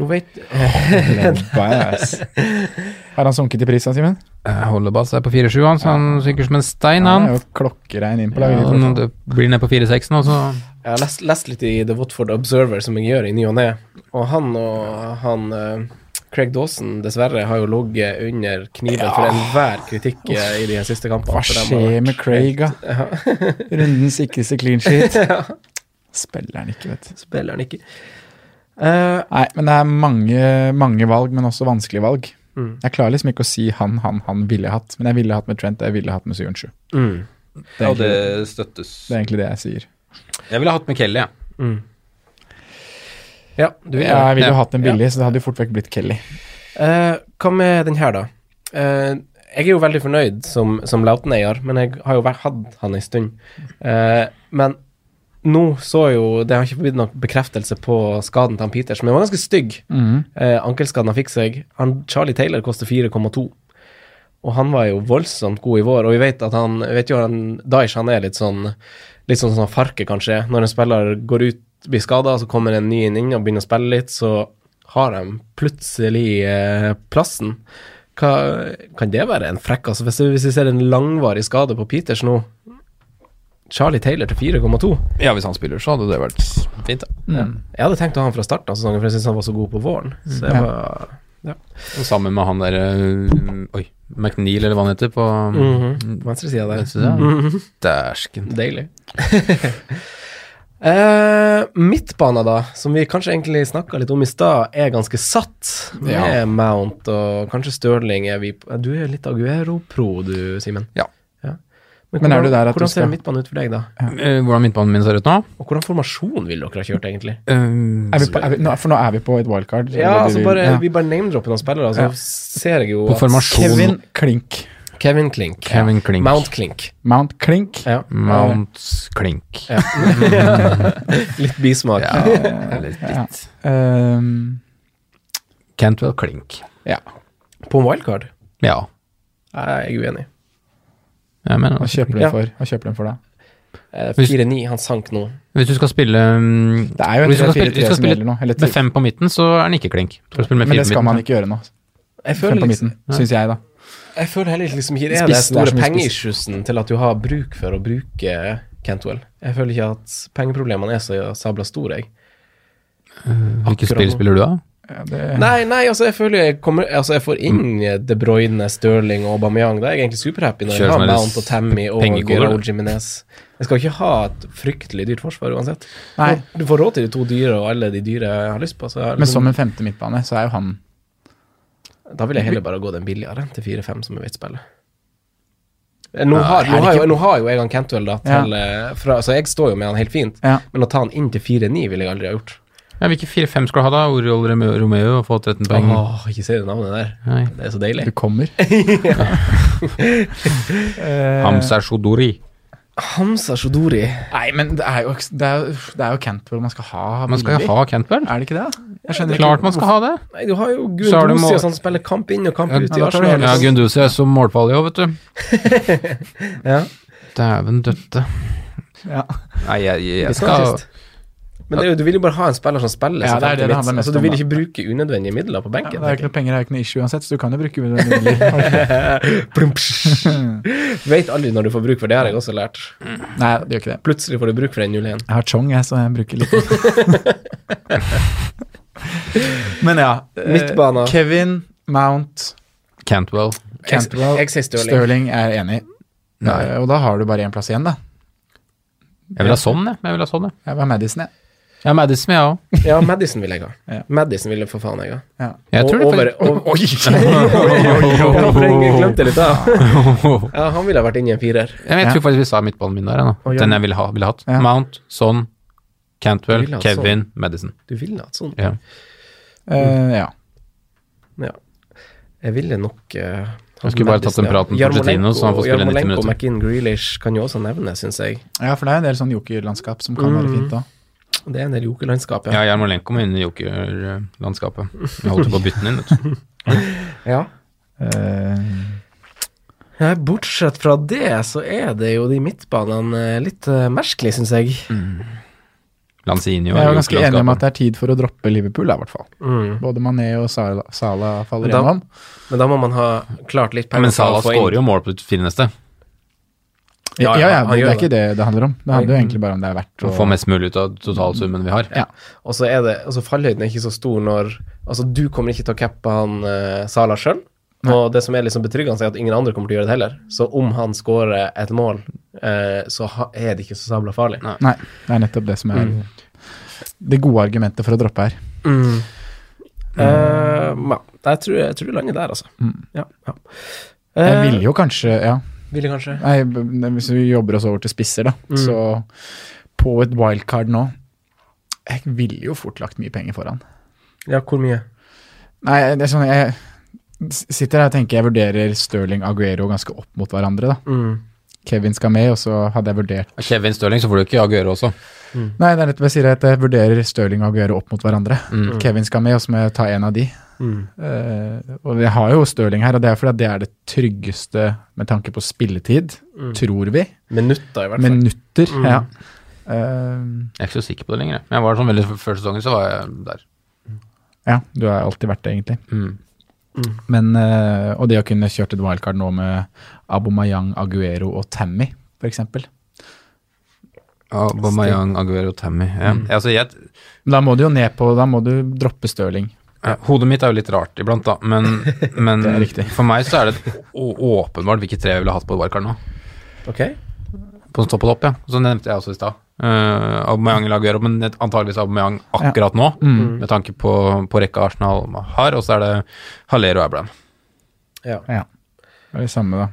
Speaker 3: Nå vet
Speaker 5: Lobbass.
Speaker 3: *laughs*
Speaker 5: Har han sunket i pris da, Simen?
Speaker 4: Eh, Hallebass er på 4-7, han, så han synker som en stein,
Speaker 5: Han er
Speaker 4: han.
Speaker 5: jo klokkerein inn på
Speaker 4: Ja,
Speaker 5: laget. ditt, i
Speaker 4: nå-
Speaker 5: hvert fall.
Speaker 4: det blir ned på 4-6 nå, så
Speaker 3: Jeg har lest, lest litt i The Watford Observer, som jeg gjør i ny og ne, og han og han eh, Craig Dawson, dessverre, har jo ligget under kniven for enhver kritikk eh, i de siste kampene.
Speaker 5: Hva
Speaker 3: for dem har
Speaker 5: skjer
Speaker 3: vært
Speaker 5: med Craig, da?
Speaker 3: *laughs*
Speaker 5: Rundens sikreste clean sheet.
Speaker 3: Ja,
Speaker 5: Spiller han ikke, vet du.
Speaker 3: spiller han ikke. Eh,
Speaker 5: Nei, men det er mange, mange valg, men også vanskelige valg.
Speaker 3: Mm.
Speaker 5: Jeg klarer liksom ikke å si han, han, han ville jeg hatt. Men jeg ville hatt med Trent, jeg ville hatt med Sujunchu.
Speaker 3: mm,
Speaker 5: Det, er egentlig-
Speaker 4: støttes.
Speaker 5: det er egentlig det jeg sier.
Speaker 4: Jeg ville hatt med Kelly, jeg.
Speaker 3: mm. Ja, du vil
Speaker 5: Ja, jeg ville jo
Speaker 4: Ja.
Speaker 5: hatt en billig, så det hadde jo fort vekk blitt Kelly.
Speaker 3: Eh, hva med den her, da? Eh, jeg er jo veldig fornøyd som, som Lauten-eier, men jeg har jo vært- hatt han en stund. Eh, men nå så jo Det har ikke blitt noen bekreftelse på skaden til han Peters, men den var ganske stygg. Eh, ankelskaden han fikk seg. Han, Charlie Taylor koster 4,2. Og han var jo voldsomt god i vår, og vi vet at han vet jo han, Daesh han er litt sånn litt sånn som han Farke kanskje er. Når en spiller går ut, blir skada, så kommer en ny inn inn og begynner å spille litt, så har de plutselig eh, plassen. Hva, kan det være en frekk? Altså, hvis, hvis vi ser en langvarig skade på Peters nå Charlie Taylor til 4,2.
Speaker 4: Ja, hvis han spiller, så hadde det vært fint, da.
Speaker 5: Mm.
Speaker 3: Jeg hadde tenkt å ha han fra starten av sesongen, for jeg syns han var så god på våren. Så jeg
Speaker 5: Ja.
Speaker 3: var
Speaker 4: Og sammen med han der øh, Oi, McNeil, eller hva han heter, på
Speaker 3: Mhm. venstresida der.
Speaker 4: Venstresida?
Speaker 5: Mhm.
Speaker 4: Dæsken.
Speaker 3: Deilig. *laughs* Eh, midtbana, da, som vi kanskje egentlig snakka litt om i stad, er ganske satt. Med
Speaker 5: Ja.
Speaker 3: Mount og kanskje Stirling er vi på- Du er litt Aguero-pro, du, Simen.
Speaker 4: Ja.
Speaker 3: Men,
Speaker 5: Men
Speaker 3: hvordan,
Speaker 5: er du der at du
Speaker 3: hvordan ser
Speaker 5: skal-
Speaker 3: midtbanen ut for deg, da?
Speaker 4: Eh, Hvordan midtbanen min ser ut nå?
Speaker 3: Og hvordan formasjon ville dere ha kjørt, egentlig?
Speaker 4: Eh,
Speaker 5: Er vi på, er vi, nå, for nå er vi på et wildcard.
Speaker 3: Ja,
Speaker 5: eller
Speaker 3: altså
Speaker 5: vi-
Speaker 3: bare,
Speaker 5: ja.
Speaker 3: Vi bare name-dropper noen spillere, så
Speaker 5: Ja.
Speaker 3: ser jeg jo
Speaker 4: På
Speaker 3: at-
Speaker 4: formasjon.
Speaker 5: Kevin Klink.
Speaker 3: Kevin Klink.
Speaker 4: Kevin
Speaker 3: ja.
Speaker 4: Klink.
Speaker 3: Mount Klink.
Speaker 5: Mount Klink.
Speaker 3: Ja.
Speaker 4: Mount Klink.
Speaker 3: Ja. litt bismak.
Speaker 4: Ja, eller litt.
Speaker 5: Ehm,
Speaker 4: Cantwell Klink.
Speaker 5: ja.
Speaker 3: På en wildcard?
Speaker 4: Ja,
Speaker 3: Nei, Jeg er uenig.
Speaker 4: jeg mener
Speaker 5: Hva
Speaker 4: det.
Speaker 5: kjøper du
Speaker 3: Ja.
Speaker 5: for? Hva kjøper du for da?
Speaker 3: Eh,
Speaker 4: Hvis-
Speaker 3: 4-9, han sank nå.
Speaker 4: Hvis du skal spille mm,
Speaker 5: Det er jo en
Speaker 4: Hvis du skal
Speaker 5: 3-4-3
Speaker 4: spille- hvis du skal
Speaker 5: som
Speaker 4: spille
Speaker 5: gjelder nå. Eller
Speaker 4: med
Speaker 5: ti-
Speaker 4: fem på midten, så er den ikke klink. Skal du spille med
Speaker 5: men
Speaker 4: fire
Speaker 5: det
Speaker 4: på
Speaker 5: skal man
Speaker 4: midten?
Speaker 5: ikke gjøre nå.
Speaker 3: Jeg
Speaker 5: Fem
Speaker 3: føler,
Speaker 5: på
Speaker 3: liksom,
Speaker 5: midten, syns jeg, da.
Speaker 3: jeg føler heller liksom ikke det er
Speaker 5: Spiss,
Speaker 3: det
Speaker 5: det
Speaker 3: store
Speaker 5: er så mye
Speaker 3: pengeissuesen til at du har bruk for å bruke Cantwell. Jeg føler ikke at pengeproblemene er så sabla store, jeg.
Speaker 4: Hvilke
Speaker 3: Akkurat
Speaker 4: spill
Speaker 3: nå.
Speaker 4: spiller du, da?
Speaker 5: Ja, det-
Speaker 3: Nei, nei, altså, jeg føler jeg kommer Altså, jeg får inn De Bruyne, Stirling og Aubameyang. Da er jeg egentlig superhappy når
Speaker 4: Kjører
Speaker 3: jeg har
Speaker 4: sånne
Speaker 3: Mount og Tammy og
Speaker 4: pengekoder,
Speaker 3: Guerrero
Speaker 4: du.
Speaker 3: Jimenez. Jeg skal ikke ha et fryktelig dyrt forsvar uansett.
Speaker 5: Nei.
Speaker 3: Og Du får råd til de to dyre og alle de dyre jeg har liksom lyst på. Så jeg,
Speaker 5: Men som en femte midtbane, så er jo han
Speaker 3: Da vil jeg heller bare gå den billigere til 4-5 som er mitt spill. Eh, Nå
Speaker 4: Nei,
Speaker 3: har, nå,
Speaker 5: er det
Speaker 3: har
Speaker 5: ikke-
Speaker 3: jo, nå har jo jeg han Cantwell, da, til, eh, fra, så jeg står jo med han helt fint.
Speaker 5: Ja.
Speaker 3: Men å ta han inn til 4-9 ville jeg aldri ha gjort.
Speaker 4: Ja, hvilke fire-fem skal du ha, da? Oriol Romeo, Romeo har fått 13 poeng.
Speaker 3: Åh, ikke si det navnet der.
Speaker 4: Nei.
Speaker 3: Det er så deilig.
Speaker 5: du kommer. Eh,
Speaker 4: Hamza Shodori.
Speaker 3: Hamza Shodori.
Speaker 5: Nei, men det er jo, det er, jo- det er jo Cantwell man skal ha.
Speaker 4: Man skal
Speaker 5: billig.
Speaker 4: jo ha Cantwell.
Speaker 5: Er det ikke det? da? Jeg skjønner
Speaker 4: Klart man skal ha det.
Speaker 3: Nei, du har jo
Speaker 4: Så har du
Speaker 3: Gundosi
Speaker 4: må-
Speaker 3: og sånn spiller kamp inn og kamp
Speaker 4: Ja,
Speaker 3: ut i
Speaker 5: da tar du
Speaker 3: Arsenal.
Speaker 5: hele-
Speaker 4: Ja, Gunduzi er som målfall i år,
Speaker 5: *laughs*
Speaker 4: vet du.
Speaker 3: Ja.
Speaker 4: Dæven døtte.
Speaker 5: Ja.
Speaker 4: Nei, jeg, jeg,
Speaker 3: Litt
Speaker 4: jeg skal
Speaker 3: smartest. Men det, er jo- du vil jo bare ha en spiller som spiller.
Speaker 5: Ja,
Speaker 3: som
Speaker 5: det er det
Speaker 3: femte
Speaker 5: det handler
Speaker 3: midt.
Speaker 5: mest
Speaker 3: altså, du
Speaker 5: om,
Speaker 3: vil
Speaker 5: da.
Speaker 3: ikke bruke unødvendige midler på
Speaker 5: Ja,
Speaker 3: benken.
Speaker 5: det er jo ikke noe penger, det er jo ikke noe issue uansett, så du kan jo bruke det. når du vil.
Speaker 3: *laughs*
Speaker 5: *laughs*
Speaker 3: Vet aldri når du får bruk for det, har jeg også lært.
Speaker 5: Nei, det gjør ikke det.
Speaker 3: Plutselig får du bruk for den 0-1.
Speaker 5: Jeg har Chong, jeg, så jeg bruker litt. men ja. eh,
Speaker 3: Midtbane.
Speaker 5: Kevin, Mount,
Speaker 4: Cantwell.
Speaker 5: Cantwell,
Speaker 3: Jeg sier Sterling.
Speaker 5: er enig.
Speaker 4: Nei.
Speaker 5: Eh, Og da har du bare én plass igjen, da.
Speaker 4: Jeg vil ha sånn, jeg. Jeg vil ha sånn, jeg.
Speaker 5: Jeg var Madison, jeg.
Speaker 4: Ja, Madison, jeg òg.
Speaker 3: Ja, Madison vil jeg ha.
Speaker 5: Ja.
Speaker 3: Madison vil jeg for faen jeg ha.
Speaker 5: Ja.
Speaker 4: Jeg
Speaker 3: Og
Speaker 4: tror det
Speaker 3: over,
Speaker 4: faktisk-
Speaker 3: over, Oi! *laughs* Ja, for jeg glemte
Speaker 4: *laughs*
Speaker 3: litt, da. Ja, han ville ha vært inne i en firer.
Speaker 4: Ja, men Jeg tror faktisk vi sa midtbanen min der, jeg, nå.
Speaker 3: Å, ja.
Speaker 4: Den jeg ville ha, ville hatt.
Speaker 5: Ja.
Speaker 4: Mount, Son, Cantwell,
Speaker 3: Du ville ha
Speaker 4: Kevin, Madison.
Speaker 3: Du ville hatt sånn.
Speaker 4: Ja.
Speaker 5: Eh, ja.
Speaker 3: Ja. Jeg ville nok eh, hatt
Speaker 4: Jeg skulle bare tatt den
Speaker 3: ja.
Speaker 4: praten på
Speaker 3: Jarmolenko-
Speaker 4: Pochettino, så han får spille 90
Speaker 3: Jarmolenko og
Speaker 4: minutter.
Speaker 3: McInn Grealish kan jo også nevnes, syns jeg.
Speaker 5: ja, for det er jo en del sånn jokerlandskap som kan
Speaker 3: Mm.
Speaker 5: være fint òg.
Speaker 3: Det er en del jokerlandskap,
Speaker 4: Ja,
Speaker 3: ja.
Speaker 4: Jarmolenko må inn i jokerlandskapet. Jeg holdt på å bytte den inn,
Speaker 5: *laughs*
Speaker 4: vet du.
Speaker 3: ja.
Speaker 5: Eh,
Speaker 3: Nei, bortsett fra det, så er det jo de midtbanene eh, litt uh, merkelig, syns jeg.
Speaker 4: Mm. Lanzini og
Speaker 5: jeg er jo ganske enig om at
Speaker 4: jokerlandskapet.
Speaker 5: det er tid for å droppe Liverpool, da, i hvert fall.
Speaker 3: Mm.
Speaker 5: Både Mané og Sala, Sala faller
Speaker 3: Men da-
Speaker 5: gjennom.
Speaker 3: Men da må man ha klart litt penger
Speaker 4: Men Salah
Speaker 3: for å få inn-
Speaker 4: skårer jo mål på de fire neste.
Speaker 5: Ja,
Speaker 3: Ja,
Speaker 5: ja,
Speaker 3: han
Speaker 5: det, det
Speaker 3: gjør Mm.
Speaker 5: er ikke det det handler om. Det handler jo egentlig bare om det er verdt
Speaker 4: Å
Speaker 5: å
Speaker 4: få mest mulig ut av totalsummen vi har.
Speaker 5: Ja.
Speaker 3: Og så er det, altså fallhøyden er ikke så stor når Altså, du kommer ikke til å cappe han uh, Sala sjøl. Og det som er liksom betryggende, er at ingen andre kommer til å gjøre det heller. Så om han skårer et mål, eh, så ha, er det ikke så sabla farlig.
Speaker 4: Nei.
Speaker 5: Nei, det er nettopp det som er det gode argumentet for å droppe her.
Speaker 3: Mm. Eh, men ja, jeg tror, jeg tror vi lander der, altså.
Speaker 4: Mm.
Speaker 3: Ja, ja.
Speaker 5: Jeg
Speaker 3: Eh,
Speaker 5: ville jo kanskje, ja
Speaker 3: ville kanskje
Speaker 5: Nei, b- nei, Hvis vi jobber oss over til spisser, da,
Speaker 3: Mm.
Speaker 5: så på et wildcard nå Jeg ville jo fort lagt mye penger foran.
Speaker 3: Ja, hvor mye?
Speaker 5: Nei, det er sånn jeg, s- sitter her og tenker jeg vurderer Stirling Aguero ganske opp mot hverandre. da.
Speaker 3: Mm.
Speaker 5: Kevin skal med, og så hadde jeg vurdert
Speaker 4: Kevin Stirling, så får du ikke Aguero også.
Speaker 5: Nei, det er nettopp jeg sier at jeg vurderer Stirling og Aguero opp mot hverandre.
Speaker 3: Mm.
Speaker 5: Kevin skal med, og så må jeg ta en av de. Eh, og vi har jo Stirling her, og det er fordi at det er det tryggeste med tanke på spilletid, tror vi.
Speaker 3: Minutter, Mm. i hvert fall.
Speaker 5: Minutter,
Speaker 3: Mm.
Speaker 5: ja. Eh,
Speaker 4: Jeg er ikke så sikker på det lenger. jeg. Men jeg var sånn veldig før sesongen, så var jeg der.
Speaker 5: Ja, du har alltid vært det, egentlig.
Speaker 4: Mm.
Speaker 5: Men, eh, og det å kunne kjørt et wildcard nå med Abomayang, Aguero og Tammy, f.eks. Men
Speaker 4: Aubameyang, Aguero, Tammy. Ja.
Speaker 5: Mm.
Speaker 4: Altså, jeg,
Speaker 5: da må du jo ned på Da må du droppe Stirling.
Speaker 4: Ja, Hodet mitt er jo litt rart iblant, da, men, men
Speaker 5: Det er riktig.
Speaker 4: for meg så er det å- åpenbart hvilke tre jeg ville hatt på et wildcard nå.
Speaker 3: Ok.
Speaker 4: På sånn topp og topp, ja. Så nevnte jeg også i stad. Uh, Aubameyang eller Aguero, men et- antageligvis Aubameyang akkurat nå, med tanke på, på rekka Arsenal har, og så er det Hallero Abraham.
Speaker 3: Ja.
Speaker 5: Ja. Det er det samme, da,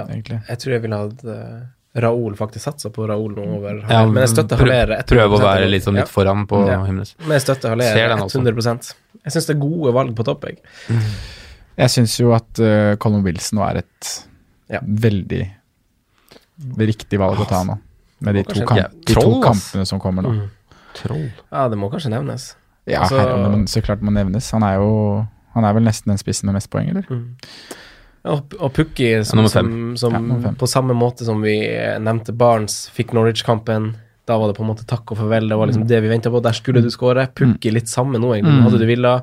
Speaker 3: Ja.
Speaker 5: egentlig.
Speaker 3: Jeg tror jeg ville hatt eh, Raoul faktisk satsa på Raoul nå over
Speaker 4: Ja,
Speaker 3: Haller. Men jeg støtter
Speaker 4: prøv-
Speaker 3: Haller. 100%.
Speaker 4: Prøv å være litt, sånn litt
Speaker 3: Ja.
Speaker 4: foran på
Speaker 3: Ja.
Speaker 4: Himnes.
Speaker 3: Men jeg støtter
Speaker 4: Ser
Speaker 3: Haller
Speaker 4: den altså. også.
Speaker 3: 100 Jeg syns det er gode valg på topp, jeg.
Speaker 5: Jeg syns jo at eh, Colin Wilson nå er et
Speaker 3: Ja.
Speaker 5: veldig riktig valg å ta nå. Med de
Speaker 3: Må
Speaker 5: to,
Speaker 3: kanskje-
Speaker 5: kamp, de to
Speaker 4: Troll, ass. Mm.
Speaker 5: kampene som kommer nå.
Speaker 4: Troll.
Speaker 3: Ja, det må kanskje nevnes.
Speaker 5: Ja,
Speaker 3: Altså-
Speaker 5: her, om det så klart må nevnes. Han er jo han er vel nesten den spissen med mest poeng, eller?
Speaker 3: Og, og Pukki, som,
Speaker 4: nummer
Speaker 3: som,
Speaker 4: fem.
Speaker 3: som
Speaker 5: Ja, nummer fem.
Speaker 3: på samme måte som vi eh, nevnte Barnes, fikk Norwich-kampen. Da var det på en måte takk og farvel. Det var
Speaker 5: Mm.
Speaker 3: liksom det vi venta på. Der skulle du skåre. Pukki litt samme nå, egentlig. Hadde du villa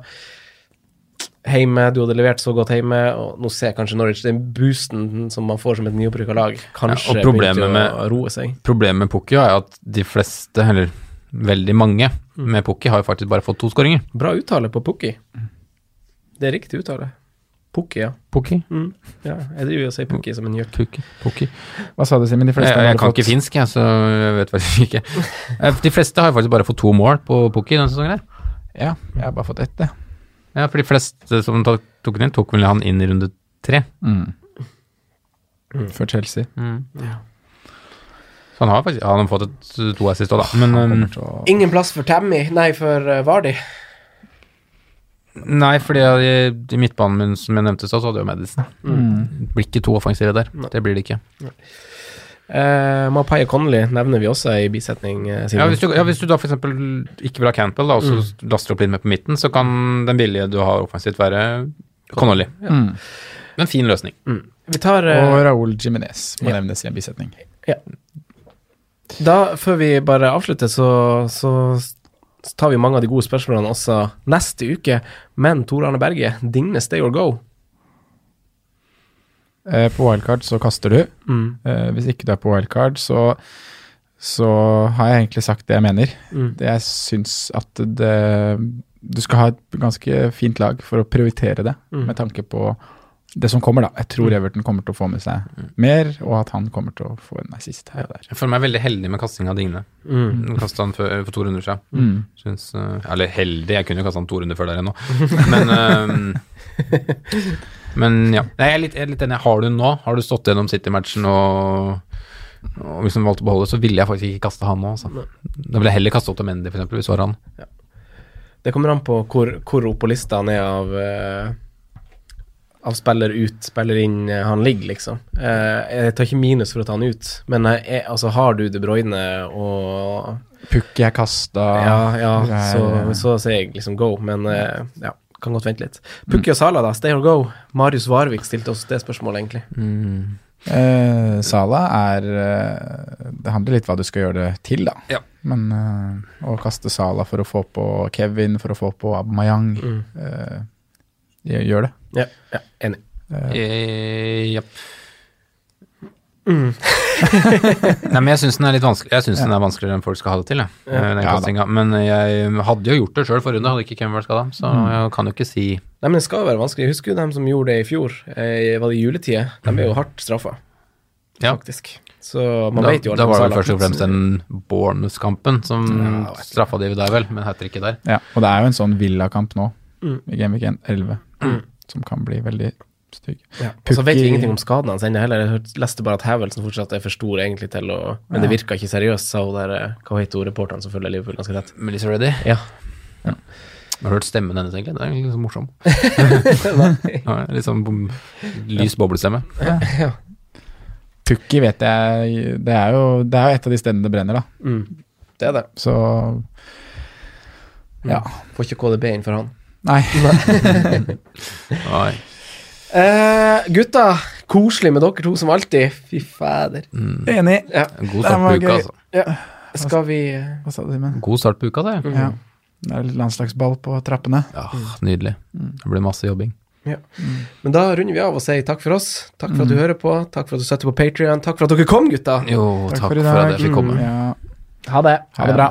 Speaker 3: hjemme, du hadde levert så godt hjemme, og nå ser kanskje Norwich den boosten som man får som et nyopprykka lag, kanskje
Speaker 4: og problemet
Speaker 3: begynte
Speaker 4: med-
Speaker 3: å roe seg.
Speaker 4: Problemet med Pukki er at de fleste, eller veldig mange med Pukki, har jo faktisk bare fått to skåringer.
Speaker 3: Bra uttale på Pukki.
Speaker 5: Mm.
Speaker 3: Det er riktig uttale. Pukki, ja.
Speaker 4: Pukki.
Speaker 3: Mm. ja. Jeg driver jo og sier Pukki som en gjøk.
Speaker 4: Pukki.
Speaker 5: Hva sa du, Simen? De
Speaker 4: Jeg,
Speaker 5: fleste
Speaker 4: jeg,
Speaker 5: har
Speaker 4: kan
Speaker 5: fått-
Speaker 4: ikke finsk, jeg, så jeg vet faktisk ikke. Eh, De fleste har jo faktisk bare fått to mål på Pukki denne sesongen. her.
Speaker 5: Ja, jeg har bare fått ett, jeg.
Speaker 4: Ja, for de fleste som ta- tok den inn, tok vel han inn i runde tre.
Speaker 5: Mm. For Chelsea.
Speaker 4: Så han har faktisk han har fått et, to assist òg, da. Men
Speaker 5: Kommer
Speaker 4: ehm,
Speaker 5: til å
Speaker 3: Ingen plass for Tammy, nei, for eh, Vardy.
Speaker 4: nei, fordi jeg, i midtbanen min, som jeg nevnte i stad, så hadde jeg jo Madison.
Speaker 5: Mm.
Speaker 4: Det Blir ikke to offensive der. Det blir det ikke.
Speaker 3: Eh, Mapai og Connolly nevner vi også i bisetning. eh, Simen.
Speaker 4: Ja, hvis du, ja, hvis du da f.eks. ikke vil ha Campbell, da, og så laster du opp litt mer på midten, så kan den billige du har offensivt, være Connolly.
Speaker 5: Mm.
Speaker 4: Men fin løsning.
Speaker 3: Vi tar eh,
Speaker 5: Og Raúl Jiménez må
Speaker 3: Ja.
Speaker 5: nevnes i en bisetning.
Speaker 3: Da, før vi bare avslutter, så, så s- tar vi mange av de gode spørsmålene også neste uke. Men Tor Arne Berge, Digne stay or go?
Speaker 5: Eh, på wildcard så kaster du.
Speaker 3: Mm.
Speaker 5: Eh, hvis ikke du er på wildcard, så, så har jeg egentlig sagt det jeg mener.
Speaker 3: Mm.
Speaker 5: Det jeg syns at det Du skal ha et ganske fint lag for å prioritere det,
Speaker 3: Mm.
Speaker 5: med tanke på det som kommer, da. Jeg tror Everton kommer til å få med seg
Speaker 3: Mm.
Speaker 5: mer, og at han kommer til å få en assist her og der.
Speaker 4: Jeg føler meg veldig heldig med kasting av Digne.
Speaker 3: Mm.
Speaker 4: Kastet han for, for to runder siden.
Speaker 5: Mm.
Speaker 4: Syns, eh, eller heldig, jeg kunne jo kasta han to runder før der ennå. Men, eh, men ja. Nei, jeg er litt, jeg er litt enig. Har du nå, har du stått gjennom City-matchen og, og liksom valgt å beholde, så ville jeg faktisk ikke kaste han nå. Altså. Da ville jeg heller kaste opp til Mendy, f.eks., hvis det var han.
Speaker 3: Det kommer an på hvor, hvor opp på lista han er av, eh, av spiller ut, spiller inn eh, han ligger, liksom. Eh, jeg tar ikke minus for å ta han ut, men eh, jeg, altså, har du De Bruyne og
Speaker 5: Pukki er kasta
Speaker 4: Ah,
Speaker 3: Ja, ja,
Speaker 5: det er-
Speaker 3: så, så sier jeg liksom go, men eh, ja, kan godt vente litt. Pukki og Sala, da. Stay or go? Marius Varvik stilte oss det spørsmålet, egentlig.
Speaker 5: Eh, Sala er eh, Det handler litt hva du skal gjøre det til, da.
Speaker 4: Ja.
Speaker 5: Men eh, å kaste Sala for å få på Kevin, for å få på Aubameyang
Speaker 4: Mm.
Speaker 5: eh, gjør- Gjør det.
Speaker 3: Ja, ja enig.
Speaker 4: Eh, ja.
Speaker 3: Mm.
Speaker 4: *laughs* Nei, men jeg syns den er litt vanskelig Jeg synes den er vanskeligere enn folk skal ha det til. Jeg. Eh, Den
Speaker 5: Ja, da.
Speaker 4: kastinga. men jeg hadde jo gjort det sjøl forrige runde, hadde ikke Kevin vært skada. Så
Speaker 3: Mm.
Speaker 4: jeg kan jo ikke si
Speaker 3: Nei, men det skal jo være vanskelig. Husker du dem som gjorde det i fjor? Eh, var det i juletida? De ble jo hardt straffa,
Speaker 4: ja.
Speaker 3: faktisk. Så man
Speaker 4: da,
Speaker 3: vet jo
Speaker 4: da
Speaker 3: om
Speaker 4: var det vel
Speaker 3: Salah.
Speaker 4: først og fremst den Bournemouth-kampen som
Speaker 3: Ja, jeg vet
Speaker 4: straffa de der, vel, men heter ikke der.
Speaker 5: Ja, og det er jo en sånn villakamp nå,
Speaker 3: Mm.
Speaker 5: i Gameweek 11,
Speaker 4: Mm.
Speaker 5: som kan bli veldig stygg.
Speaker 3: Ja. Og så vet
Speaker 5: Pukki-
Speaker 3: vi ingenting om skaden hans ennå heller. Jeg hørte- leste bare at hevelsen fortsatt er for stor egentlig til å Men det virka ikke seriøst, sa hun der eh, Hva heter hun reporteren som følger Liverpool ganske tett?
Speaker 4: Melissa Reddy?
Speaker 3: Ja.
Speaker 4: Har du hørt stemmen hennes, egentlig? Det er litt
Speaker 3: *laughs*
Speaker 4: sånn morsom. Ja, litt sånn bom, lys boblestemme.
Speaker 5: Pukki vet jeg Det er jo, det er jo et av de stedene det brenner, da.
Speaker 3: Mm. Det er det.
Speaker 5: Så
Speaker 4: Mm.
Speaker 5: Ja.
Speaker 3: Får ikke KDB inn for han.
Speaker 4: *laughs*
Speaker 5: Nei.
Speaker 4: Oi.
Speaker 3: Eh, gutta, koselig med dere to som alltid. Fy fader.
Speaker 5: *laughs* Enig.
Speaker 3: Ja.
Speaker 4: God
Speaker 5: Den
Speaker 4: start på
Speaker 5: var
Speaker 4: uka,
Speaker 5: gøy.
Speaker 4: altså.
Speaker 3: Skal vi eh,
Speaker 5: Hva sa du, Simen?
Speaker 4: God altså. start på uka, det.
Speaker 3: Mm.
Speaker 5: Ja. Det er litt landslagsball på trappene.
Speaker 4: Ja, nydelig.
Speaker 3: Mm.
Speaker 4: Det blir masse jobbing.
Speaker 3: Men da runder vi av og sier takk for oss. Takk for at du hører på. Takk for at du støtter på Patrion. Takk for at dere kom, gutta.
Speaker 4: Jo, takk, for, at jeg fikk komme.
Speaker 5: Mm, Ja.
Speaker 3: Ha det.
Speaker 5: Ha det bra.